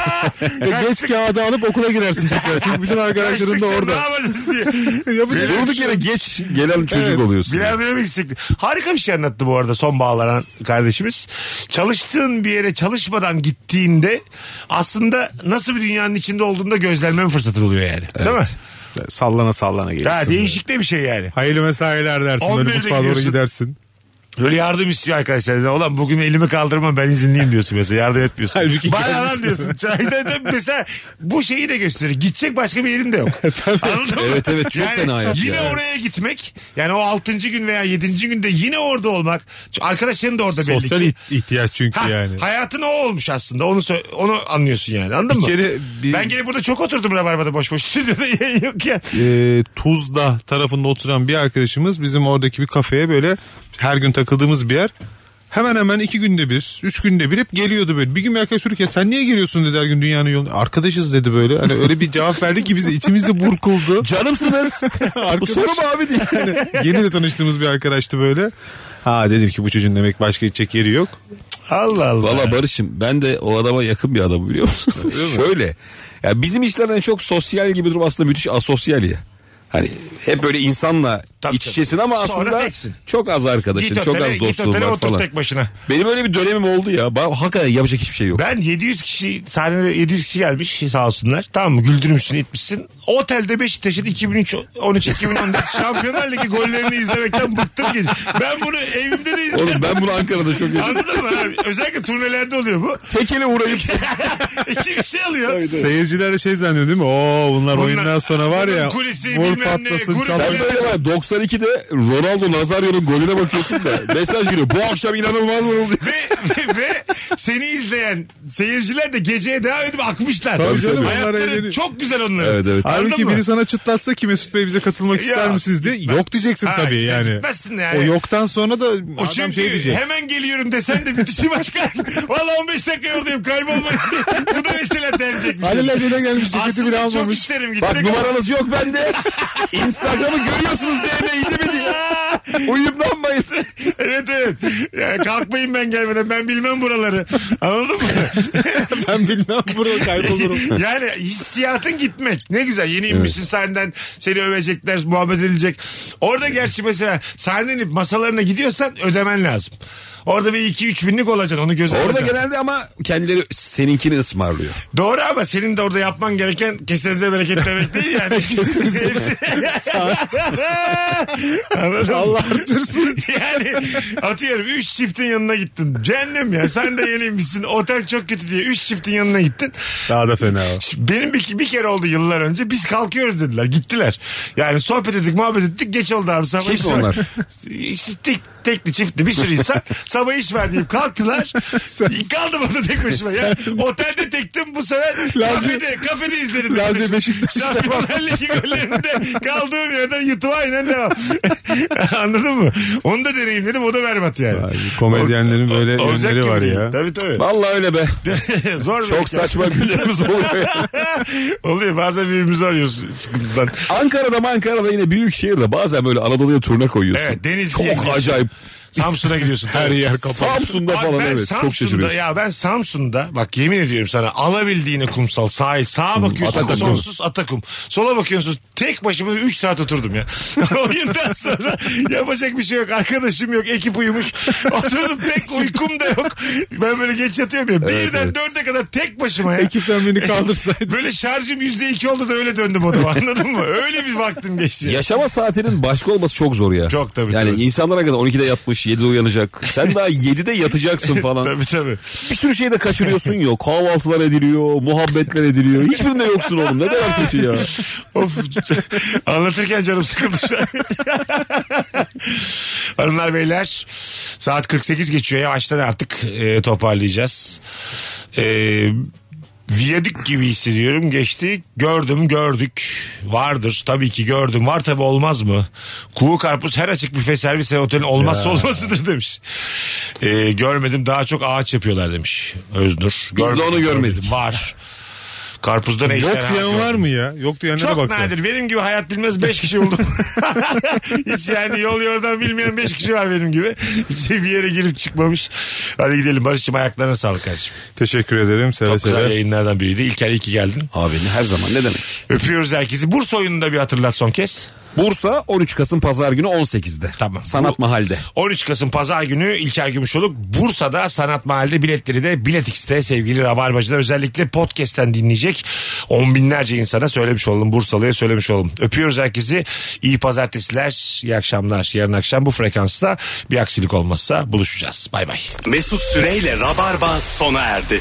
[SPEAKER 1] <laughs>
[SPEAKER 3] Ve geç kağıdı alıp okula girersin tekrar. Çünkü bütün arkadaşların da
[SPEAKER 1] Kaçtıkça Ne
[SPEAKER 3] orada.
[SPEAKER 1] yapacağız diye.
[SPEAKER 3] Yapacak bir
[SPEAKER 2] Durduk
[SPEAKER 3] şey
[SPEAKER 2] yere
[SPEAKER 3] yok.
[SPEAKER 2] geç gelen çocuk oluyorsun.
[SPEAKER 1] Bilardoya mı eksikti? Harika bir şey anlattı bu arada son bağlanan kardeşimiz. Çalıştığın bir yere çalışmadan gittiğinde aslında nasıl bir dünyanın içinde olduğunda gözlemleme fırsatı oluyor yani. Değil mi?
[SPEAKER 3] Sallana sallana gelirsin.
[SPEAKER 1] Ha, değişik de bir şey yani.
[SPEAKER 3] Hayırlı mesailer dersin.
[SPEAKER 1] 11'de
[SPEAKER 3] Böyle mutfağa doğru
[SPEAKER 1] gidiyorsun.
[SPEAKER 3] gidersin.
[SPEAKER 1] Böyle yardım istiyor arkadaşlar. Ulan bugün elimi kaldırmam ben izinliyim diyorsun mesela. Yardım etmiyorsun.
[SPEAKER 3] Halbuki
[SPEAKER 1] Bayağı lan
[SPEAKER 3] kendisi-
[SPEAKER 1] diyorsun. Çayda da mesela bu şeyi de gösteriyor. Gidecek başka bir yerin de
[SPEAKER 2] <laughs>
[SPEAKER 1] yok. Anladın mı?
[SPEAKER 2] Evet, evet, çok fena hayat
[SPEAKER 1] Yine
[SPEAKER 2] ya.
[SPEAKER 1] oraya gitmek. Yani o 6. gün veya 7. günde yine orada olmak. Şu Arkadaşların da orada belli
[SPEAKER 3] Sosyal
[SPEAKER 1] ki.
[SPEAKER 3] iht- ihtiyaç çünkü
[SPEAKER 1] Ha,
[SPEAKER 3] yani.
[SPEAKER 1] Hayatın o olmuş aslında. Onu sö- onu anlıyorsun yani. Anladın
[SPEAKER 3] Bir
[SPEAKER 1] mı?
[SPEAKER 3] kere bir-
[SPEAKER 1] Ben gene burada çok oturdum Rabarba'da boş <laughs> boş. Stüdyoda yayın yok ya.
[SPEAKER 3] e, Tuzla tarafında oturan bir arkadaşımız bizim oradaki bir kafeye böyle her gün takıldığımız bir yer. Hemen hemen iki günde bir, üç günde bir hep geliyordu böyle. Bir gün bir arkadaş dedi ki, "Ya sen niye geliyorsun dedi her gün dünyanın yolunda. Arkadaşız dedi böyle. Hani öyle bir cevap verdi ki bize
[SPEAKER 1] <laughs>
[SPEAKER 3] içimizde burkuldu. <laughs>
[SPEAKER 2] Canımsınız. Bu soru mu abi diye.
[SPEAKER 3] Yani yeni de tanıştığımız bir arkadaştı böyle. Ha dedim ki bu çocuğun demek başka gidecek yeri yok.
[SPEAKER 1] Allah Allah.
[SPEAKER 2] Valla Barış'ım ben de o adama yakın bir adamım biliyor musun? Şöyle. Ya bizim işler hani çok sosyal gibi durum aslında müthiş asosyal ya. Hani hep böyle insanla
[SPEAKER 1] Tabii,
[SPEAKER 2] iç içesin ama
[SPEAKER 1] tabii. Sonra
[SPEAKER 2] aslında
[SPEAKER 1] teksin.
[SPEAKER 2] çok az arkadaşın,
[SPEAKER 1] Git
[SPEAKER 2] çok
[SPEAKER 1] otele,
[SPEAKER 2] az
[SPEAKER 1] git
[SPEAKER 2] dostluğun
[SPEAKER 1] otele
[SPEAKER 2] var
[SPEAKER 1] otur
[SPEAKER 2] falan.
[SPEAKER 1] tek başına.
[SPEAKER 2] Benim öyle bir dönemim oldu ya. Ben, hakikaten yapacak hiçbir şey yok.
[SPEAKER 1] Ben 700 kişi sahnede 700 kişi gelmiş sağ olsunlar. Tamam mı? Güldürmüşsün, etmişsin. Otelde Beşiktaş'ın 2003 13 2014 Şampiyonlar Ligi gollerini izlemekten bıktım gece. Ben bunu evimde de izlerim.
[SPEAKER 2] Oğlum ben bunu Ankara'da çok yaşadım.
[SPEAKER 1] Anladın mı abi? Özellikle turnelerde oluyor bu.
[SPEAKER 2] Tekele uğrayıp
[SPEAKER 1] İki bir şey alıyor.
[SPEAKER 3] Seyirciler de şey zannediyor değil mi? Oo bunlar,
[SPEAKER 1] Bunlar-
[SPEAKER 3] oyundan sonra var ya.
[SPEAKER 1] bunların kulisi,
[SPEAKER 3] vur
[SPEAKER 1] bilmem ne,
[SPEAKER 3] patlasın,
[SPEAKER 1] grup-
[SPEAKER 3] çal-
[SPEAKER 2] Sen böyle var, 92'de Ronaldo Nazario'nun golüne bakıyorsun da mesaj geliyor. Bu akşam inanılmazdınız diye.
[SPEAKER 1] Ve, ve, ve seni izleyen seyirciler de geceye devam edip akmışlar.
[SPEAKER 3] Tabii canım, onlar
[SPEAKER 1] Hayatları
[SPEAKER 3] eğleniyor.
[SPEAKER 1] çok güzel onların.
[SPEAKER 2] Evet, evet.
[SPEAKER 1] Anladın
[SPEAKER 3] Halbuki
[SPEAKER 1] mı?
[SPEAKER 3] biri sana çıtlatsa ki Mesut Bey bize katılmak
[SPEAKER 1] Ya,
[SPEAKER 3] ister misiniz diye yok diyeceksin
[SPEAKER 1] Ha,
[SPEAKER 3] tabii
[SPEAKER 1] gitmez-
[SPEAKER 3] yani.
[SPEAKER 1] gitmezsin yani.
[SPEAKER 3] O yoktan sonra da
[SPEAKER 1] O
[SPEAKER 3] adam
[SPEAKER 1] çünkü
[SPEAKER 3] şey diyecek.
[SPEAKER 1] hemen geliyorum desen de bitişi başka.
[SPEAKER 3] <laughs>
[SPEAKER 1] Valla 15 dakika yordayım kaybolmayın diye. <laughs> Bu da mesela denecek bir
[SPEAKER 3] Halil
[SPEAKER 1] şey.
[SPEAKER 3] Ace'de gelmiş ceketi bile
[SPEAKER 1] Aslında çok
[SPEAKER 3] almamış.
[SPEAKER 1] isterim gitmek.
[SPEAKER 2] Bak
[SPEAKER 1] ama- <laughs>
[SPEAKER 2] numaranız yok bende. Instagram'ı görüyorsunuz diye mi değil mi diye. Uyuyup ne yapmayın.
[SPEAKER 1] <laughs> evet evet. Ya kalkmayın ben gelmeden. Ben bilmem buraları. Anladın mı?
[SPEAKER 3] Ben bilmem burada kaybolurum.
[SPEAKER 1] <laughs> yani hissiyatın gitmek. Ne güzel. Yeni inmişsin sahneden. Seni övecekler, muhabbet edilecek. Orada gerçi mesela sahneden inip masalarına gidiyorsan ödemen lazım. Orada bir 2-3 binlik olacaksın. Onu göz
[SPEAKER 2] Orada
[SPEAKER 1] alacaksın.
[SPEAKER 2] genelde ama kendileri seninkini ısmarlıyor.
[SPEAKER 1] Doğru ama senin de orada yapman gereken kesenize bereket demek değil yani. kesenize Anladın Allah artırsın. yani atıyorum 3 çiftin yanına gittin. Cehennem ya sen de yeniymişsin. Otel çok kötü diye 3 çiftin yanına gittin.
[SPEAKER 3] Daha da fena o.
[SPEAKER 1] Şimdi Benim bir, bir kere oldu yıllar önce. Biz kalkıyoruz dediler. Gittiler. Yani sohbet ettik, muhabbet ettik. Geç oldu abi sabah
[SPEAKER 2] Kim
[SPEAKER 1] iş var.
[SPEAKER 2] onlar?
[SPEAKER 1] İşte tek, tekli çiftli bir sürü
[SPEAKER 3] <laughs>
[SPEAKER 1] insan. sabah iş var deyip kalktılar. Kaldım orada tek başıma ya. Otelde tektim bu sefer. kafede, kafede izledim.
[SPEAKER 3] Lazio
[SPEAKER 1] Beşiktaş'ı.
[SPEAKER 3] Beşiktaş'ta
[SPEAKER 1] Şampiyonlar Ligi gollerinde kaldığım yerden YouTube'a aynen devam. <laughs> Anladın mı? Onu da deneyimledim. O da berbat yani.
[SPEAKER 3] Ay, komedyenlerin böyle
[SPEAKER 1] Olacak
[SPEAKER 3] yönleri
[SPEAKER 1] gibi
[SPEAKER 3] var
[SPEAKER 1] değil.
[SPEAKER 3] ya.
[SPEAKER 1] Tabii tabii.
[SPEAKER 2] Vallahi öyle be.
[SPEAKER 1] <laughs> Zor
[SPEAKER 2] Çok
[SPEAKER 1] belki.
[SPEAKER 2] saçma günlerimiz oluyor. ya.
[SPEAKER 1] <laughs> Oluyor bazen birbirimizi arıyoruz sıkıntıdan.
[SPEAKER 2] Ankara'da mı Ankara'da yine büyük şehirde bazen böyle Anadolu'ya turne koyuyorsun.
[SPEAKER 1] Evet, Denizli'ye
[SPEAKER 2] Çok
[SPEAKER 1] gidiyorsun.
[SPEAKER 2] acayip.
[SPEAKER 1] Samsun'a gidiyorsun.
[SPEAKER 2] Her yer kapalı. Samsun'da
[SPEAKER 1] Abi
[SPEAKER 2] falan
[SPEAKER 1] ben
[SPEAKER 2] evet çok
[SPEAKER 1] Samsun'da
[SPEAKER 2] şaşırıyorsun.
[SPEAKER 1] ya ben Samsun'da bak yemin ediyorum sana alabildiğine kumsal sahil sağa bakıyorsun
[SPEAKER 2] Atakum.
[SPEAKER 1] sonsuz Atakum. Sola bakıyorsun tek başıma 3 saat oturdum ya. <laughs> Oyundan sonra yapacak bir şey yok. Arkadaşım yok. Ekip uyumuş. Oturdum tek uykum da yok. Ben böyle geç yatıyorum ya. Birden
[SPEAKER 2] evet.
[SPEAKER 1] dörde kadar tek başıma ya. <laughs>
[SPEAKER 3] Ekipten beni kaldırsaydı.
[SPEAKER 1] Böyle şarjım yüzde iki oldu da öyle döndüm odama anladın mı? Öyle bir vaktim geçti. ya.
[SPEAKER 2] Yaşama saatinin başka olması çok zor ya.
[SPEAKER 1] Çok tabii,
[SPEAKER 2] Yani
[SPEAKER 1] tabii.
[SPEAKER 2] insanlara kadar 12'de yatmış 7'de uyanacak. Sen daha 7'de yatacaksın falan.
[SPEAKER 1] Tabii tabii.
[SPEAKER 2] Bir sürü şey de kaçırıyorsun ya. Kahvaltılar ediliyor, muhabbetler ediliyor. Hiçbirinde yoksun oğlum. Ne kadar kötü ya.
[SPEAKER 1] Of. Anlatırken canım sıkıldı. şu an. Hanımlar beyler saat 48 geçiyor yavaştan artık e, toparlayacağız. E, viyadük gibi hissediyorum geçti gördüm gördük vardır tabii ki gördüm var tabii olmaz mı kuğu karpuz her açık büfe servis ve otelin olmazsa olmasıdır demiş E, görmedim daha çok ağaç yapıyorlar demiş Öznur
[SPEAKER 2] de onu görmedik.
[SPEAKER 1] var karpuzda ne işler
[SPEAKER 3] Yok
[SPEAKER 1] ha?
[SPEAKER 3] diyen var mı ya? Yok diyenlere
[SPEAKER 1] Çok
[SPEAKER 3] baksana.
[SPEAKER 1] nadir. Benim gibi hayat bilmez 5 kişi
[SPEAKER 3] <laughs>
[SPEAKER 1] buldum. Hiç yani yol yordan bilmeyen 5 kişi var benim gibi. Hiç bir yere girip çıkmamış. Hadi gidelim Barış'cığım ayaklarına sağlık kardeşim.
[SPEAKER 3] Teşekkür ederim. Seve
[SPEAKER 1] Çok güzel
[SPEAKER 3] seve.
[SPEAKER 1] yayınlardan biriydi. İlker iyi ki geldin.
[SPEAKER 2] Abi her zaman ne demek?
[SPEAKER 1] Öpüyoruz herkesi. Bursa oyununu da bir hatırlat son kez.
[SPEAKER 2] Bursa 13 Kasım Pazar günü 18'de.
[SPEAKER 1] Tamam.
[SPEAKER 2] Sanat Mahal'de.
[SPEAKER 1] 13 Kasım Pazar günü İlker Gümüşoluk Bursa'da Sanat Mahalli'de biletleri de Biletix'te sevgili Rabarbacılar özellikle podcast'ten dinleyecek. On binlerce insana söylemiş olalım. Bursalı'ya söylemiş olalım. Öpüyoruz herkesi. İyi pazartesiler, iyi akşamlar. Yarın akşam bu frekansta bir aksilik olmazsa buluşacağız. Bay bay.
[SPEAKER 9] Mesut Süreyle Rabarba sona erdi.